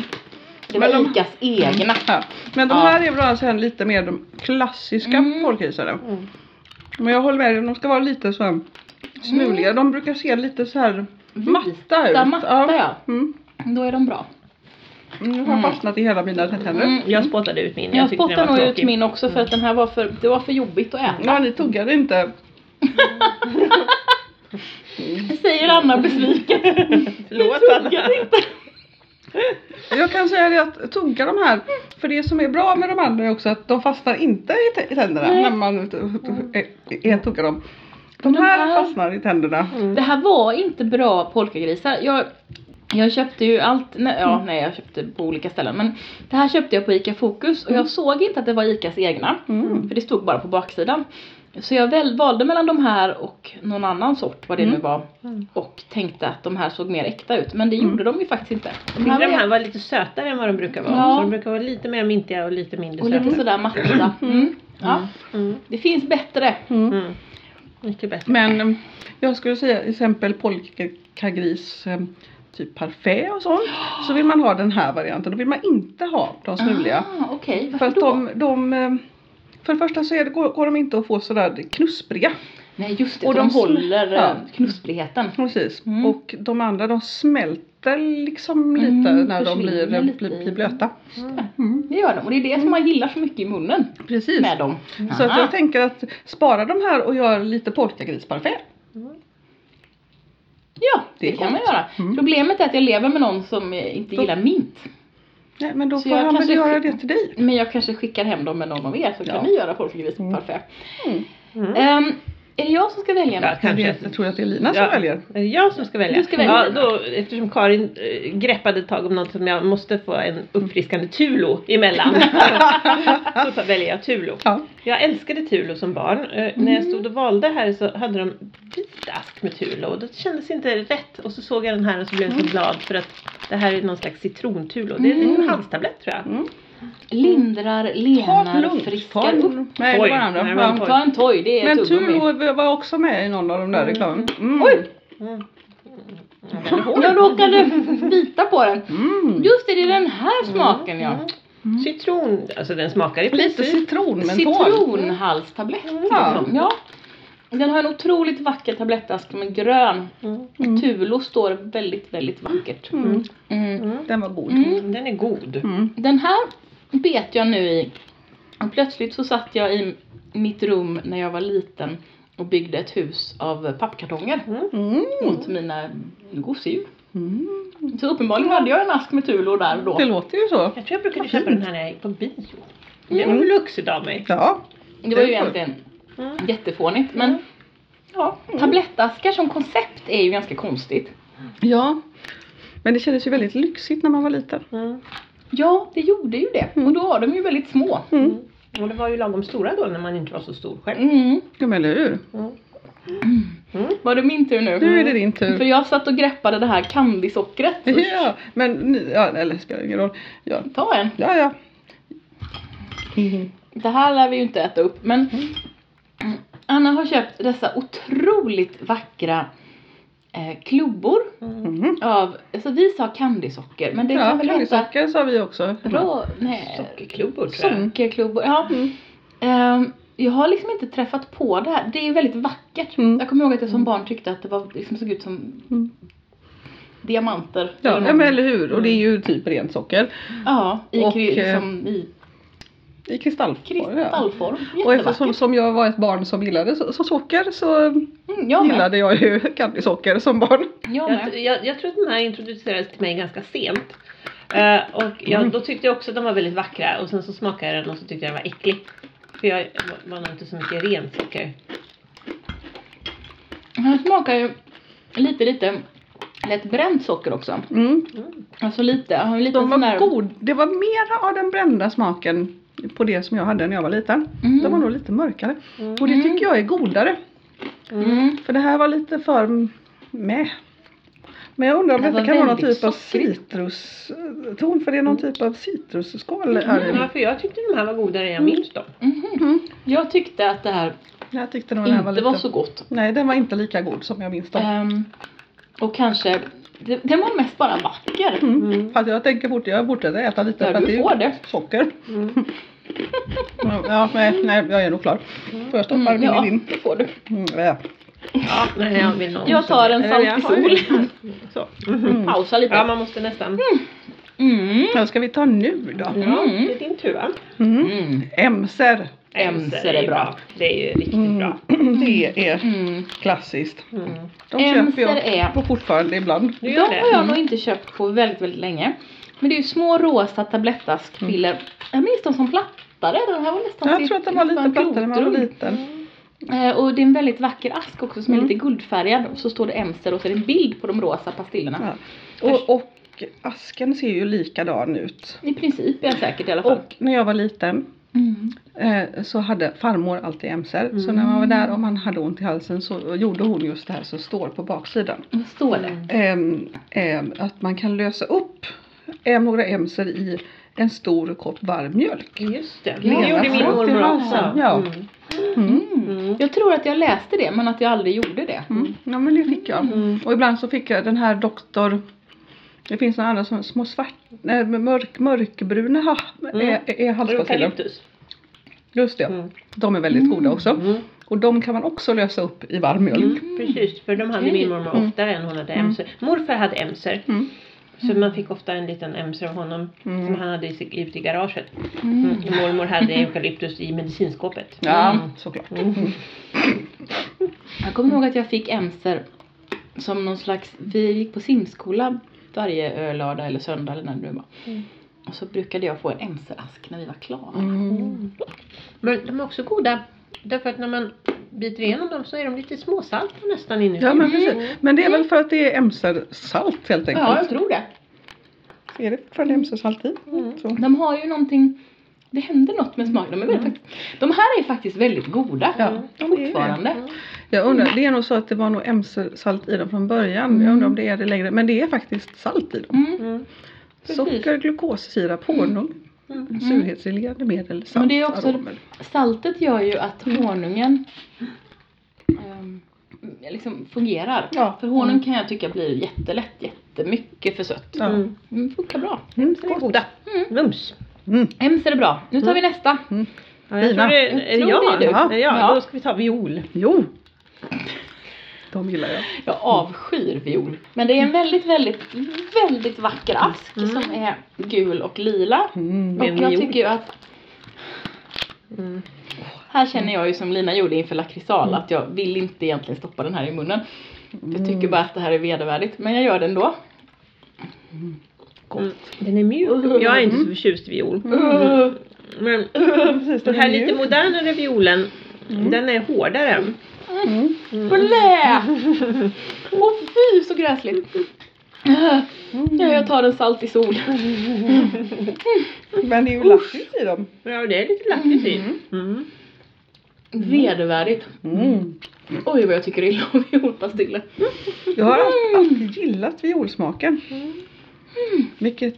Speaker 1: Det var
Speaker 2: Mm. Men de-
Speaker 1: Icas egna.
Speaker 2: Ja. Men de
Speaker 1: Ja.
Speaker 2: här är väl alltså lite mer de klassiska
Speaker 1: Mm.
Speaker 2: polkagrisarna. Men jag håller med dig, de ska vara lite så här smuliga. De brukar se lite så här matta ut.
Speaker 1: Mm. Vita, matta ja.
Speaker 2: Mm.
Speaker 1: Då är de bra.
Speaker 2: Nu har jag
Speaker 1: Mm.
Speaker 2: fastnat i hela mina tänder.
Speaker 1: Mm.
Speaker 3: Jag spottade ut min.
Speaker 1: Jag,
Speaker 3: tyckte den
Speaker 1: spottar
Speaker 3: var
Speaker 1: nog ut
Speaker 3: tråkig.
Speaker 1: min också för att den här var för, det var för jobbigt att äta.
Speaker 2: Ja, ni tuggade inte. Mm.
Speaker 1: Säger Anna besviken.
Speaker 3: Förlåt
Speaker 1: Jag
Speaker 3: Anna.
Speaker 1: tuggade inte.
Speaker 2: Jag kan säga det att tugga de här, för det som är bra med de andra är också att de fastnar inte i t- i tänderna
Speaker 1: Nej.
Speaker 2: när man t- t- ä- ä- tuggar dem. De
Speaker 1: De
Speaker 2: här
Speaker 1: här-
Speaker 2: fastnar i tänderna.
Speaker 3: Mm.
Speaker 1: Det här var inte bra polkagrisar. Jag, jag köpte ju allt, nej, ja nej jag köpte på olika ställen men det här köpte jag på ICA Fokus och jag såg inte att det var ICAs egna.
Speaker 2: Mm.
Speaker 1: För det stod bara på baksidan. Så jag väl, valde mellan de här och någon annan sort, vad det
Speaker 2: Mm.
Speaker 1: nu var.
Speaker 3: Mm.
Speaker 1: Och tänkte att de här såg mer äkta ut men det
Speaker 2: Mm.
Speaker 1: gjorde de ju faktiskt inte.
Speaker 3: Jag tyckte de
Speaker 1: var-
Speaker 3: här var lite sötare än vad de brukar vara.
Speaker 1: Ja.
Speaker 3: Så de brukar vara lite mer mintiga och lite mindre
Speaker 1: och lite
Speaker 3: söta.
Speaker 1: sådär matta. Mm. Ja,
Speaker 3: Mm.
Speaker 1: det finns bättre.
Speaker 2: Mm.
Speaker 3: Mm. Mycket bättre.
Speaker 2: Men eh, jag skulle säga till exempel polkagris eh, typ parfait och sånt. Så vill man ha den här varianten. Då vill man inte ha de smuliga.
Speaker 1: Ah, Okej,
Speaker 2: För
Speaker 1: varför
Speaker 2: att
Speaker 1: då?
Speaker 2: de, de eh, för det första så är det, går, går de inte att få sådär knuspriga.
Speaker 1: Nej just det,
Speaker 2: och
Speaker 1: och de,
Speaker 2: de sm-
Speaker 1: håller eh,
Speaker 2: ja.
Speaker 1: knuspligheten.
Speaker 2: Precis.
Speaker 1: Mm.
Speaker 2: Och de andra de smälter liksom
Speaker 1: Mm,
Speaker 2: lite när de blir,
Speaker 1: försvinner
Speaker 2: blir,
Speaker 1: lite
Speaker 2: blir
Speaker 1: i-
Speaker 2: blöta.
Speaker 3: Mm.
Speaker 2: Mm.
Speaker 1: Det gör de och det är det som man gillar så mycket i munnen
Speaker 2: Precis.
Speaker 1: med dem.
Speaker 2: Så att
Speaker 1: Aha.
Speaker 2: jag tänker att spara de här och göra lite polkagrisparfait.
Speaker 1: Ja,
Speaker 2: Det
Speaker 1: det,
Speaker 2: är
Speaker 1: kan man
Speaker 2: gott.
Speaker 1: göra.
Speaker 2: Mm.
Speaker 1: Problemet är att jag lever med någon som eh, inte
Speaker 2: Då-
Speaker 1: gillar mint.
Speaker 2: Nej, men då
Speaker 1: Så
Speaker 2: får
Speaker 1: jag
Speaker 2: han väl
Speaker 1: kanske-
Speaker 2: göra det till dig.
Speaker 1: Men jag kanske skickar hem dem med någon av er så kan
Speaker 2: Ja.
Speaker 1: ni göra polkagrisparfait.
Speaker 2: Mm.
Speaker 3: Mm.
Speaker 1: Ehm, är det jag som ska välja
Speaker 3: Ja,
Speaker 1: något?
Speaker 2: Jag,
Speaker 3: kanske.
Speaker 2: vet, jag tror att det är Lina som
Speaker 3: Ja.
Speaker 2: väljer.
Speaker 3: Är det jag som ska välja?
Speaker 1: Du ska välja.
Speaker 3: Ja, då, eftersom Karin eh, greppade tag om något som jag måste få en uppfriskande Tulo emellan. så tar- väljer jag Tulo.
Speaker 2: Ja.
Speaker 3: Jag älskade Tulo som barn. Eh, När jag stod och valde här så hade de vit ask med Tulo och det kändes inte rätt. Och så såg jag den här och så blev jag så glad för att det här är någon slags citrontulo. Det är en liten
Speaker 2: Mm.
Speaker 3: halstablett tror jag.
Speaker 2: Mm.
Speaker 1: Lindrar,
Speaker 2: Ta det
Speaker 1: lenar,
Speaker 2: lugnt. Ta
Speaker 1: friskar
Speaker 2: det
Speaker 1: upp.
Speaker 2: lugnt. Nej, det
Speaker 3: Oj,
Speaker 2: var den andra.
Speaker 3: nej, det var en
Speaker 2: Ja.
Speaker 3: Oj.
Speaker 1: Ta en toj, det är
Speaker 2: Men
Speaker 1: tuggummi.
Speaker 2: Tulo var också med i någon av de där
Speaker 3: Mm.
Speaker 2: reklamen.
Speaker 1: Oj!
Speaker 3: Mm.
Speaker 1: Jag råkade bita på den.
Speaker 2: Mm.
Speaker 1: Just det, det är den här smaken ja.
Speaker 3: Mm. Citron, alltså den smakar i
Speaker 2: Lite
Speaker 3: princip
Speaker 2: citron, men
Speaker 1: Citronhalstablett. liksom. Ja. Den har en otroligt vacker tablettask som är grön.
Speaker 3: Mm.
Speaker 2: Mm.
Speaker 1: Tulo står väldigt, väldigt vackert.
Speaker 2: Mm.
Speaker 1: Mm.
Speaker 3: Mm.
Speaker 2: Den var god.
Speaker 1: Mm.
Speaker 3: Den är god.
Speaker 2: Mm.
Speaker 1: Den här bet jag nu i. Och plötsligt så satt jag i mitt rum när jag var liten och byggde ett hus av pappkartonger
Speaker 2: Mm.
Speaker 1: åt mina gosedjur.
Speaker 2: Mm.
Speaker 1: Så uppenbarligen hade jag en ask med tulor där då.
Speaker 2: Det låter ju så.
Speaker 3: Jag tror jag brukade
Speaker 2: Vad
Speaker 3: köpa
Speaker 2: fint.
Speaker 3: den här när jag gick på bio. Det var Lux av mig.
Speaker 2: Ja.
Speaker 1: Det var ju egentligen
Speaker 3: Mm.
Speaker 1: jättefånigt men ja, tablettaskar som koncept är ju ganska konstigt.
Speaker 2: ja. Men det kändes ju väldigt lyxigt när man var liten.
Speaker 3: Mm.
Speaker 1: Ja, det gjorde ju det. Och då var de ju väldigt små.
Speaker 2: Mm.
Speaker 3: Och det var ju lagom stora då när man inte var så stor själv.
Speaker 1: Mm.
Speaker 2: Ja men eller hur.
Speaker 3: Mm.
Speaker 1: Var det min tur nu?
Speaker 2: Nu är det din tur.
Speaker 1: För jag satt och greppade det här kandisockret.
Speaker 2: Ja, men ni- ja, eller spelar ingen roll. Ja,
Speaker 1: Ta en.
Speaker 2: ja. ja. Mm.
Speaker 1: Det här lär vi ju inte äta upp men Anna har köpt dessa otroligt vackra eh, klubbor
Speaker 2: Mm.
Speaker 1: av, alltså vi sa kandisocker men det kan
Speaker 2: Ja,
Speaker 1: väl heta
Speaker 2: kandisocker sa vi också.
Speaker 1: rå, nej,
Speaker 3: Sockerklubbor tror jag.
Speaker 1: sockerklubbor. Ja.
Speaker 2: Mm.
Speaker 1: Ehm, jag har liksom inte träffat på det här, det är väldigt vackert.
Speaker 2: Mm.
Speaker 1: Jag kommer ihåg att jag som barn tyckte att det var, liksom såg ut som
Speaker 2: Mm.
Speaker 1: diamanter.
Speaker 2: Ja,
Speaker 1: Eller
Speaker 2: ja,
Speaker 1: något.
Speaker 2: men eller hur. Och det är ju typ rent socker
Speaker 1: ja i,
Speaker 2: Och,
Speaker 1: kri-
Speaker 2: eh,
Speaker 1: liksom, i
Speaker 2: i kristallform. Ja.
Speaker 1: kristallform.
Speaker 2: Och
Speaker 1: Jättevackert.
Speaker 2: eftersom som jag var ett barn som gillade så, så socker så
Speaker 1: Mm, jag med.
Speaker 2: gillade jag ju candysocker som barn.
Speaker 1: Jag med.
Speaker 3: Jag, jag, jag tror att den här introducerades till mig ganska sent. Eh, och jag,
Speaker 2: Mm.
Speaker 3: då tyckte jag också att de var väldigt vackra och sen så smakade jag den och så tyckte jag den var äcklig. För jag var- var nog inte så mycket ren socker.
Speaker 1: Den smakar ju lite, lite lätt bränt socker också.
Speaker 2: Mm.
Speaker 1: Alltså lite, jag har lite
Speaker 2: De
Speaker 1: sån där...
Speaker 2: var god. Det var mera av den brända smaken på det som jag hade när jag var liten.
Speaker 1: Mm.
Speaker 2: De var nog lite mörkare.
Speaker 3: Mm.
Speaker 2: Och det tycker jag är godare.
Speaker 1: Mm.
Speaker 2: För det här var lite för med. Men jag undrar om
Speaker 1: Det
Speaker 2: detta
Speaker 1: var
Speaker 2: kan vara någon
Speaker 1: väldigt
Speaker 2: typ av
Speaker 1: sockrigt. Mm.
Speaker 2: citruston för det är någon typ av citrusskal här
Speaker 3: Mm.
Speaker 2: i.
Speaker 3: Ja, för jag tyckte de här var godare än jag minns dem.
Speaker 1: Mhm.
Speaker 2: Mm.
Speaker 1: Jag tyckte att det här
Speaker 2: Jag tyckte nog den här
Speaker 1: inte
Speaker 2: var
Speaker 1: var,
Speaker 2: lite...
Speaker 1: så gott.
Speaker 2: Nej, den var inte lika god som jag minns dem.
Speaker 1: Ehm, och kanske, det, den var mest bara vacker.
Speaker 2: Mm.
Speaker 3: Mm.
Speaker 2: Fast jag tänker fort, jag fortsätter äta lite
Speaker 1: Ja,
Speaker 2: för att
Speaker 1: du
Speaker 2: det
Speaker 1: får
Speaker 2: är
Speaker 1: det.
Speaker 2: ju socker.
Speaker 3: Mm.
Speaker 2: Mm, Ja, nej, nej, jag är nog klar. Får jag stoppa
Speaker 1: Mm,
Speaker 2: den
Speaker 1: ja,
Speaker 2: i din?
Speaker 1: det får du.
Speaker 2: Mm, ja.
Speaker 3: Ja, nej, jag, vill nog
Speaker 1: Jag tar en
Speaker 3: Eller jag-
Speaker 1: saltisol.
Speaker 2: Mm.
Speaker 3: Så.
Speaker 1: Pausa lite.
Speaker 3: Ja,
Speaker 1: Mm.
Speaker 3: man måste nästan.
Speaker 1: Mm.
Speaker 2: Vad ska vi ta nu då?
Speaker 3: Ja,
Speaker 1: Mm.
Speaker 3: det är din tur va?
Speaker 2: Mm. Emser.
Speaker 1: Emser är
Speaker 3: ju
Speaker 1: bra.
Speaker 3: Det är ju riktigt
Speaker 2: Mm.
Speaker 3: bra.
Speaker 2: Det är
Speaker 1: Mm.
Speaker 2: klassiskt.
Speaker 3: Mm.
Speaker 2: De
Speaker 1: Emser
Speaker 2: köper jag
Speaker 1: är-
Speaker 2: på fortfarande ibland.
Speaker 3: Du
Speaker 1: De
Speaker 3: gör det?
Speaker 1: har
Speaker 2: Mm.
Speaker 1: jag nog inte köpt på väldigt, väldigt länge. Men det är ju små rosa tablettaskpiller. Jag minns dem som plattare. Den här var nästan
Speaker 2: Mm.
Speaker 1: typ
Speaker 2: Jag
Speaker 1: sitt-
Speaker 2: tror att den var lite
Speaker 1: nästan
Speaker 2: plattare när man var
Speaker 1: groddrund.
Speaker 2: liten.
Speaker 1: Eh, och det är en väldigt vacker ask också som
Speaker 2: Mm.
Speaker 1: är lite guldfärgad och så står det Emser och så är det en bild på de rosa pastillerna.
Speaker 2: Ja. Och, och asken ser ju likadan ut.
Speaker 1: I princip är jag säkert i alla fall.
Speaker 2: Och när jag var liten
Speaker 1: Mm.
Speaker 2: eh, så hade farmor alltid emser. Så när man var där och man hade ont i halsen så gjorde hon just det här som står på baksidan.
Speaker 1: Vad står det?
Speaker 2: Ehm, ehm, att man kan lösa upp eh, några emser i en stor kopp varm mjölk.
Speaker 3: Just det.
Speaker 2: Lena
Speaker 3: Det gjorde min
Speaker 2: Frost i
Speaker 3: mormor
Speaker 2: halsen,
Speaker 3: också.
Speaker 2: ja.
Speaker 3: Mm.
Speaker 2: Mm.
Speaker 3: Mm.
Speaker 1: Jag tror att jag läste det men att jag aldrig gjorde det.
Speaker 2: Mm. Ja men det fick jag.
Speaker 3: Mm.
Speaker 2: Och ibland så fick jag den här doktor det finns några andra som små svart, nej, mörk, mörkbruna ha, eh,
Speaker 3: Mm.
Speaker 2: är, är halspastiller.
Speaker 3: Eukalyptus.
Speaker 2: Just det.
Speaker 3: Mm.
Speaker 2: De är väldigt goda också.
Speaker 3: Mm.
Speaker 2: Och de kan man också lösa upp i varm mjölk.
Speaker 3: Mm. Precis, för de hade
Speaker 1: Okej.
Speaker 3: min mormor
Speaker 2: Mm.
Speaker 3: oftare än hon hade
Speaker 2: Mm.
Speaker 3: emser. Morfar hade emser.
Speaker 2: Mm.
Speaker 3: Så man fick ofta en liten emser av honom
Speaker 2: Mm.
Speaker 3: som han hade i sig- ute i garaget.
Speaker 1: Mm.
Speaker 3: Mm. Mormor hade eukalyptus i medicinskåpet.
Speaker 2: Ja,
Speaker 1: Mm.
Speaker 2: såklart.
Speaker 1: Jag kommer ihåg att jag fick Emser som någon slags, vi gick på simskola varje ö, lördag eller söndag eller när det nu var.
Speaker 3: Mm.
Speaker 1: Och så brukade jag få en Emserask när vi var klara.
Speaker 2: Mm.
Speaker 3: Men de är också goda därför att när man biter igenom dem så är de lite småsalta nästan Mm. inuti.
Speaker 2: Ja men precis. Men det är väl för att det är emsersalt helt enkelt.
Speaker 1: Mm. Ja, Mm. jag tror det.
Speaker 2: Är det fortfarande emsersalt i? Så.
Speaker 1: De har ju någonting, det händer något med smaken. De, är väldigt, fakt- de här är faktiskt väldigt goda.
Speaker 2: Ja, de är det.
Speaker 1: Fortfarande. Mm.
Speaker 2: Jag undrar, det är nog så att det var nog emsersalt i dem från början. Jag undrar om det är det längre. Men det är faktiskt salt i dem.
Speaker 1: Mm.
Speaker 3: Mm.
Speaker 1: precis.
Speaker 2: Socker, glukossirap, honung,
Speaker 3: Mm.
Speaker 2: surhetsreglerande medel, salt,
Speaker 1: Men det är också-
Speaker 2: aromer.
Speaker 1: Saltet gör ju att honungen ehm, liksom fungerar.
Speaker 2: Ja.
Speaker 1: För honung kan jag tycka blir jättelätt, jättemycket för sött.
Speaker 2: Ja.
Speaker 3: Mm.
Speaker 1: Mm, funkar bra.
Speaker 2: Mm,
Speaker 3: De är goda.
Speaker 1: Mm.
Speaker 3: Mums.
Speaker 2: Mm.
Speaker 1: Ems är det bra. Nu tar vi nästa.
Speaker 3: Ja, jag
Speaker 2: Lina.
Speaker 3: tror det är, är det
Speaker 1: Jag tror
Speaker 3: jag.
Speaker 1: det är du.
Speaker 3: Ja,
Speaker 1: Ja.
Speaker 3: Då ska vi ta viol.
Speaker 2: Jo, De gillar jag.
Speaker 1: Jag avskyr viol. Men det är en väldigt, väldigt, väldigt vacker ask
Speaker 3: Mm.
Speaker 1: som är gul och lila.
Speaker 2: Mm.
Speaker 1: Och
Speaker 3: Med en
Speaker 1: jag
Speaker 3: viol.
Speaker 1: tycker ju att,
Speaker 3: Mm.
Speaker 1: här känner jag ju som Lina gjorde inför lakritsal
Speaker 2: Mm.
Speaker 1: att jag vill inte egentligen stoppa den här i munnen. Jag tycker
Speaker 2: Mm.
Speaker 1: bara att det här är vedervärdigt, men jag gör det ändå.
Speaker 3: Mm. Den är mjuk. Mm. Jag är inte så förtjust i viol.
Speaker 1: Uh,
Speaker 3: Men
Speaker 2: Mm. Precis, den
Speaker 3: den här
Speaker 2: är mjuk.
Speaker 3: lite modernare violen, den är hårdare.
Speaker 2: Mm.
Speaker 1: Blä! Åh fy så gräsligt! Uh, ja, jag tar en salt i sol.
Speaker 2: Mm. Men det är ju lakrits i dem.
Speaker 3: Ja, det är lite lakrits i. Mm.
Speaker 1: Vedervärdigt.
Speaker 2: Mm.
Speaker 1: Oj vad jag tycker illa om violpastiller.
Speaker 2: Jag har alltid, alltid gillat violsmaken. Vilket...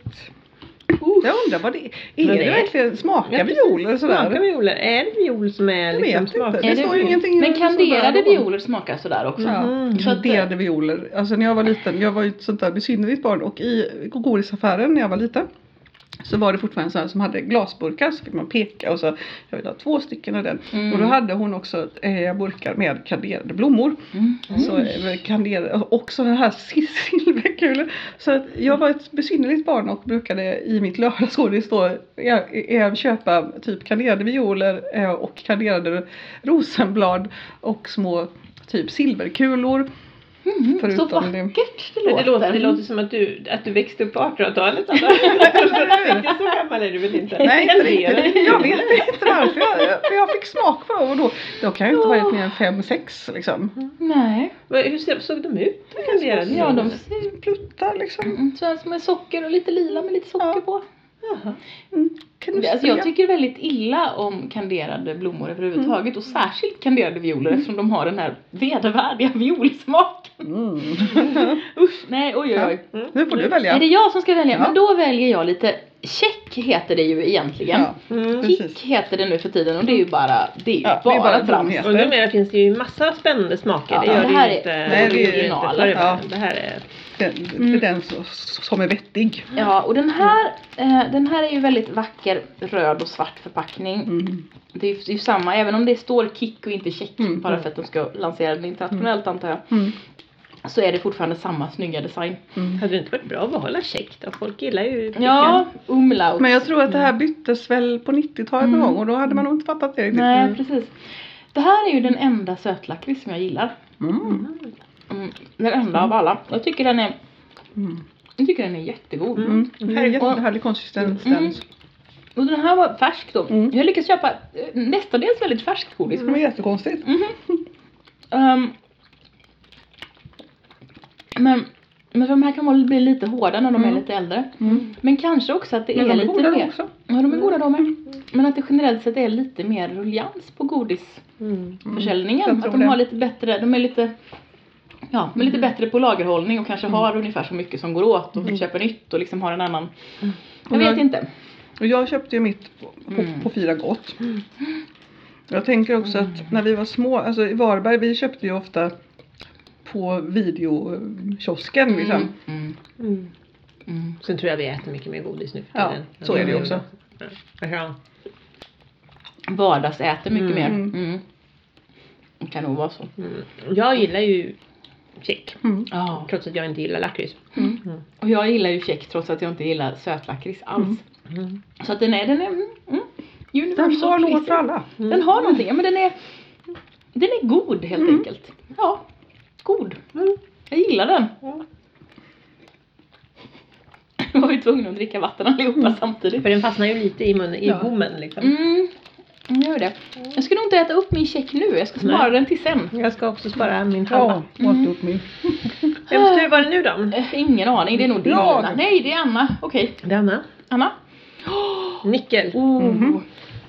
Speaker 1: Uh.
Speaker 2: Jag undrar vad det är. Är
Speaker 3: Men
Speaker 2: det,
Speaker 3: det är-
Speaker 2: verkligen smaka
Speaker 3: Ja, precis.
Speaker 2: violer och sådär?
Speaker 3: Smaka violer. Är det viol som är
Speaker 2: Jag
Speaker 3: liksom
Speaker 2: vet
Speaker 3: smak?
Speaker 2: inte. Det står ju ingenting
Speaker 1: Mm. Men
Speaker 2: om sådär
Speaker 1: kanderade
Speaker 2: om.
Speaker 1: violer smakar sådär också.
Speaker 2: Ja,
Speaker 3: Mhm.
Speaker 1: Så att-
Speaker 2: kanderade violer. Mm. Alltså när jag var liten, jag var ju ett sånt där besynnerligt barn och i godisaffären när jag var liten så var det fortfarande sådana som hade glasburkar så fick man peka och så jag vill ha två stycken av den.
Speaker 1: Mm.
Speaker 2: Och då hade hon också eh, burkar med kanderade blommor.
Speaker 1: Mm.
Speaker 2: Så, eh, kanderade, och också den här sil- silverkulan. Så att jag var ett besynnerligt barn och brukade i mitt lördagsgodis då eh, eh, köpa typ kanderade violer eh, och kanderade rosenblad och små typ silverkulor.
Speaker 1: Mm. Så
Speaker 2: Förutom det-
Speaker 1: vackert det
Speaker 3: Men
Speaker 1: låter.
Speaker 3: det, låter, det låter som att du, att du växte upp på 1800-talet. Anna. Riktigt så gammal är du väl inte?
Speaker 2: Nej, inte
Speaker 3: Eller är
Speaker 2: riktigt.
Speaker 3: du?
Speaker 2: Jag vet inte varför. Jag, för jag fick smak på dem och då, då kan jag ju inte ha varit mer än fem sex liksom.
Speaker 1: Nej.
Speaker 3: Vad- Hur ser- såg de ut? de kanderade
Speaker 1: Ja, de
Speaker 3: violerna?
Speaker 1: ser
Speaker 2: Pluttar liksom.
Speaker 1: mm, så här som med socker och lite lila med lite socker
Speaker 2: Ja.
Speaker 1: på.
Speaker 3: Jaha.
Speaker 2: Mm. Kan du
Speaker 1: Alltså, jag
Speaker 2: se?
Speaker 1: tycker väldigt illa om kanderade blommor överhuvudtaget
Speaker 2: Mm.
Speaker 1: och särskilt kanderade violer eftersom de har den här vedervärdiga violsmaken.
Speaker 2: Mm.
Speaker 1: Usch, nej oj oj oj.
Speaker 3: Mm.
Speaker 2: Nu får du välja.
Speaker 1: Är det jag som ska välja?
Speaker 2: Ja.
Speaker 1: Men då väljer jag lite Check heter det ju egentligen.
Speaker 2: Ja.
Speaker 3: Mm.
Speaker 1: Kick
Speaker 2: precis.
Speaker 1: heter det nu för tiden och det är ju bara, det är ju
Speaker 2: Ja, det
Speaker 1: bara,
Speaker 2: är bara
Speaker 1: trams.
Speaker 2: dumhet.
Speaker 3: Och numera finns det ju massa spännande smaker.
Speaker 1: Ja,
Speaker 3: det gör
Speaker 1: det
Speaker 3: det,
Speaker 1: här
Speaker 3: ju
Speaker 1: är-
Speaker 3: inte.
Speaker 2: Nej, det är
Speaker 3: ju inte
Speaker 1: original.
Speaker 3: förr i
Speaker 2: Ja.
Speaker 3: världen. Det här är...
Speaker 2: Den,
Speaker 1: Mm.
Speaker 2: För den så, som är vettig.
Speaker 1: Ja, och den här, eh, den här är ju väldigt vacker röd och svart förpackning.
Speaker 2: Mm.
Speaker 1: Det är ju- det är ju samma, även om det står kick och inte check
Speaker 2: Mm.
Speaker 1: bara för att de ska lansera den internationellt antar jag.
Speaker 2: Mm.
Speaker 1: Så är det fortfarande samma snygga design.
Speaker 2: Mm.
Speaker 3: Hade det inte varit bra att behålla käck då? Folk gillar ju kicken.
Speaker 1: Ja, umlaut.
Speaker 2: Men jag tror att det här byttes väl på 90-talet någon
Speaker 1: Mm.
Speaker 2: gång och då hade man nog inte Mm. fattat det riktigt.
Speaker 1: Nej, precis. Det här är ju den enda sötlakrits som jag gillar.
Speaker 2: Mm.
Speaker 3: Mm.
Speaker 1: Mm, den enda av alla. Jag tycker den är,
Speaker 2: Mm.
Speaker 1: jag tycker den är jättegod.
Speaker 2: Mm. Det här är
Speaker 1: Och-
Speaker 2: jättehärlig konsistens.
Speaker 1: Mm. Och den här var färsk då.
Speaker 2: Mm.
Speaker 1: Jag lyckades köpa eh, mestadels väldigt färskt godis.
Speaker 2: Det var jättekonstigt.
Speaker 1: Ehm, men, men de här kan vara- bli lite hårda när de är
Speaker 2: Mm.
Speaker 1: lite äldre.
Speaker 2: Mm.
Speaker 1: Men kanske också att det
Speaker 2: Men
Speaker 1: är,
Speaker 2: de är
Speaker 1: lite
Speaker 2: goda de
Speaker 1: mer.
Speaker 2: också. Mm.
Speaker 1: Ja, de är goda de med. Men att det generellt sett är lite mer rullians på
Speaker 3: Mm.
Speaker 1: godisförsäljningen.
Speaker 2: jag tror
Speaker 1: att de
Speaker 2: det. Mm.
Speaker 1: har lite bättre, de är lite Ja, men lite bättre på lagerhållning och kanske har ungefär så mycket som går åt och köper nytt och liksom har en annan. Jag
Speaker 2: Och
Speaker 1: vet
Speaker 2: jag-
Speaker 1: inte.
Speaker 2: Och jag köpte ju mitt på,
Speaker 1: Mm.
Speaker 2: på, på fyra gott. Jag tänker också att när vi var små, alltså i Varberg, vi köpte ju ofta på videokiosken liksom.
Speaker 1: Mm. Mm.
Speaker 3: Mm.
Speaker 1: Mm.
Speaker 3: Sen tror jag vi äter mycket mer godis nu för
Speaker 2: Ja,
Speaker 3: tiden.
Speaker 2: så är det ju också.
Speaker 3: Ja. Ja.
Speaker 1: Vardagsäter mycket
Speaker 2: Mm.
Speaker 1: mer. Mm. Det kan nog vara så.
Speaker 3: Mm. Jag gillar ju check.
Speaker 2: Mm.
Speaker 1: Ja.
Speaker 3: Trots att jag inte gillar lakrits.
Speaker 1: Och jag gillar ju check trots att jag inte gillar sötlakrits alls.
Speaker 3: Mm.
Speaker 1: Så att den är, den är mm, mm,
Speaker 2: Den
Speaker 1: universal
Speaker 2: har något
Speaker 1: pleasing.
Speaker 2: för alla.
Speaker 1: Den har någonting, ja men den är, den är god helt
Speaker 2: Mm.
Speaker 1: enkelt. Ja, god.
Speaker 3: Mm.
Speaker 1: Jag gillar den.
Speaker 3: Ja.
Speaker 1: Nu var vi tvungna att dricka vatten allihopa
Speaker 3: Mm.
Speaker 1: samtidigt.
Speaker 3: För den fastnar ju lite i munnen, i
Speaker 2: Ja.
Speaker 3: gommen liksom.
Speaker 1: Mm, jag gör det. Jag ska nog inte äta upp min check nu, jag ska spara
Speaker 3: Nej.
Speaker 1: den till sen.
Speaker 3: Jag ska också spara min halva.
Speaker 2: Ja, åt upp min.
Speaker 3: Vems tur var det nu då?
Speaker 1: Eh, ingen aning, det är nog din
Speaker 2: Ja.
Speaker 1: Lina. Nej, det är Anna. Okej,
Speaker 3: Denna.
Speaker 1: Anna.
Speaker 3: Nickel.
Speaker 1: Oh,
Speaker 2: Mhm.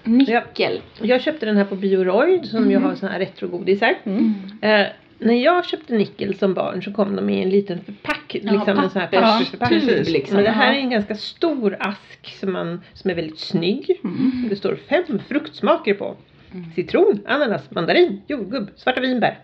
Speaker 1: Nickel.
Speaker 3: Jag köpte den här på Bioroid som
Speaker 1: Mhm.
Speaker 3: ju har såna här retrogodisar.
Speaker 2: Mm.
Speaker 3: Eh, när jag köpte nickel som barn så kom de i en liten förpack,
Speaker 1: Ja,
Speaker 3: liksom en sån här
Speaker 1: pappers-
Speaker 3: pappersförpackning.
Speaker 1: tub, liksom.
Speaker 3: Men det här
Speaker 1: Ja.
Speaker 3: är en ganska stor ask som, man, som är väldigt snygg.
Speaker 2: Mm.
Speaker 3: Det står fem fruktsmaker på. Citron, ananas, mandarin, jordgubb, svarta vinbär.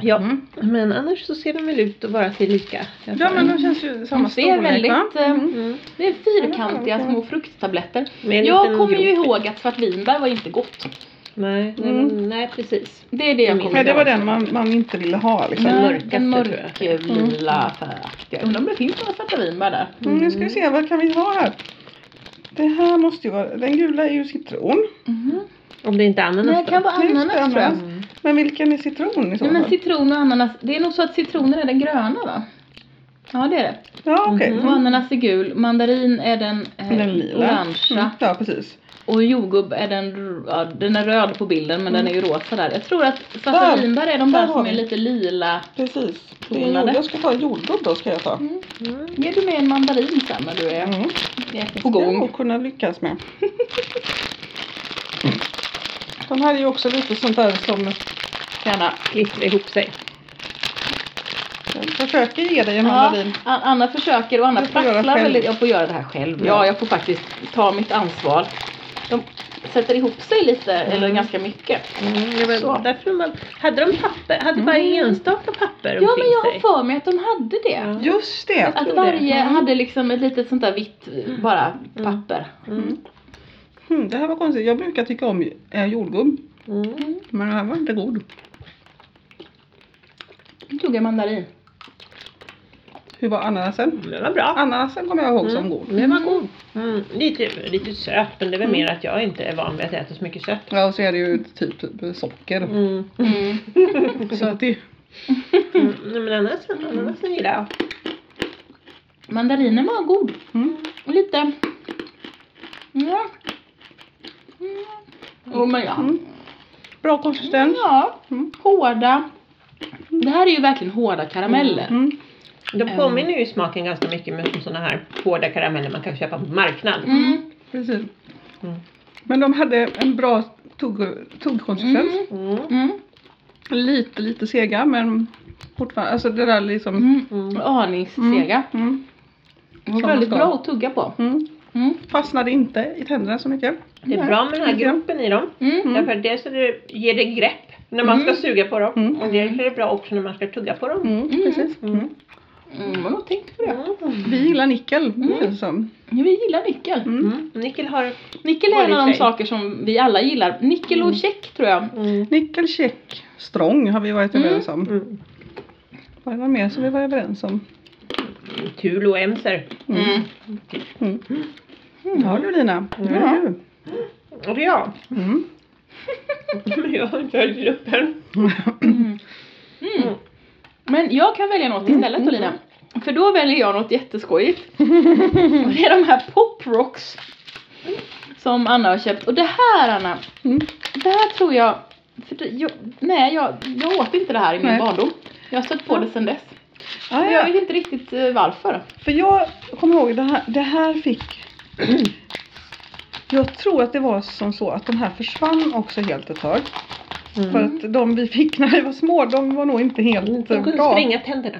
Speaker 3: Ja,
Speaker 2: Mm.
Speaker 3: men annars så ser de väl ut att vara sig lika. Jag
Speaker 2: Ja
Speaker 3: tar
Speaker 2: men
Speaker 3: en.
Speaker 2: de känns ju samma
Speaker 1: Det är
Speaker 2: storlek
Speaker 1: Mm. väldigt,
Speaker 2: va?
Speaker 1: eh,
Speaker 3: Mm.
Speaker 1: det är fyrkantiga
Speaker 2: Mm.
Speaker 1: små frukttabletter.
Speaker 3: Med en
Speaker 1: Jag
Speaker 3: liten
Speaker 1: kommer ju
Speaker 3: grop.
Speaker 1: ihåg att svartvinbär var inte gott.
Speaker 3: Nej, nej,
Speaker 2: Mm.
Speaker 3: men- nej precis.
Speaker 1: Det är det jag
Speaker 3: Mm.
Speaker 1: kommer
Speaker 2: Men det var
Speaker 1: ihåg.
Speaker 2: den man, man inte ville ha liksom.
Speaker 3: Nej.
Speaker 1: Ja,
Speaker 3: mörkaste,
Speaker 1: Den
Speaker 3: tror jag. Mm.
Speaker 1: mörklila färgaktiga. Undrar om det finns några Fetavinbär där.
Speaker 2: Mm, nu ska vi se, vad kan vi ha här? Det här måste ju vara, den gula är ju citron.
Speaker 1: Mhm.
Speaker 3: Om Mm-hmm. det inte är ananas
Speaker 1: Nej, det kan vara
Speaker 2: Nej, just det,
Speaker 1: ananas tror jag.
Speaker 2: ananas.
Speaker 3: Mm.
Speaker 2: Men vilken är citron i så
Speaker 1: Nej,
Speaker 2: fall?
Speaker 1: men citron och ananas. Det är nog så att citronen är den gröna va? Ja det är det.
Speaker 2: ja, okej.
Speaker 1: Och ananas är gul, mandarin är den, Mhm. eh,
Speaker 2: Mm. Den lila.
Speaker 1: orangea
Speaker 2: Mm, ja, precis.
Speaker 1: och jordgubb är den, r- ja, den är röd på bilden men den är ju rosa där. Jag tror att svarta
Speaker 2: Mm. Där!
Speaker 1: vinbär är de
Speaker 2: Där
Speaker 1: där
Speaker 2: har
Speaker 1: som är
Speaker 2: vi.
Speaker 1: lite lila.
Speaker 2: Precis. Det är jord,
Speaker 1: Tonade.
Speaker 2: jag ska ta jordgubb då ska jag ta.
Speaker 1: Mm.
Speaker 3: Mm.
Speaker 1: Ger du med en mandarin sen när du är,
Speaker 2: Mm.
Speaker 1: är på
Speaker 2: Det ska jag
Speaker 1: gång?
Speaker 2: nog kunna lyckas med. De här är ju också lite sånt där som
Speaker 1: Gärna.
Speaker 3: Klistra ihop sig.
Speaker 2: jag försöker ge dig en
Speaker 1: Ja,
Speaker 2: mandarin.
Speaker 1: An- Anna försöker och Anna
Speaker 2: Du får göra
Speaker 1: pracklar
Speaker 2: själv.
Speaker 1: väldigt. Jag får göra det här själv.
Speaker 2: Ja.
Speaker 1: Ja, jag får faktiskt ta mitt ansvar. De sätter ihop sig lite, eller ganska mycket.
Speaker 3: Mm, ja, men
Speaker 1: Så.
Speaker 3: därför man, hade de papper, hade varje enstaka papper
Speaker 1: Ja, men
Speaker 3: omkring
Speaker 1: jag har
Speaker 3: sig?
Speaker 1: för mig att de hade det.
Speaker 3: Ja.
Speaker 2: Just det.
Speaker 3: Jag
Speaker 1: Att
Speaker 3: tror det.
Speaker 1: varje hade liksom ett litet sånt där vitt bara papper.
Speaker 3: Mm.
Speaker 2: Mm, det här var konstigt. Jag brukar tycka om eh, jordgubb.
Speaker 3: Mm.
Speaker 2: Men den här var inte god.
Speaker 1: Nu tog jag mandarin.
Speaker 2: Hur var ananasen?
Speaker 3: Det var bra.
Speaker 2: Ananasen kommer jag ihåg som
Speaker 3: Mm. Mm.
Speaker 2: god.
Speaker 3: Det var god. Mm. Lite, lite söt, men det är väl mer att jag inte är van vid att äta så mycket kött.
Speaker 2: Ja, och så är det ju typ socker.
Speaker 3: Mm.
Speaker 1: Mm.
Speaker 2: Så att det...
Speaker 3: Mm. Nej, men annars, annars gillar jag.
Speaker 1: Mandarinen var god.
Speaker 2: Mm.
Speaker 1: Och Lite... Ja. Mm. Jo, men ja.
Speaker 2: Mm. Bra konsistens.
Speaker 1: Ja,
Speaker 2: Mm.
Speaker 1: hårda. Det här är ju verkligen hårda karameller.
Speaker 2: Mm.
Speaker 3: De påminner ju i smaken ganska mycket med sådana här hårda karameller man kan köpa på marknad.
Speaker 1: Mm.
Speaker 2: Precis.
Speaker 3: Mm.
Speaker 2: Men de hade en bra tugg- tuggkonsistens.
Speaker 1: Mm.
Speaker 3: Mm.
Speaker 1: Mm.
Speaker 2: Lite, lite sega men fortfarande, alltså det där liksom.
Speaker 1: Mm.
Speaker 3: Mm.
Speaker 1: Aningssega.
Speaker 2: Mm.
Speaker 1: Det var
Speaker 2: Som
Speaker 1: väldigt
Speaker 2: ska.
Speaker 1: bra att tugga på.
Speaker 2: Mm.
Speaker 1: Mm.
Speaker 2: Fastnade inte i tänderna så mycket.
Speaker 3: Det är bra med den här gruppen i dem.
Speaker 1: Mm.
Speaker 2: Mm.
Speaker 3: Därför att dels är det, ger det grepp när man ska suga på dem.
Speaker 2: Mm.
Speaker 3: Och dels är det bra också när man ska tugga på dem.
Speaker 2: Mm, precis.
Speaker 3: Mm.
Speaker 2: Mm.
Speaker 1: Mm. Vad gott tänkt på det.
Speaker 3: Mm.
Speaker 2: Vi gillar nickel. känns det som.
Speaker 1: Ja, vi gillar nickel.
Speaker 2: Mm.
Speaker 3: Mm. Nickel har...
Speaker 1: Nickel är
Speaker 3: Var
Speaker 1: en
Speaker 3: i
Speaker 1: av de
Speaker 3: sig.
Speaker 1: saker som vi alla gillar. Nickel och check tror jag.
Speaker 3: Mm.
Speaker 2: Nickel, check, strong har vi varit
Speaker 1: Mm.
Speaker 2: överens om.
Speaker 3: Mm.
Speaker 2: Var det något mer som vi var överens om?
Speaker 3: Tul och emser.
Speaker 1: Mm.
Speaker 2: Mm. Ja du Lina, nu är det du.
Speaker 3: Och ja,
Speaker 2: Mm.
Speaker 3: men jag har inte höjt upp än.
Speaker 1: Mm. Mm. Men jag kan välja något istället Olina. För då väljer jag något jätteskojigt. Och det är de här Pop Rocks. Som Anna har köpt. Och det här Anna,
Speaker 2: Mm.
Speaker 1: det här tror jag... För det, jag nej, jag, jag åt inte det här i min
Speaker 2: Nej.
Speaker 1: barndom. Jag har stött på det sedan dess.
Speaker 2: Ah,
Speaker 1: Men jag
Speaker 2: ja.
Speaker 1: vet inte riktigt eh, varför.
Speaker 2: För jag kommer ihåg det här, det här fick Jag tror att det var som så att de här försvann också helt ett tag.
Speaker 3: Mm.
Speaker 2: För att de vi fick när vi var små, de var nog inte
Speaker 3: De
Speaker 2: helt eh,
Speaker 3: kunde
Speaker 2: bra.
Speaker 3: springa tänderna.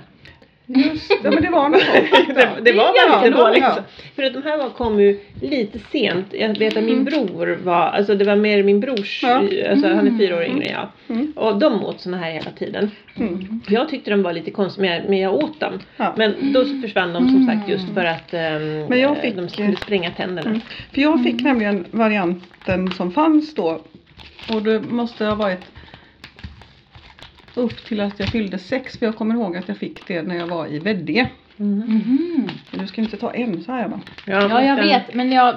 Speaker 2: Just det, men det var nog så.
Speaker 3: det, det var
Speaker 1: Det är
Speaker 3: väl
Speaker 1: ganska
Speaker 3: det var
Speaker 2: dåligt.
Speaker 3: liksom. För att de här var, kom ju lite sent. Jag vet att min bror var, alltså det var mer min brors,
Speaker 2: Mm. Ja.
Speaker 3: alltså han är fyra år yngre än jag.
Speaker 2: Mm.
Speaker 3: Och de åt såna här hela tiden.
Speaker 2: Mm.
Speaker 3: Jag tyckte de var lite konstiga men jag- men jag åt dem.
Speaker 2: Ja.
Speaker 3: Men då så försvann de som sagt just för att ehm,
Speaker 2: Mm. Men jag
Speaker 3: eh,
Speaker 2: fick-
Speaker 3: de skulle spränga tänderna.
Speaker 2: Mm. För jag fick nämligen varianten som fanns då. Och det måste ha varit upp till att jag fyllde sex. För jag kommer ihåg att jag fick det när jag var i Veddige.
Speaker 3: Mm.
Speaker 2: Du ska inte ta en så här Emma.
Speaker 1: Mm-hmm. Ja,
Speaker 3: men
Speaker 1: jag
Speaker 3: sen-
Speaker 1: vet, men jag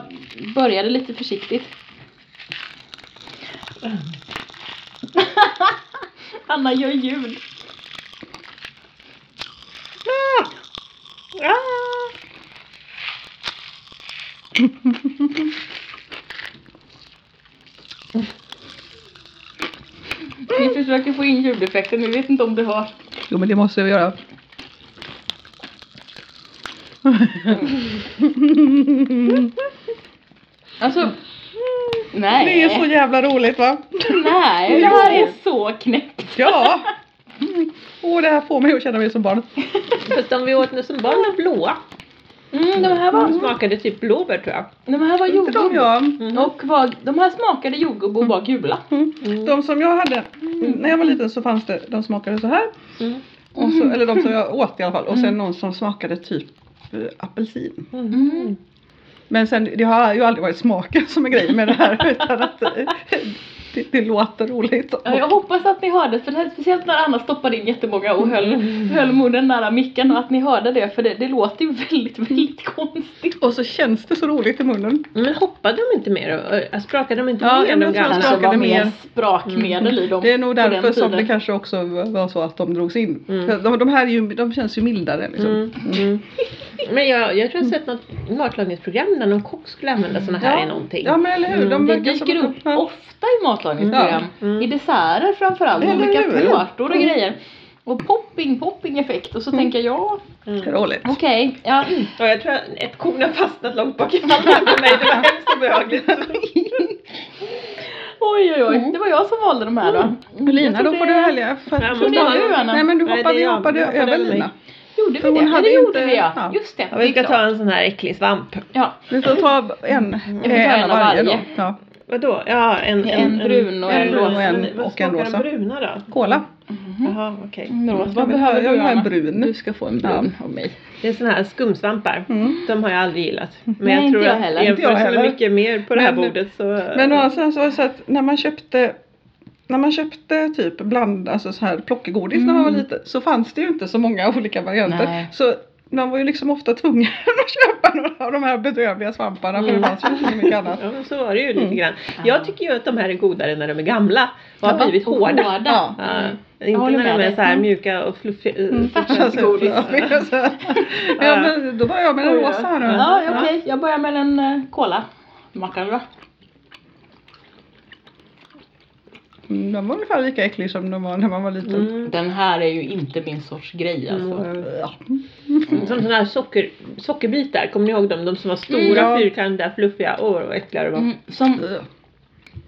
Speaker 1: började lite försiktigt. Anna gör ljud.
Speaker 3: Ah! Ah!
Speaker 1: Vi försöker få in ljudeffekten, vi vet inte om du hörs.
Speaker 2: Jo men det måste vi göra.
Speaker 1: Alltså, nej.
Speaker 2: Det är så jävla roligt va?
Speaker 1: Nej, det här är så knäppt.
Speaker 2: Ja! Mm. Åh det här får mig att känna mig som barn.
Speaker 3: Fast de vi åt när som barn var blåa.
Speaker 1: Mm, de här
Speaker 3: De
Speaker 1: var,
Speaker 3: smakade typ blåbär tror jag. Mhm.
Speaker 1: de här var
Speaker 2: Inte de
Speaker 1: jordgubb.
Speaker 2: jag.
Speaker 1: Och var, de här smakade jordgubb och var gula.
Speaker 2: Mm.
Speaker 3: Mm.
Speaker 2: De som jag hade
Speaker 1: Mm.
Speaker 2: när jag var liten så fanns det, de smakade så här.
Speaker 3: Mm.
Speaker 2: Och så, eller de som jag åt i alla fall. Och sen någon som smakade typ eh, apelsin.
Speaker 1: Mm.
Speaker 2: Men sen det har ju aldrig varit smaken som är grejen med det här. Utan att eh, Det, det låter roligt.
Speaker 1: Ja, jag hoppas att ni hörde, för det här, speciellt när Anna stoppade in jättemånga och höll,
Speaker 2: Mm.
Speaker 1: höll munnen nära micken och att ni hörde det för det, det låter ju väldigt, väldigt konstigt.
Speaker 2: Och så känns det så roligt i munnen.
Speaker 3: Men hoppade de inte mer? Alltså, sprakade de inte
Speaker 2: Ja,
Speaker 3: mer
Speaker 2: jag
Speaker 3: de
Speaker 2: tror
Speaker 3: gamla?
Speaker 2: de
Speaker 1: Kanske var
Speaker 2: sprakade
Speaker 1: mer
Speaker 2: mer. Mm.
Speaker 1: sprakmedel i dem
Speaker 2: Det är nog
Speaker 1: på den
Speaker 2: därför som det
Speaker 1: tiden.
Speaker 2: kanske också var så att de drogs in.
Speaker 3: Mm.
Speaker 2: För De, de här är ju, de känns ju mildare liksom.
Speaker 3: Mm, mm. Men jag, jag tror jag har sett något matlagningsprogram där någon kock skulle använda såna här
Speaker 2: Ja.
Speaker 3: i någonting.
Speaker 2: Ja men eller hur. De
Speaker 1: Mm. Det
Speaker 2: verkar som
Speaker 1: dyker
Speaker 2: att de-
Speaker 1: upp
Speaker 2: ja.
Speaker 1: ofta i matlagningsprogram.
Speaker 2: Mm,
Speaker 3: ja. Mm.
Speaker 1: I desserter framförallt,
Speaker 2: Eller
Speaker 1: olika
Speaker 2: hur?
Speaker 1: tårtor och
Speaker 2: Mm.
Speaker 1: grejer. Och popping, popping effekt. Och så tänker jag,
Speaker 3: Mm.
Speaker 2: Roligt.
Speaker 1: okej, ja.
Speaker 3: Ja, jag tror att ett korn har fastnat långt bak i pannan på mig. Det var hemskt obehagligt.
Speaker 1: Oj oj oj,
Speaker 2: Mm.
Speaker 1: det var jag som valde de här då. Mm, jag
Speaker 2: Lina,
Speaker 1: tror
Speaker 2: då får
Speaker 1: det-
Speaker 2: du välja. För
Speaker 3: Ja,
Speaker 2: att,
Speaker 3: men
Speaker 1: Tror
Speaker 3: då-
Speaker 1: det du Anna?
Speaker 2: nej men du
Speaker 3: Nej,
Speaker 2: hoppade,
Speaker 3: det är jag.
Speaker 2: hoppade
Speaker 3: Jag hoppade
Speaker 2: över
Speaker 3: över mig.
Speaker 2: Lina.
Speaker 1: Gjorde vi
Speaker 2: För hon
Speaker 1: det? Ja
Speaker 2: hade
Speaker 1: det
Speaker 2: ju
Speaker 1: gjorde
Speaker 2: inte-
Speaker 1: vi ja.
Speaker 2: ja.
Speaker 1: Just det.
Speaker 3: Ja, vi
Speaker 1: det är
Speaker 3: ska ta
Speaker 1: klart.
Speaker 3: en sån här äcklig svamp.
Speaker 1: Ja,
Speaker 2: Du får ta
Speaker 3: Mm.
Speaker 2: en,
Speaker 1: får ta
Speaker 2: eh,
Speaker 1: en av varje.
Speaker 2: då. Ja.
Speaker 3: Vadå? Ja, en,
Speaker 1: En brun och
Speaker 2: en rosa.
Speaker 3: Men
Speaker 2: och en
Speaker 3: Vad smakar
Speaker 2: rosa. Mhm.
Speaker 3: den bruna då?
Speaker 2: Cola.
Speaker 3: Jaha, okej.
Speaker 1: Mm, Rosa,
Speaker 2: Jag
Speaker 1: vad
Speaker 2: vill ha,
Speaker 1: behöver
Speaker 2: jag
Speaker 1: du
Speaker 2: vill ha en
Speaker 1: Anna?
Speaker 2: brun.
Speaker 1: Du ska få en brun av mig.
Speaker 3: Det är såna här skumsvampar.
Speaker 2: Mm.
Speaker 3: De har jag aldrig gillat. Men
Speaker 1: Nej,
Speaker 3: jag
Speaker 1: inte
Speaker 3: tror
Speaker 1: jag
Speaker 3: att
Speaker 1: heller.
Speaker 3: i
Speaker 2: Inte jag
Speaker 3: jämförelse med
Speaker 2: heller.
Speaker 3: mycket mer på det här
Speaker 2: Men-
Speaker 3: bordet så...
Speaker 2: Men å andra sidan så var det så att när man köpte när man köpte typ bland, alltså så här plockegodis när man var
Speaker 1: Mm.
Speaker 2: liten så fanns det ju inte så många olika varianter.
Speaker 1: Nej.
Speaker 2: Så man var ju liksom ofta tvungen att köpa några av de här bedrövliga svamparna för
Speaker 3: Mm.
Speaker 2: det fanns ju inte så mycket annat.
Speaker 3: Ja, men så var det ju lite
Speaker 2: Mm.
Speaker 3: grann. Jag tycker ju att de här är godare när de är gamla och har
Speaker 1: Ja,
Speaker 3: blivit
Speaker 1: och
Speaker 3: hårda.
Speaker 2: Ja.
Speaker 3: Ja,
Speaker 1: Mm. Jag håller
Speaker 3: inte när
Speaker 1: med
Speaker 3: de är
Speaker 1: dig.
Speaker 3: så här
Speaker 1: Mm.
Speaker 3: mjuka och eh, fluffiga.
Speaker 2: Mm.
Speaker 1: Färskgodis.
Speaker 2: Så- ja men då var jag med den rosa här nu.
Speaker 1: Oh, Ja, ja, okej. Jag börjar med en eh, cola. Mackan då.
Speaker 2: Mm, Den var ungefär lika äcklig som den var när man var liten.
Speaker 3: Mm.
Speaker 1: Den här är ju inte min sorts grej alltså.
Speaker 3: Mm.
Speaker 2: Ja.
Speaker 3: Som sådana här socker, sockerbitar, kommer ni ihåg dem? De som var stora,
Speaker 1: Mm,
Speaker 2: ja.
Speaker 3: fyrkantiga, fluffiga. Åh vad äckliga de var.
Speaker 1: Mm, som,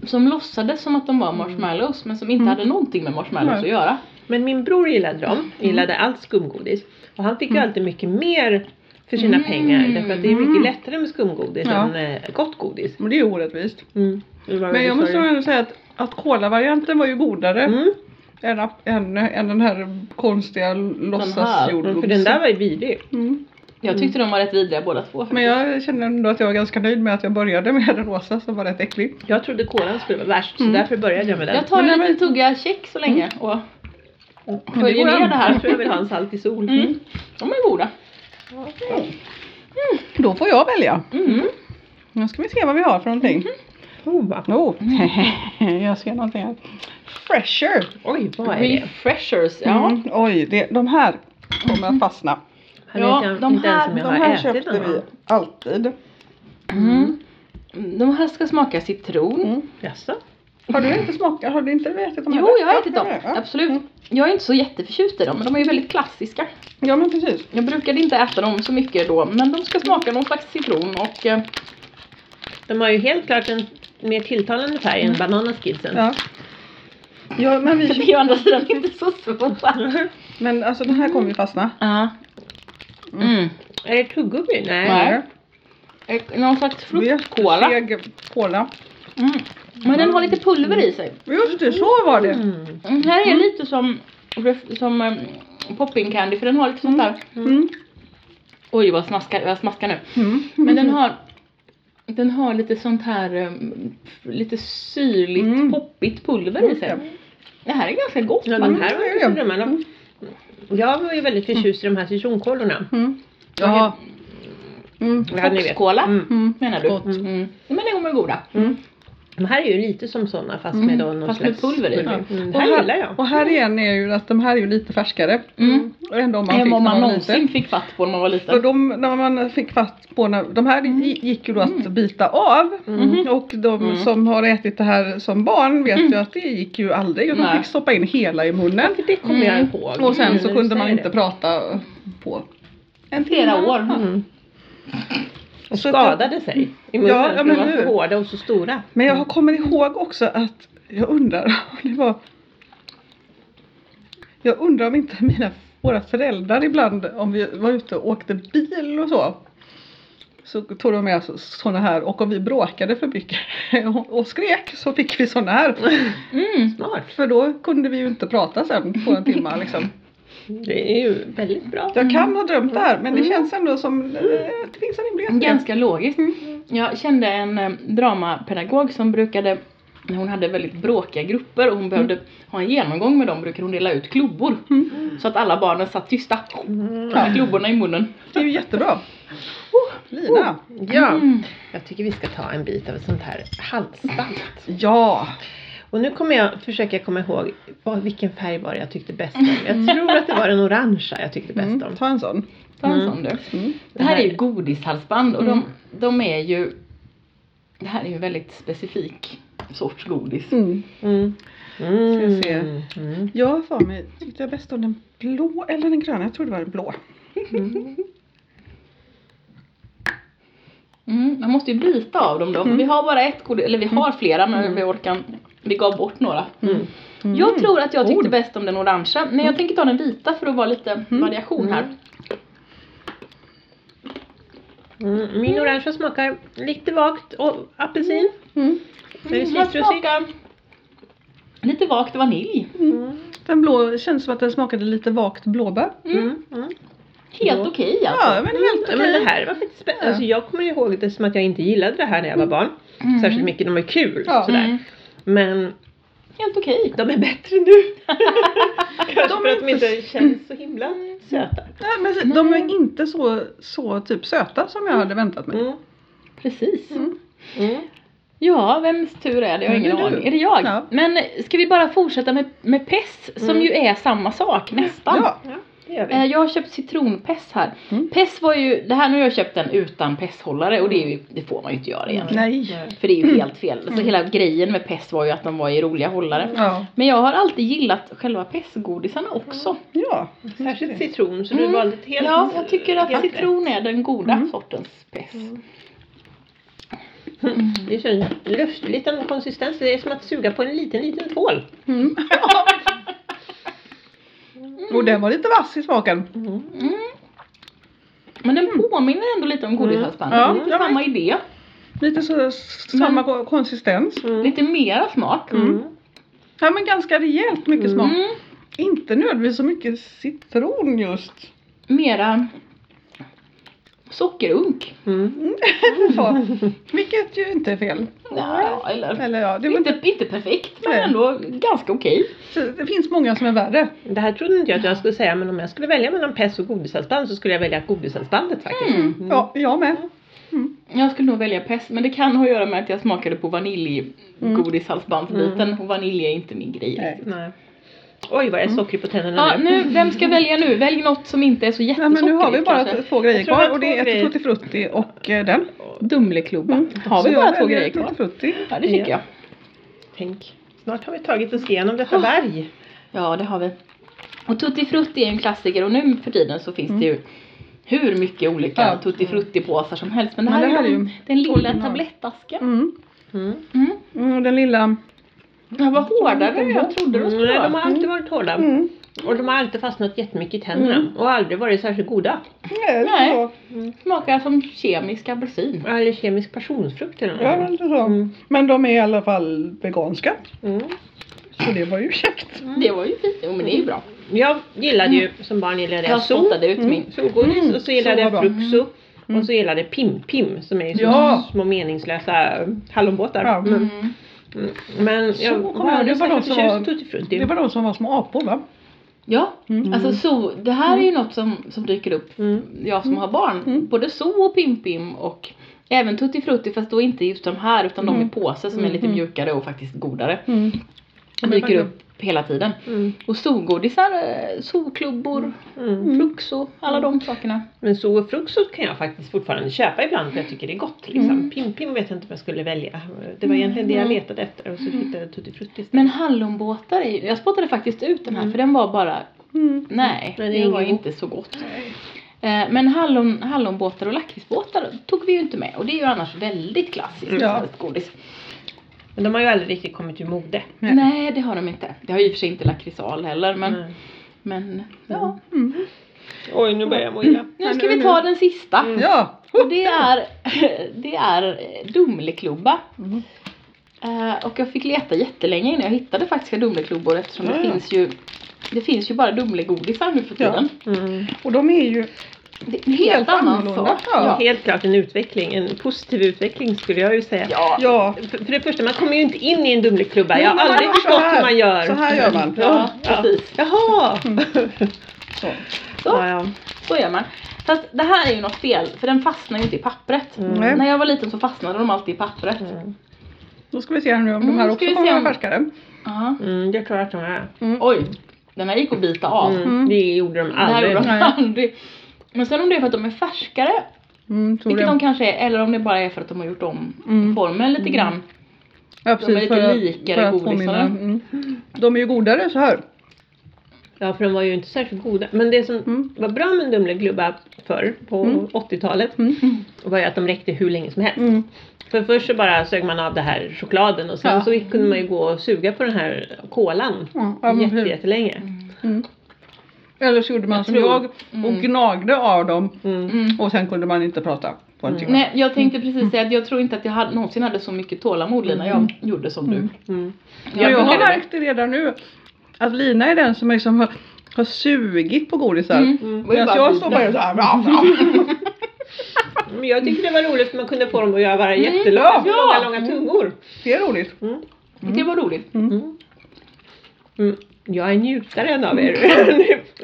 Speaker 1: som låtsades som att de var marshmallows men som inte
Speaker 2: Mm.
Speaker 1: hade någonting med marshmallows
Speaker 2: Nej.
Speaker 1: att göra.
Speaker 3: Men min bror gillade
Speaker 1: Mm.
Speaker 3: dem, gillade allt skumgodis. Och han fick ju alltid mycket mer för sina
Speaker 1: Mm.
Speaker 3: pengar. Därför att det är
Speaker 2: Mm.
Speaker 3: mycket lättare med skumgodis
Speaker 2: Ja.
Speaker 3: än eh, gott godis.
Speaker 2: Men det är ju orättvist.
Speaker 3: Mm. Det var
Speaker 2: Men
Speaker 3: väldigt
Speaker 2: jag måste nog
Speaker 3: sorgligt.
Speaker 2: ändå säga att, att cola-varianten var ju godare
Speaker 3: Mm.
Speaker 2: än, ap- än, än den här konstiga
Speaker 3: Mm, För den
Speaker 2: låtsasjordgubbsen.
Speaker 3: där var ju vidrig.
Speaker 2: Mm.
Speaker 1: Jag tyckte de var rätt vidriga båda två. faktiskt.
Speaker 2: Men jag känner ändå att jag var ganska nöjd med att jag började med den rosa som var rätt äcklig.
Speaker 3: Jag trodde kolan skulle vara värst
Speaker 2: Mm.
Speaker 3: så därför började jag med den.
Speaker 1: Jag tar en
Speaker 2: Men Mm.
Speaker 1: liten
Speaker 2: den var-
Speaker 1: tugga check så länge och följer
Speaker 2: går
Speaker 1: ner
Speaker 2: an.
Speaker 1: det
Speaker 3: Jag
Speaker 1: här.
Speaker 3: tror jag vill ha en salt i sol.
Speaker 1: Mm. De är goda.
Speaker 2: Då får jag välja.
Speaker 1: Mm.
Speaker 2: Nu ska vi se vad vi har för någonting.
Speaker 3: Prova.
Speaker 2: Oh, jag ser någonting här. Fresher.
Speaker 3: Oj, vad är det?
Speaker 1: Refreshers, ja.
Speaker 2: Mm, oj, det, de här kommer att fastna.
Speaker 3: Här
Speaker 1: Ja,
Speaker 3: vet jag
Speaker 1: de
Speaker 3: inte ens om
Speaker 1: här-
Speaker 2: De
Speaker 3: jag
Speaker 2: här
Speaker 3: har ätit
Speaker 2: köpte
Speaker 3: den.
Speaker 2: vi alltid.
Speaker 1: Mm. De här ska smaka citron.
Speaker 2: Mm.
Speaker 3: Jaså?
Speaker 2: Har du inte smakat? Har du inte ätit dem?
Speaker 1: Jo,
Speaker 2: heller?
Speaker 1: jag har
Speaker 2: Ja,
Speaker 1: ätit dem.
Speaker 2: ja, Mm. ja.
Speaker 1: Absolut. Jag är inte så jätteförtjust i dem, men de är ju väldigt klassiska.
Speaker 2: Ja, men precis.
Speaker 1: Jag brukade inte äta dem så mycket då, men de ska smaka någon slags citron och eh,
Speaker 3: De har ju helt klart en mer tilltalande färg än bananaskidsen.
Speaker 2: Mm. Ja. Ja, men,
Speaker 1: det är
Speaker 2: vi,
Speaker 1: ju å andra sidan
Speaker 2: Mm.
Speaker 1: inte så svåra.
Speaker 2: men alltså den här kommer ju fastna.
Speaker 1: Ja. Mm.
Speaker 3: Är det tuggummi? Nej.
Speaker 1: Nej. Eh, Någon slags fruktkola.
Speaker 2: Seg kola.
Speaker 1: Mm. Men den har lite pulver i sig.
Speaker 2: Just det, så var det.
Speaker 3: Mm.
Speaker 1: Den här är lite som, ref- som um, popping candy för den har lite sånt där,
Speaker 2: Mm.
Speaker 1: oj vad jag smaskar, jag smaskar nu.
Speaker 2: Mm.
Speaker 1: Men den har, den har lite sånt här um, f- lite syrligt
Speaker 2: Mm.
Speaker 1: poppigt pulver i sig.
Speaker 2: Mm.
Speaker 1: Det här är ganska gott
Speaker 3: Ja, de
Speaker 1: faktiskt.
Speaker 3: här var ju så
Speaker 2: Mm.
Speaker 3: drömmarna. Jag var ju väldigt förtjust i de här citronkolorna.
Speaker 2: Mm. Ja. Mm.
Speaker 3: Ja, ni vet.
Speaker 1: Foxkola
Speaker 3: Mm.
Speaker 2: Mm.
Speaker 1: menar du?
Speaker 2: Gott.
Speaker 1: Mm. Men de är goda.
Speaker 2: Mm.
Speaker 3: De här är ju lite som sådana fast
Speaker 2: Mm,
Speaker 3: med då någon
Speaker 1: fast med
Speaker 3: slags
Speaker 1: pulver i.
Speaker 3: Mm.
Speaker 2: Ja.
Speaker 3: Den
Speaker 2: Och
Speaker 3: här gillar jag.
Speaker 2: Och här igen är ju att de här är ju lite färskare.
Speaker 1: Mm.
Speaker 2: Än de man fick
Speaker 1: Än
Speaker 2: när
Speaker 1: vad man
Speaker 2: man var
Speaker 1: någonsin
Speaker 2: liten.
Speaker 1: fick fatt på när man var
Speaker 2: För
Speaker 1: liten.
Speaker 2: de, när man fick fatt på, när, de här
Speaker 3: Mm.
Speaker 2: gi- gick ju då att bita av.
Speaker 3: Mm-hmm.
Speaker 1: Mhm.
Speaker 2: Och de
Speaker 1: Mm.
Speaker 2: som har ätit det här som barn vet
Speaker 3: Mm.
Speaker 2: ju att det gick ju aldrig. Och de
Speaker 1: Nej.
Speaker 2: fick stoppa in hela i munnen.
Speaker 3: För det kommer
Speaker 1: Mm.
Speaker 3: jag ihåg.
Speaker 2: Och sen
Speaker 3: Mm,
Speaker 2: så
Speaker 3: när
Speaker 2: kunde
Speaker 3: du
Speaker 2: man
Speaker 3: säger
Speaker 2: inte
Speaker 3: det.
Speaker 2: prata på en
Speaker 1: Flera år.
Speaker 3: Mm. Och
Speaker 2: Så
Speaker 3: skadade sig i munnen
Speaker 2: Ja, ja,
Speaker 3: för de
Speaker 2: men
Speaker 3: var
Speaker 2: hur?
Speaker 3: så hårda och så stora.
Speaker 2: Men jag kommer ihåg också att jag undrar om det var Jag undrar om inte mina, våra föräldrar ibland om vi var ute och åkte bil och så så tog de med sådana här och om vi bråkade för mycket och- och skrek så fick vi sådana här.
Speaker 1: Mm.
Speaker 3: Smart.
Speaker 2: För då kunde vi ju inte prata sen på en timme liksom.
Speaker 3: Det är ju väldigt bra.
Speaker 2: Jag kan ha drömt det här men det känns ändå som eh, det
Speaker 1: Mm.
Speaker 2: finns en rimlighet i det.
Speaker 1: Ganska logiskt. Jag kände en eh, dramapedagog som brukade när hon hade väldigt bråkiga grupper och hon behövde ha en genomgång med dem brukade hon dela ut klubbor. Så att alla barnen satt tysta med klubborna i munnen.
Speaker 2: Det är ju jättebra. Oh, Lina.
Speaker 3: Ja,
Speaker 1: Mm.
Speaker 3: jag tycker vi ska ta en bit av ett sånt här halsband.
Speaker 2: Ja.
Speaker 3: Och nu kommer jag försöka komma ihåg vad, vilken färg var det jag tyckte bäst om. Jag tror att det var den orangea jag tyckte bäst om.
Speaker 2: Mm, ta en sån.
Speaker 1: Ta en
Speaker 3: Mm.
Speaker 1: sån du. Mm.
Speaker 2: Mm.
Speaker 1: Det här är ju godishalsband och de, de är ju Det här är ju en väldigt specifik sorts godis.
Speaker 2: Mm.
Speaker 3: Mm.
Speaker 2: Ska
Speaker 3: Mm.
Speaker 2: vi se.
Speaker 3: Mm.
Speaker 2: Jag har för mig, tyckte jag bäst om den blå eller den gröna? Jag tror det var den blå.
Speaker 1: Mm, man måste ju bita av dem då. för Vi har bara ett godis, eller vi har flera men vi orkar Vi gav bort några.
Speaker 3: Mm.
Speaker 1: Jag tror att jag tyckte
Speaker 2: Ord.
Speaker 1: bäst om den orangea men jag tänker ta den vita för att vara lite variation här.
Speaker 3: Mm. Min orangea smakar lite vagt och apelsin.
Speaker 2: Mm.
Speaker 3: Det är
Speaker 1: Den
Speaker 3: citrusigt.
Speaker 1: smakar lite vagt vanilj.
Speaker 2: Mm. Den blå känns som att den smakade lite vagt blåbär.
Speaker 3: Mm. Mm.
Speaker 1: Helt
Speaker 3: Ja.
Speaker 1: okej alltså.
Speaker 2: Ja, men helt
Speaker 3: Ja, men
Speaker 2: okej.
Speaker 3: det här var faktiskt spännande.
Speaker 2: Ja.
Speaker 3: Alltså, jag kommer ju ihåg det som att jag inte gillade det här när jag var barn.
Speaker 1: Mm.
Speaker 3: Särskilt mycket, de är kul
Speaker 2: Ja.
Speaker 3: sådär.
Speaker 1: Mm.
Speaker 3: Men
Speaker 1: Helt okej.
Speaker 3: de är bättre nu.
Speaker 2: De
Speaker 3: Kanske för
Speaker 2: är
Speaker 3: att de
Speaker 2: inte
Speaker 3: inte känns så himla
Speaker 1: Mm.
Speaker 3: söta.
Speaker 2: Nej, men de är inte så, så typ söta som jag hade väntat mig.
Speaker 3: Mm.
Speaker 1: Precis.
Speaker 2: Mm.
Speaker 3: Mm.
Speaker 1: Ja, vems tur är det? Jag har
Speaker 2: Men det
Speaker 1: ingen
Speaker 2: är du.
Speaker 1: aning. Är det jag?
Speaker 2: Ja.
Speaker 1: Men ska vi bara fortsätta med, med pess som
Speaker 3: Mm.
Speaker 1: ju är samma sak nästan.
Speaker 2: Ja.
Speaker 3: Ja, det gör vi.
Speaker 1: Eh, Jag har köpt citronpess här.
Speaker 2: Mm.
Speaker 1: Pess var ju, det här nu har jag köpt den utan pesshållare och det, är ju, det får man ju inte
Speaker 3: Mm.
Speaker 1: göra egentligen.
Speaker 2: Nej.
Speaker 1: För det är ju helt fel. Så hela grejen med pess var ju att de var i roliga hållare.
Speaker 2: Ja.
Speaker 1: Men jag har alltid gillat själva pessgodisarna också.
Speaker 2: Ja.
Speaker 3: Särskilt citron, så du
Speaker 1: Mm.
Speaker 3: valde ett helt
Speaker 1: Ja, jag tycker att
Speaker 3: helt rätt.
Speaker 1: citron är den goda
Speaker 2: Mm.
Speaker 1: sortens pess.
Speaker 3: Mm. Det är så en löst liten konsistens. Det är som att suga på en liten, liten tvål.
Speaker 2: Mm. Och den var lite vass i smaken.
Speaker 1: Mm. Men den påminner ändå lite om godishalsbandet.
Speaker 2: Mm. Ja, Mm.
Speaker 1: lite
Speaker 2: jag
Speaker 1: samma idé.
Speaker 2: Lite så, samma ko- konsistens.
Speaker 3: Mm.
Speaker 1: Lite mera smak.
Speaker 3: Mm.
Speaker 2: Ja men ganska rejält mycket
Speaker 3: Mm.
Speaker 2: smak.
Speaker 1: Mm.
Speaker 2: Inte nödvändigtvis så mycket citron just.
Speaker 1: Mera sockerunk.
Speaker 3: Mm.
Speaker 2: så. Vilket ju inte är fel.
Speaker 1: Ja, eller
Speaker 2: Eller ja, det, var inte,
Speaker 1: inte, inte perfekt men
Speaker 2: Nej.
Speaker 1: ändå ganska okej.
Speaker 2: så det finns många som är värre.
Speaker 1: Mm.
Speaker 3: Det här trodde inte jag att jag skulle säga, men om jag skulle välja mellan pess och godishalsband så skulle jag välja godishalsbandet faktiskt.
Speaker 1: Mm.
Speaker 3: Mm.
Speaker 2: Ja, jag med.
Speaker 1: Jag skulle nog välja pest men det kan ha att göra med att jag smakade
Speaker 2: Mm.
Speaker 1: på vaniljgodishalsbandsbiten och vanilj är inte min grej.
Speaker 2: Nej.
Speaker 3: Nej. Oj vad jag är sockrig på tänderna
Speaker 1: Ja, nu, vem ska välja nu? Välj något som inte är så
Speaker 2: Ja, men
Speaker 1: jättesockrigt
Speaker 2: nu har vi bara
Speaker 1: kanske.
Speaker 2: t- två grejer
Speaker 3: Jag tror
Speaker 2: kvar
Speaker 3: vi har
Speaker 2: och det
Speaker 3: två
Speaker 2: är ett
Speaker 3: grejer.
Speaker 2: Tutti Frutti och eh, den.
Speaker 1: Dumleklubba. Mm. Har
Speaker 2: Mm. Så
Speaker 1: vi
Speaker 2: jag
Speaker 1: bara två
Speaker 2: väljer
Speaker 1: grejer kvar?
Speaker 2: Tutti Frutti.
Speaker 1: Ja, det tycker
Speaker 3: Ja.
Speaker 1: jag.
Speaker 3: Tänk, snart har vi tagit oss igenom detta berg.
Speaker 1: Ja, det har vi. Och Tutti Frutti är en klassiker och nu för tiden så finns det ju hur mycket olika
Speaker 2: Mm. Ja.
Speaker 1: Tutti Frutti-påsar som helst. Men det
Speaker 2: Men
Speaker 1: här,
Speaker 2: det här
Speaker 1: är,
Speaker 2: är
Speaker 1: den,
Speaker 2: ju
Speaker 1: den lilla
Speaker 2: original.
Speaker 1: tablettasken.
Speaker 2: Mm.
Speaker 3: Mm.
Speaker 1: Mm.
Speaker 2: Mm, och den lilla.
Speaker 1: Den var hårdare än jag trodde den skulle
Speaker 3: Mm. Nej, de har
Speaker 1: vara.
Speaker 3: alltid varit hårda.
Speaker 2: Mm.
Speaker 3: Och de har alltid fastnat jättemycket i tänderna. Och aldrig varit särskilt goda.
Speaker 2: Nej,
Speaker 1: Nej.
Speaker 2: Så.
Speaker 1: Smakar som kemisk apelsin.
Speaker 3: Eller kemisk passionsfrukt eller något.
Speaker 2: Ja, men lite så.
Speaker 3: Mm.
Speaker 2: Men de är i alla fall veganska.
Speaker 3: Mm.
Speaker 2: Så det var ju käckt.
Speaker 1: Det var ju fint. Jo men det är ju bra.
Speaker 3: Jag gillade ju, som barn gillade jag
Speaker 1: Jag
Speaker 3: sol,
Speaker 1: spottade ut min.
Speaker 3: solgodis
Speaker 2: Mm,
Speaker 3: och så gillade
Speaker 2: så
Speaker 3: jag
Speaker 2: var
Speaker 3: fruxo. Och så gillade jag Pim-Pim som är ju så
Speaker 2: Ja.
Speaker 3: små meningslösa hallonbåtar.
Speaker 2: Ja.
Speaker 3: Mm.
Speaker 1: Mm.
Speaker 3: Mm. Men
Speaker 2: Så
Speaker 3: jag
Speaker 2: kommer
Speaker 3: var
Speaker 2: jag- det
Speaker 3: aldrig
Speaker 2: var de som
Speaker 3: särskilt förtjust i
Speaker 2: var-
Speaker 3: Tutti Frutti.
Speaker 2: Det var de som var små apor va?
Speaker 1: Ja,
Speaker 2: Mm.
Speaker 1: alltså so, det här är ju något som, som dyker upp,
Speaker 3: Mm.
Speaker 1: jag som har barn.
Speaker 2: Mm.
Speaker 1: Både so och Pim-Pim och även Tutti Frutti fast då inte just de här utan de i
Speaker 2: Mm.
Speaker 1: påse som är lite mjukare och faktiskt godare.
Speaker 2: Mm.
Speaker 1: De
Speaker 2: Men
Speaker 1: dyker
Speaker 2: verkligen.
Speaker 1: upp hela tiden.
Speaker 3: Mm.
Speaker 1: Och solgodisar, eh, solklubbor,
Speaker 3: Mm.
Speaker 2: Mm.
Speaker 1: fluxo, alla de sakerna.
Speaker 3: Men så och fruxo kan jag faktiskt fortfarande köpa ibland för jag tycker det är gott.
Speaker 2: Mm.
Speaker 3: Liksom. Pim-Pim vet jag inte om jag skulle välja. Det var egentligen det jag letade efter och så
Speaker 2: Mm.
Speaker 3: hittade jag Tutti Frutti istället.
Speaker 1: Men hallonbåtar är ju, jag spottade faktiskt ut den här för den var bara,
Speaker 2: Mm.
Speaker 1: nej,
Speaker 3: Nej, det är
Speaker 1: det var
Speaker 3: ingen
Speaker 1: inte så gott. Eh, Men hallon, hallonbåtar och lakritsbåtar tog vi ju inte med och det är ju annars väldigt klassiskt
Speaker 2: Ja.
Speaker 1: svenskt godis.
Speaker 3: Men de har ju aldrig riktigt kommit ur mode.
Speaker 1: Nej.
Speaker 2: Nej.
Speaker 1: det har de inte. Det har ju i och för sig inte lakritsal heller men,
Speaker 3: Nej.
Speaker 1: men ja.
Speaker 2: Mm.
Speaker 3: Oj, nu börjar jag må illa.
Speaker 1: Nu
Speaker 2: Ja,
Speaker 1: ska
Speaker 2: nu- Mm.
Speaker 1: vi ta
Speaker 2: nu.
Speaker 1: den sista.
Speaker 2: Ja.
Speaker 1: Och det är, det är eh, Dumleklubba.
Speaker 2: Mm.
Speaker 1: Eh, och jag fick leta jättelänge innan jag hittade faktiska Dumleklubbor eftersom det
Speaker 2: Ja, ja.
Speaker 1: finns ju Det finns ju bara Dumlegodisar nu för
Speaker 2: Ja.
Speaker 1: tiden.
Speaker 3: Mm.
Speaker 2: Och de är ju
Speaker 1: Det är en helt,
Speaker 2: Helt
Speaker 1: annan
Speaker 2: annorlunda,
Speaker 1: sak.
Speaker 2: ja.
Speaker 3: Helt klart en utveckling, en positiv utveckling skulle jag ju säga.
Speaker 1: Ja.
Speaker 2: Ja,
Speaker 3: För för det första, man kommer ju inte in i en Dumleklubba.
Speaker 2: Nej,
Speaker 3: Jag har
Speaker 2: men man
Speaker 3: aldrig
Speaker 2: gör så
Speaker 3: förstått
Speaker 2: här.
Speaker 3: hur man gör.
Speaker 2: Så här gör man. Mm.
Speaker 3: Ja,
Speaker 1: Ja.
Speaker 3: precis. Jaha!
Speaker 2: så.
Speaker 1: Så.
Speaker 3: Ja, ja.
Speaker 1: Så gör man. Fast det här är ju något fel, för den fastnar ju inte i pappret.
Speaker 3: Mm.
Speaker 2: Nej.
Speaker 1: När jag var liten så fastnade de alltid i pappret.
Speaker 3: Mm.
Speaker 2: Då ska vi se här nu om
Speaker 1: Mm,
Speaker 2: de här
Speaker 1: ska vi
Speaker 2: också
Speaker 1: se
Speaker 2: kommer
Speaker 1: om- Mm.
Speaker 2: vara färskare.
Speaker 1: Ja.
Speaker 3: Mm, det tror jag att de är.
Speaker 1: Oj, den här gick att bita av.
Speaker 3: Mm.
Speaker 2: Mm.
Speaker 3: Det gjorde de
Speaker 1: Det här
Speaker 3: aldrig.
Speaker 1: gjorde de
Speaker 2: Nej.
Speaker 1: aldrig. Men sen om det är för att de är färskare,
Speaker 2: Mm, tror
Speaker 1: vilket
Speaker 2: det.
Speaker 1: de kanske är, eller om det bara är för att de har gjort om
Speaker 2: Mm.
Speaker 1: formen lite grann.
Speaker 2: Ja,
Speaker 1: är lite
Speaker 2: för att-
Speaker 1: likare
Speaker 2: för att
Speaker 1: godisarna.
Speaker 2: påminna. Mm. De är ju godare så här.
Speaker 3: Ja, för de var ju inte särskilt goda. Men det som
Speaker 2: Mm.
Speaker 3: var bra med en Dumleklubba förr, på
Speaker 2: Mm.
Speaker 3: 80-talet,
Speaker 2: Mm.
Speaker 3: var ju att de räckte hur länge som helst.
Speaker 2: Mm.
Speaker 3: För först så bara sög man av det här chokladen och sen
Speaker 2: Ja.
Speaker 3: så kunde man ju gå och suga på den här kolan
Speaker 2: Ja, ja, men
Speaker 3: jätte,
Speaker 2: precis.
Speaker 3: jättelänge.
Speaker 2: Mm. Eller så gjorde man
Speaker 1: Jag
Speaker 2: som
Speaker 1: tror-
Speaker 2: jag och
Speaker 1: Mm.
Speaker 2: gnagde av dem
Speaker 3: Mm.
Speaker 1: Mm.
Speaker 2: och sen kunde man inte prata på en
Speaker 3: Mm.
Speaker 2: timme.
Speaker 1: Nej, jag tänkte precis säga att jag tror inte att jag hade, någonsin hade så mycket tålamod Lina, jag gjorde som du.
Speaker 2: Mm.
Speaker 3: Mm.
Speaker 2: Men jag har
Speaker 1: brukade-
Speaker 2: märkt det redan nu att Lina är den som liksom har, har sugit på godisar.
Speaker 1: Mm.
Speaker 3: Mm.
Speaker 1: Var ju
Speaker 2: Medan
Speaker 1: bara
Speaker 2: Alltså, jag
Speaker 1: bita.
Speaker 2: står bara såhär. Bra, bra.
Speaker 3: Men jag tyckte det var roligt för man kunde få dem att göra bara
Speaker 1: Mm.
Speaker 3: jättelånga,
Speaker 1: Ja.
Speaker 3: långa, långa tungor.
Speaker 2: Det är roligt.
Speaker 3: Mm.
Speaker 1: Det var roligt.
Speaker 3: Mm. Mm. Jag är njutaren av er.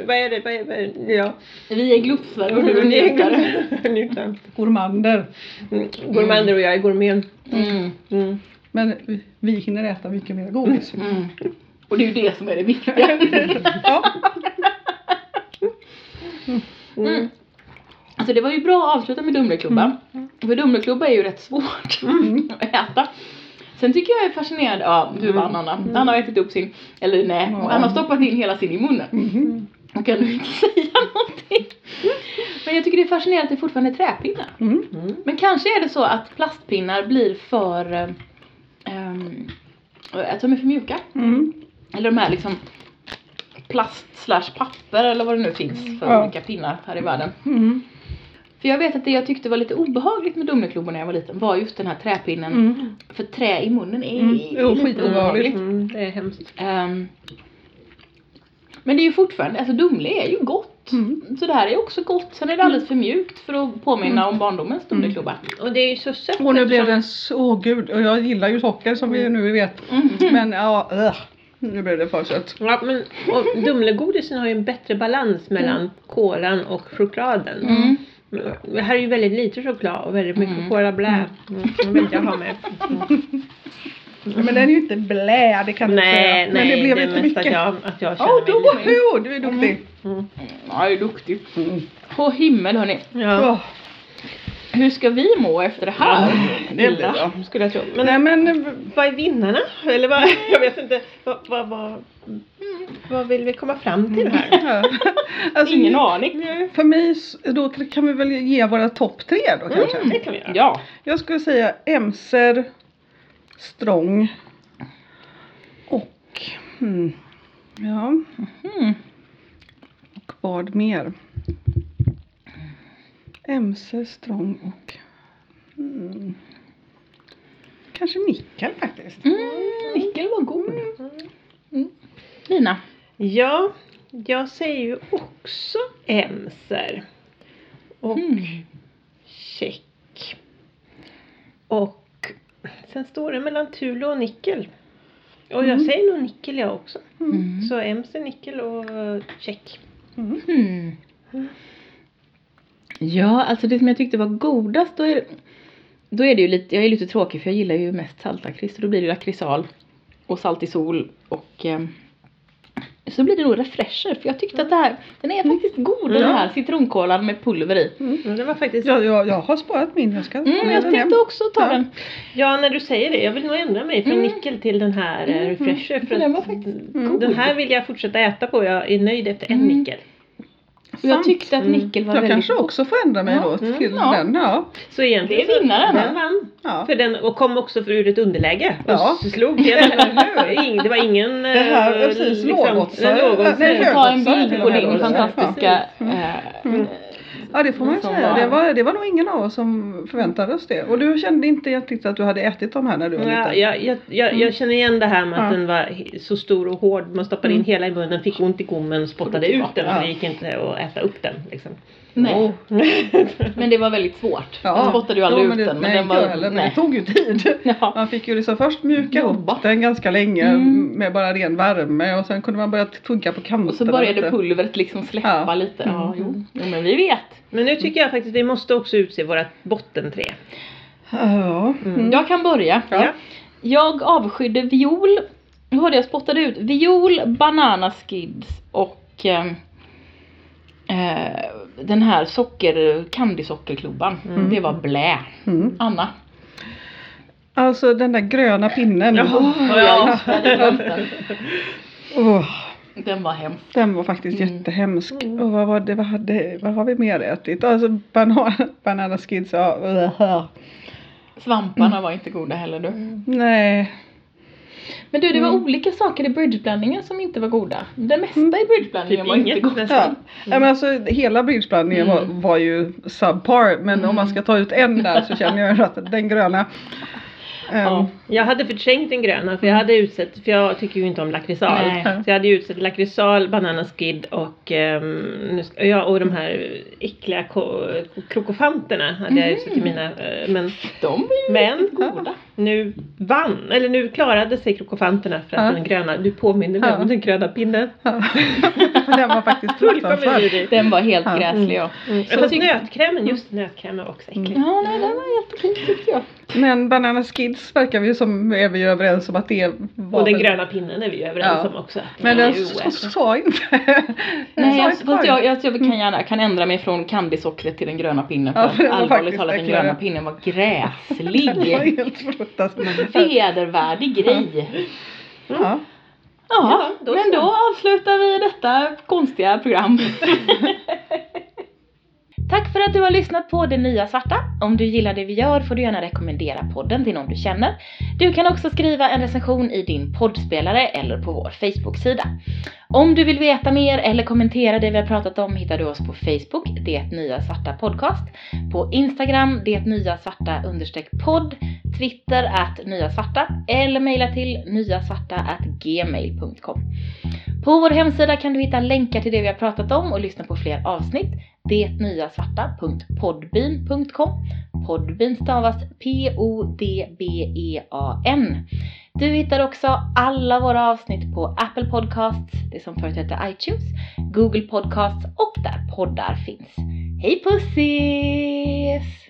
Speaker 3: vad är det? Vad är, vad är det? Ja.
Speaker 1: Vi är glufsare och du är nekare.
Speaker 3: njutaren.
Speaker 2: Gourmander.
Speaker 3: Mm. Gourmander och jag är gourmet.
Speaker 1: Mm.
Speaker 3: Mm.
Speaker 2: Men vi- vi hinner äta mycket mer godis.
Speaker 1: Mm. Och det är ju det som är det viktiga.
Speaker 2: Ja.
Speaker 3: Mm.
Speaker 1: Mm. Alltså det var ju bra att avsluta med Dumleklubba. För Dumleklubba är ju rätt svårt att äta. Sen tycker jag är fascinerad, ja du vann Anna. Anna har ätit upp sin, eller nej,
Speaker 2: Ja.
Speaker 1: Anna har stoppat in hela sin i munnen.
Speaker 2: Mhm.
Speaker 1: Hon kan nu inte säga någonting. Men jag tycker det är fascinerande att det fortfarande är träpinnar.
Speaker 2: Mm.
Speaker 3: Mm.
Speaker 1: Men kanske är det så att plastpinnar blir för, eh, ehm, att de är för mjuka.
Speaker 2: Mm.
Speaker 1: Eller de här liksom plast slash papper eller vad det nu finns för
Speaker 2: Ja.
Speaker 1: olika pinnar här i världen.
Speaker 2: Mm.
Speaker 1: För jag vet att det jag tyckte var lite obehagligt med Dumleklubbor när jag var liten var just den här träpinnen.
Speaker 2: Mm.
Speaker 1: För trä i munnen är
Speaker 2: Mm.
Speaker 1: är
Speaker 2: Jo,
Speaker 1: lite
Speaker 2: skitobehagligt.
Speaker 1: obehagligt.
Speaker 3: Mm. Det är hemskt.
Speaker 1: Ehm, men det är ju fortfarande, alltså Dumle är ju gott.
Speaker 2: Mm.
Speaker 1: Så det här är också gott. Sen är det alldeles för mjukt för att påminna om barndomens Dumleklubba.
Speaker 3: Och det är ju så sött.
Speaker 2: Och nu blev
Speaker 3: eftersom-
Speaker 2: den så, Mm. åh gud, och jag gillar ju socker som vi nu vet. Men ja, äh, nu blev det för sött.
Speaker 3: Ja, men och Dumlegodisen har ju en bättre balans
Speaker 2: Mm.
Speaker 3: mellan kolan och chokladen.
Speaker 1: Mm.
Speaker 3: Men Det här är ju väldigt lite choklad och väldigt mycket
Speaker 1: Mm.
Speaker 3: kola blä. Mm. Det vill inte jag ha med. Mm.
Speaker 2: Men den är ju inte blä, det kan du inte säga.
Speaker 3: Nej,
Speaker 2: Men
Speaker 3: nej,
Speaker 2: det blev lite
Speaker 3: är mest
Speaker 2: mycket.
Speaker 3: att jag, att jag
Speaker 2: Åh,
Speaker 3: känner mig lite...
Speaker 2: woho, du är duktig.
Speaker 1: Ja, jag är duktig.
Speaker 2: Mm.
Speaker 1: På himmel hörni.
Speaker 3: Ja.
Speaker 2: Åh,
Speaker 1: Hur ska vi må efter det här?
Speaker 2: det blir bra.
Speaker 3: Illa, skulle jag tro. Men eh,
Speaker 2: Nej men, eh, v-
Speaker 3: vad är vinnarna? Eller vad, jag vet inte. Vad, vad, vad, vad vill vi komma fram till här?
Speaker 2: ja. alltså,
Speaker 1: Ingen aning.
Speaker 2: För mig, s- då kan vi väl ge våra topp tre då kanske.
Speaker 3: Mm, det kan vi göra.
Speaker 1: Ja.
Speaker 2: Jag skulle säga emser, strång och hmm, ja,
Speaker 1: Mm.
Speaker 2: och vad mer? Emser, strång och hmm, kanske mickel faktiskt.
Speaker 1: Mm, Nickel var god. Mm. Lina.
Speaker 3: Ja, jag säger ju också emser. Och check. Och sen står det mellan Thule och Nickel. Och jag
Speaker 2: Mm.
Speaker 3: säger nog Nickel jag också.
Speaker 1: Mm.
Speaker 3: Så MC Nickel och eh, check.
Speaker 2: Mm.
Speaker 1: Mm.
Speaker 3: Mm.
Speaker 1: Ja, alltså det som jag tyckte var godast då är, då är det ju lite, jag är lite tråkig för jag gillar ju mest saltakris och då blir det lakritsal och saltig sol och ehm, så blir det nog refresher för jag tyckte att det här, den är faktiskt god den
Speaker 3: Ja.
Speaker 1: här citronkolan med pulver i.
Speaker 3: Men det var faktiskt... Ja.
Speaker 2: Jag, jag, jag har sparat min, jag ska
Speaker 1: Mm, jag
Speaker 2: den hem.
Speaker 1: tänkte också ta
Speaker 2: Ja.
Speaker 1: den.
Speaker 3: när du säger det. Jag vill nog ändra mig från
Speaker 1: Mm.
Speaker 3: Nickel till den här eh, Refresher. För
Speaker 1: Den
Speaker 3: att
Speaker 1: var faktiskt
Speaker 2: god.
Speaker 3: Den här vill jag fortsätta äta på. Jag är nöjd efter en
Speaker 1: Mm.
Speaker 3: Nickel.
Speaker 1: Och jag
Speaker 2: Sant.
Speaker 1: tyckte att
Speaker 3: Mm.
Speaker 1: nickel var
Speaker 2: Jag
Speaker 1: väldigt
Speaker 2: kanske
Speaker 1: god.
Speaker 2: också får ändra mig
Speaker 1: Ja.
Speaker 2: då
Speaker 3: Mm,
Speaker 2: till
Speaker 1: ja.
Speaker 2: den. Ja.
Speaker 3: Så egentligen
Speaker 1: Det är vinnaren,
Speaker 3: Så,
Speaker 1: va?
Speaker 3: den vann.
Speaker 2: Ja.
Speaker 3: För den, och kom också för ur ett underläge. Och
Speaker 2: Ja.
Speaker 3: slog det.
Speaker 2: Eller
Speaker 3: Ing- det var ingen... eh, liksom-
Speaker 2: Det här, precis, lågoddsare.
Speaker 3: Nej,
Speaker 2: Nej,
Speaker 1: Ta en
Speaker 2: högoddsare till
Speaker 1: bild
Speaker 2: och
Speaker 1: på
Speaker 2: med
Speaker 1: din
Speaker 2: då, eller?
Speaker 1: fantastiska
Speaker 3: Ja,
Speaker 1: eh,
Speaker 2: Mm. Ja det får man ju
Speaker 1: Som
Speaker 2: säga.
Speaker 1: var-
Speaker 2: Det var, det var nog ingen av oss som förväntade oss det. Och du kände inte riktigt att du hade ätit de här när du var
Speaker 3: Ja,
Speaker 2: liten?
Speaker 3: jag, jag, jag, jag känner igen det här med att
Speaker 2: Mm. Ja. Mm.
Speaker 3: den var he- så stor och hård. Man stoppade in hela i munnen, fick ont i gommen, spottade ut den.
Speaker 2: Ja.
Speaker 3: för Det gick inte att äta upp den. Liksom.
Speaker 1: Nej, men det var väldigt svårt.
Speaker 2: Mm. Ja.
Speaker 1: Jag spottade ju aldrig
Speaker 2: Jo,
Speaker 1: ut
Speaker 2: men det-
Speaker 1: den. Men
Speaker 2: nej,
Speaker 1: den
Speaker 2: inte
Speaker 1: var...
Speaker 2: jag heller, men det tog ju tid.
Speaker 1: Ja.
Speaker 2: Man fick ju liksom först mjuka
Speaker 1: Jobba.
Speaker 2: upp den ganska länge
Speaker 1: Mm.
Speaker 2: med bara ren värme och sen kunde man börja tugga på kanterna.
Speaker 1: Och så började
Speaker 2: lite.
Speaker 1: pulvret liksom släppa
Speaker 2: Ja.
Speaker 1: lite. Ja,
Speaker 2: Mm.
Speaker 1: jo. jo, men vi vet.
Speaker 3: Men nu tycker jag faktiskt att vi måste också utse vårat bottenträ.
Speaker 2: Ja. Mm.
Speaker 1: Jag kan börja.
Speaker 2: Ja.
Speaker 1: Jag avskydde viol. Nu hörde jag spottade ut. Viol, banana skids och eh, eh, den här socker, candysockerklubban.
Speaker 3: Mm.
Speaker 1: Det var blä.
Speaker 2: Mm.
Speaker 1: Anna.
Speaker 2: Alltså den där gröna pinnen.
Speaker 3: Ja.
Speaker 1: Jag hade glömt den.
Speaker 2: Åh,
Speaker 1: Den var hemsk.
Speaker 2: den var faktiskt
Speaker 1: Mm.
Speaker 2: jättehemsk. Och vad, var det, vad, hade, vad har vi mer ätit? Alltså banan, banana skids, ja.
Speaker 1: Mm.
Speaker 2: Ugh.
Speaker 1: Svamparna var inte goda heller du.
Speaker 2: Mm. Nej.
Speaker 1: Men du, det var olika saker i bridgeblandningen som inte var goda. Det mesta i bridgeblandningen
Speaker 3: Typ
Speaker 1: var inte
Speaker 3: inget
Speaker 1: gott.
Speaker 3: nästan.
Speaker 2: Ja. Nej, men alltså, hela bridgeblandningen
Speaker 1: Mm.
Speaker 2: var, var ju subpar men om man ska ta ut en där så känner jag att den gröna. ehm,
Speaker 1: Ja.
Speaker 3: Jag hade förträngt den gröna för jag
Speaker 2: Mm.
Speaker 3: hade utsett, för jag tycker ju inte om lakritsal.
Speaker 1: Nej.
Speaker 3: Så jag hade ju utsett lakritsal, bananaskid och, ehm, nu ska, ja, och de här äckliga ko, krokofanterna hade
Speaker 2: Mm.
Speaker 3: jag utsett i
Speaker 1: Mhm.
Speaker 3: mina. eh, Men,
Speaker 1: De är ju
Speaker 3: Men-
Speaker 1: riktigt goda.
Speaker 3: nu vann, eller nu klarade sig krokofanterna för att
Speaker 2: Ja.
Speaker 3: den gröna, du påminner mig
Speaker 2: Ja.
Speaker 3: om den gröna pinnen.
Speaker 2: Ja. den var faktiskt
Speaker 3: Fullkomligt
Speaker 2: fruktansvärd.
Speaker 3: vidrig.
Speaker 1: Den var helt
Speaker 2: Ja.
Speaker 1: gräslig ja.
Speaker 3: Mm.
Speaker 1: Så
Speaker 3: Fast
Speaker 1: tyck-
Speaker 3: nötkrämen, just
Speaker 2: Mm.
Speaker 3: nötkrämen var också äcklig.
Speaker 1: Ja, nej, den var helt okej tyckte jag.
Speaker 2: Men Banana Skids verkar vi ju som, är vi ju överens om att det var
Speaker 3: Och den
Speaker 2: väl-
Speaker 3: gröna pinnen är alltså. vi ju överens
Speaker 2: Ja.
Speaker 3: om också.
Speaker 2: Men
Speaker 3: Den
Speaker 2: den
Speaker 3: är ju
Speaker 2: s-
Speaker 3: oätlig.
Speaker 2: sa inte. den
Speaker 1: Nej,
Speaker 2: sa
Speaker 1: jag, fast
Speaker 2: inte korv.
Speaker 1: jag, jag, jag kan gärna kan ändra mig från candysockret till den gröna pinnen. För
Speaker 2: Ja, för den var
Speaker 1: allvarligt
Speaker 2: faktiskt
Speaker 1: talat, den
Speaker 2: äckligare.
Speaker 1: gröna pinnen var
Speaker 2: Den var
Speaker 1: gräslig.
Speaker 2: helt fruktansvärd.
Speaker 1: Vedervärdig grej.
Speaker 2: Ja.
Speaker 1: Ja,
Speaker 3: Ja, då
Speaker 1: men
Speaker 3: så.
Speaker 1: då avslutar vi detta konstiga program. Tack för att du har lyssnat på Det Nya Svarta. Om du gillar det vi gör får du gärna rekommendera podden till någon du känner. Du kan också skriva en recension i din poddspelare eller på vår Facebook-sida. Om du vill veta mer eller kommentera det vi har pratat om hittar du oss på Facebook, Det Nya Svarta Podcast, på Instagram, Det Nya Svarta understreck podd, Twitter att Nya Svarta eller mejla till nyasvarta at gmail.com. På vår hemsida kan du hitta länkar till det vi har pratat om och lyssna på fler avsnitt. Detnyasvarta.podbean.com Podbean stavas P-O-D-B-E-A-N. E Du hittar också alla våra avsnitt på Apple Podcasts, det som förut hette iTunes, Google Podcasts och där poddar finns. Hej pussis!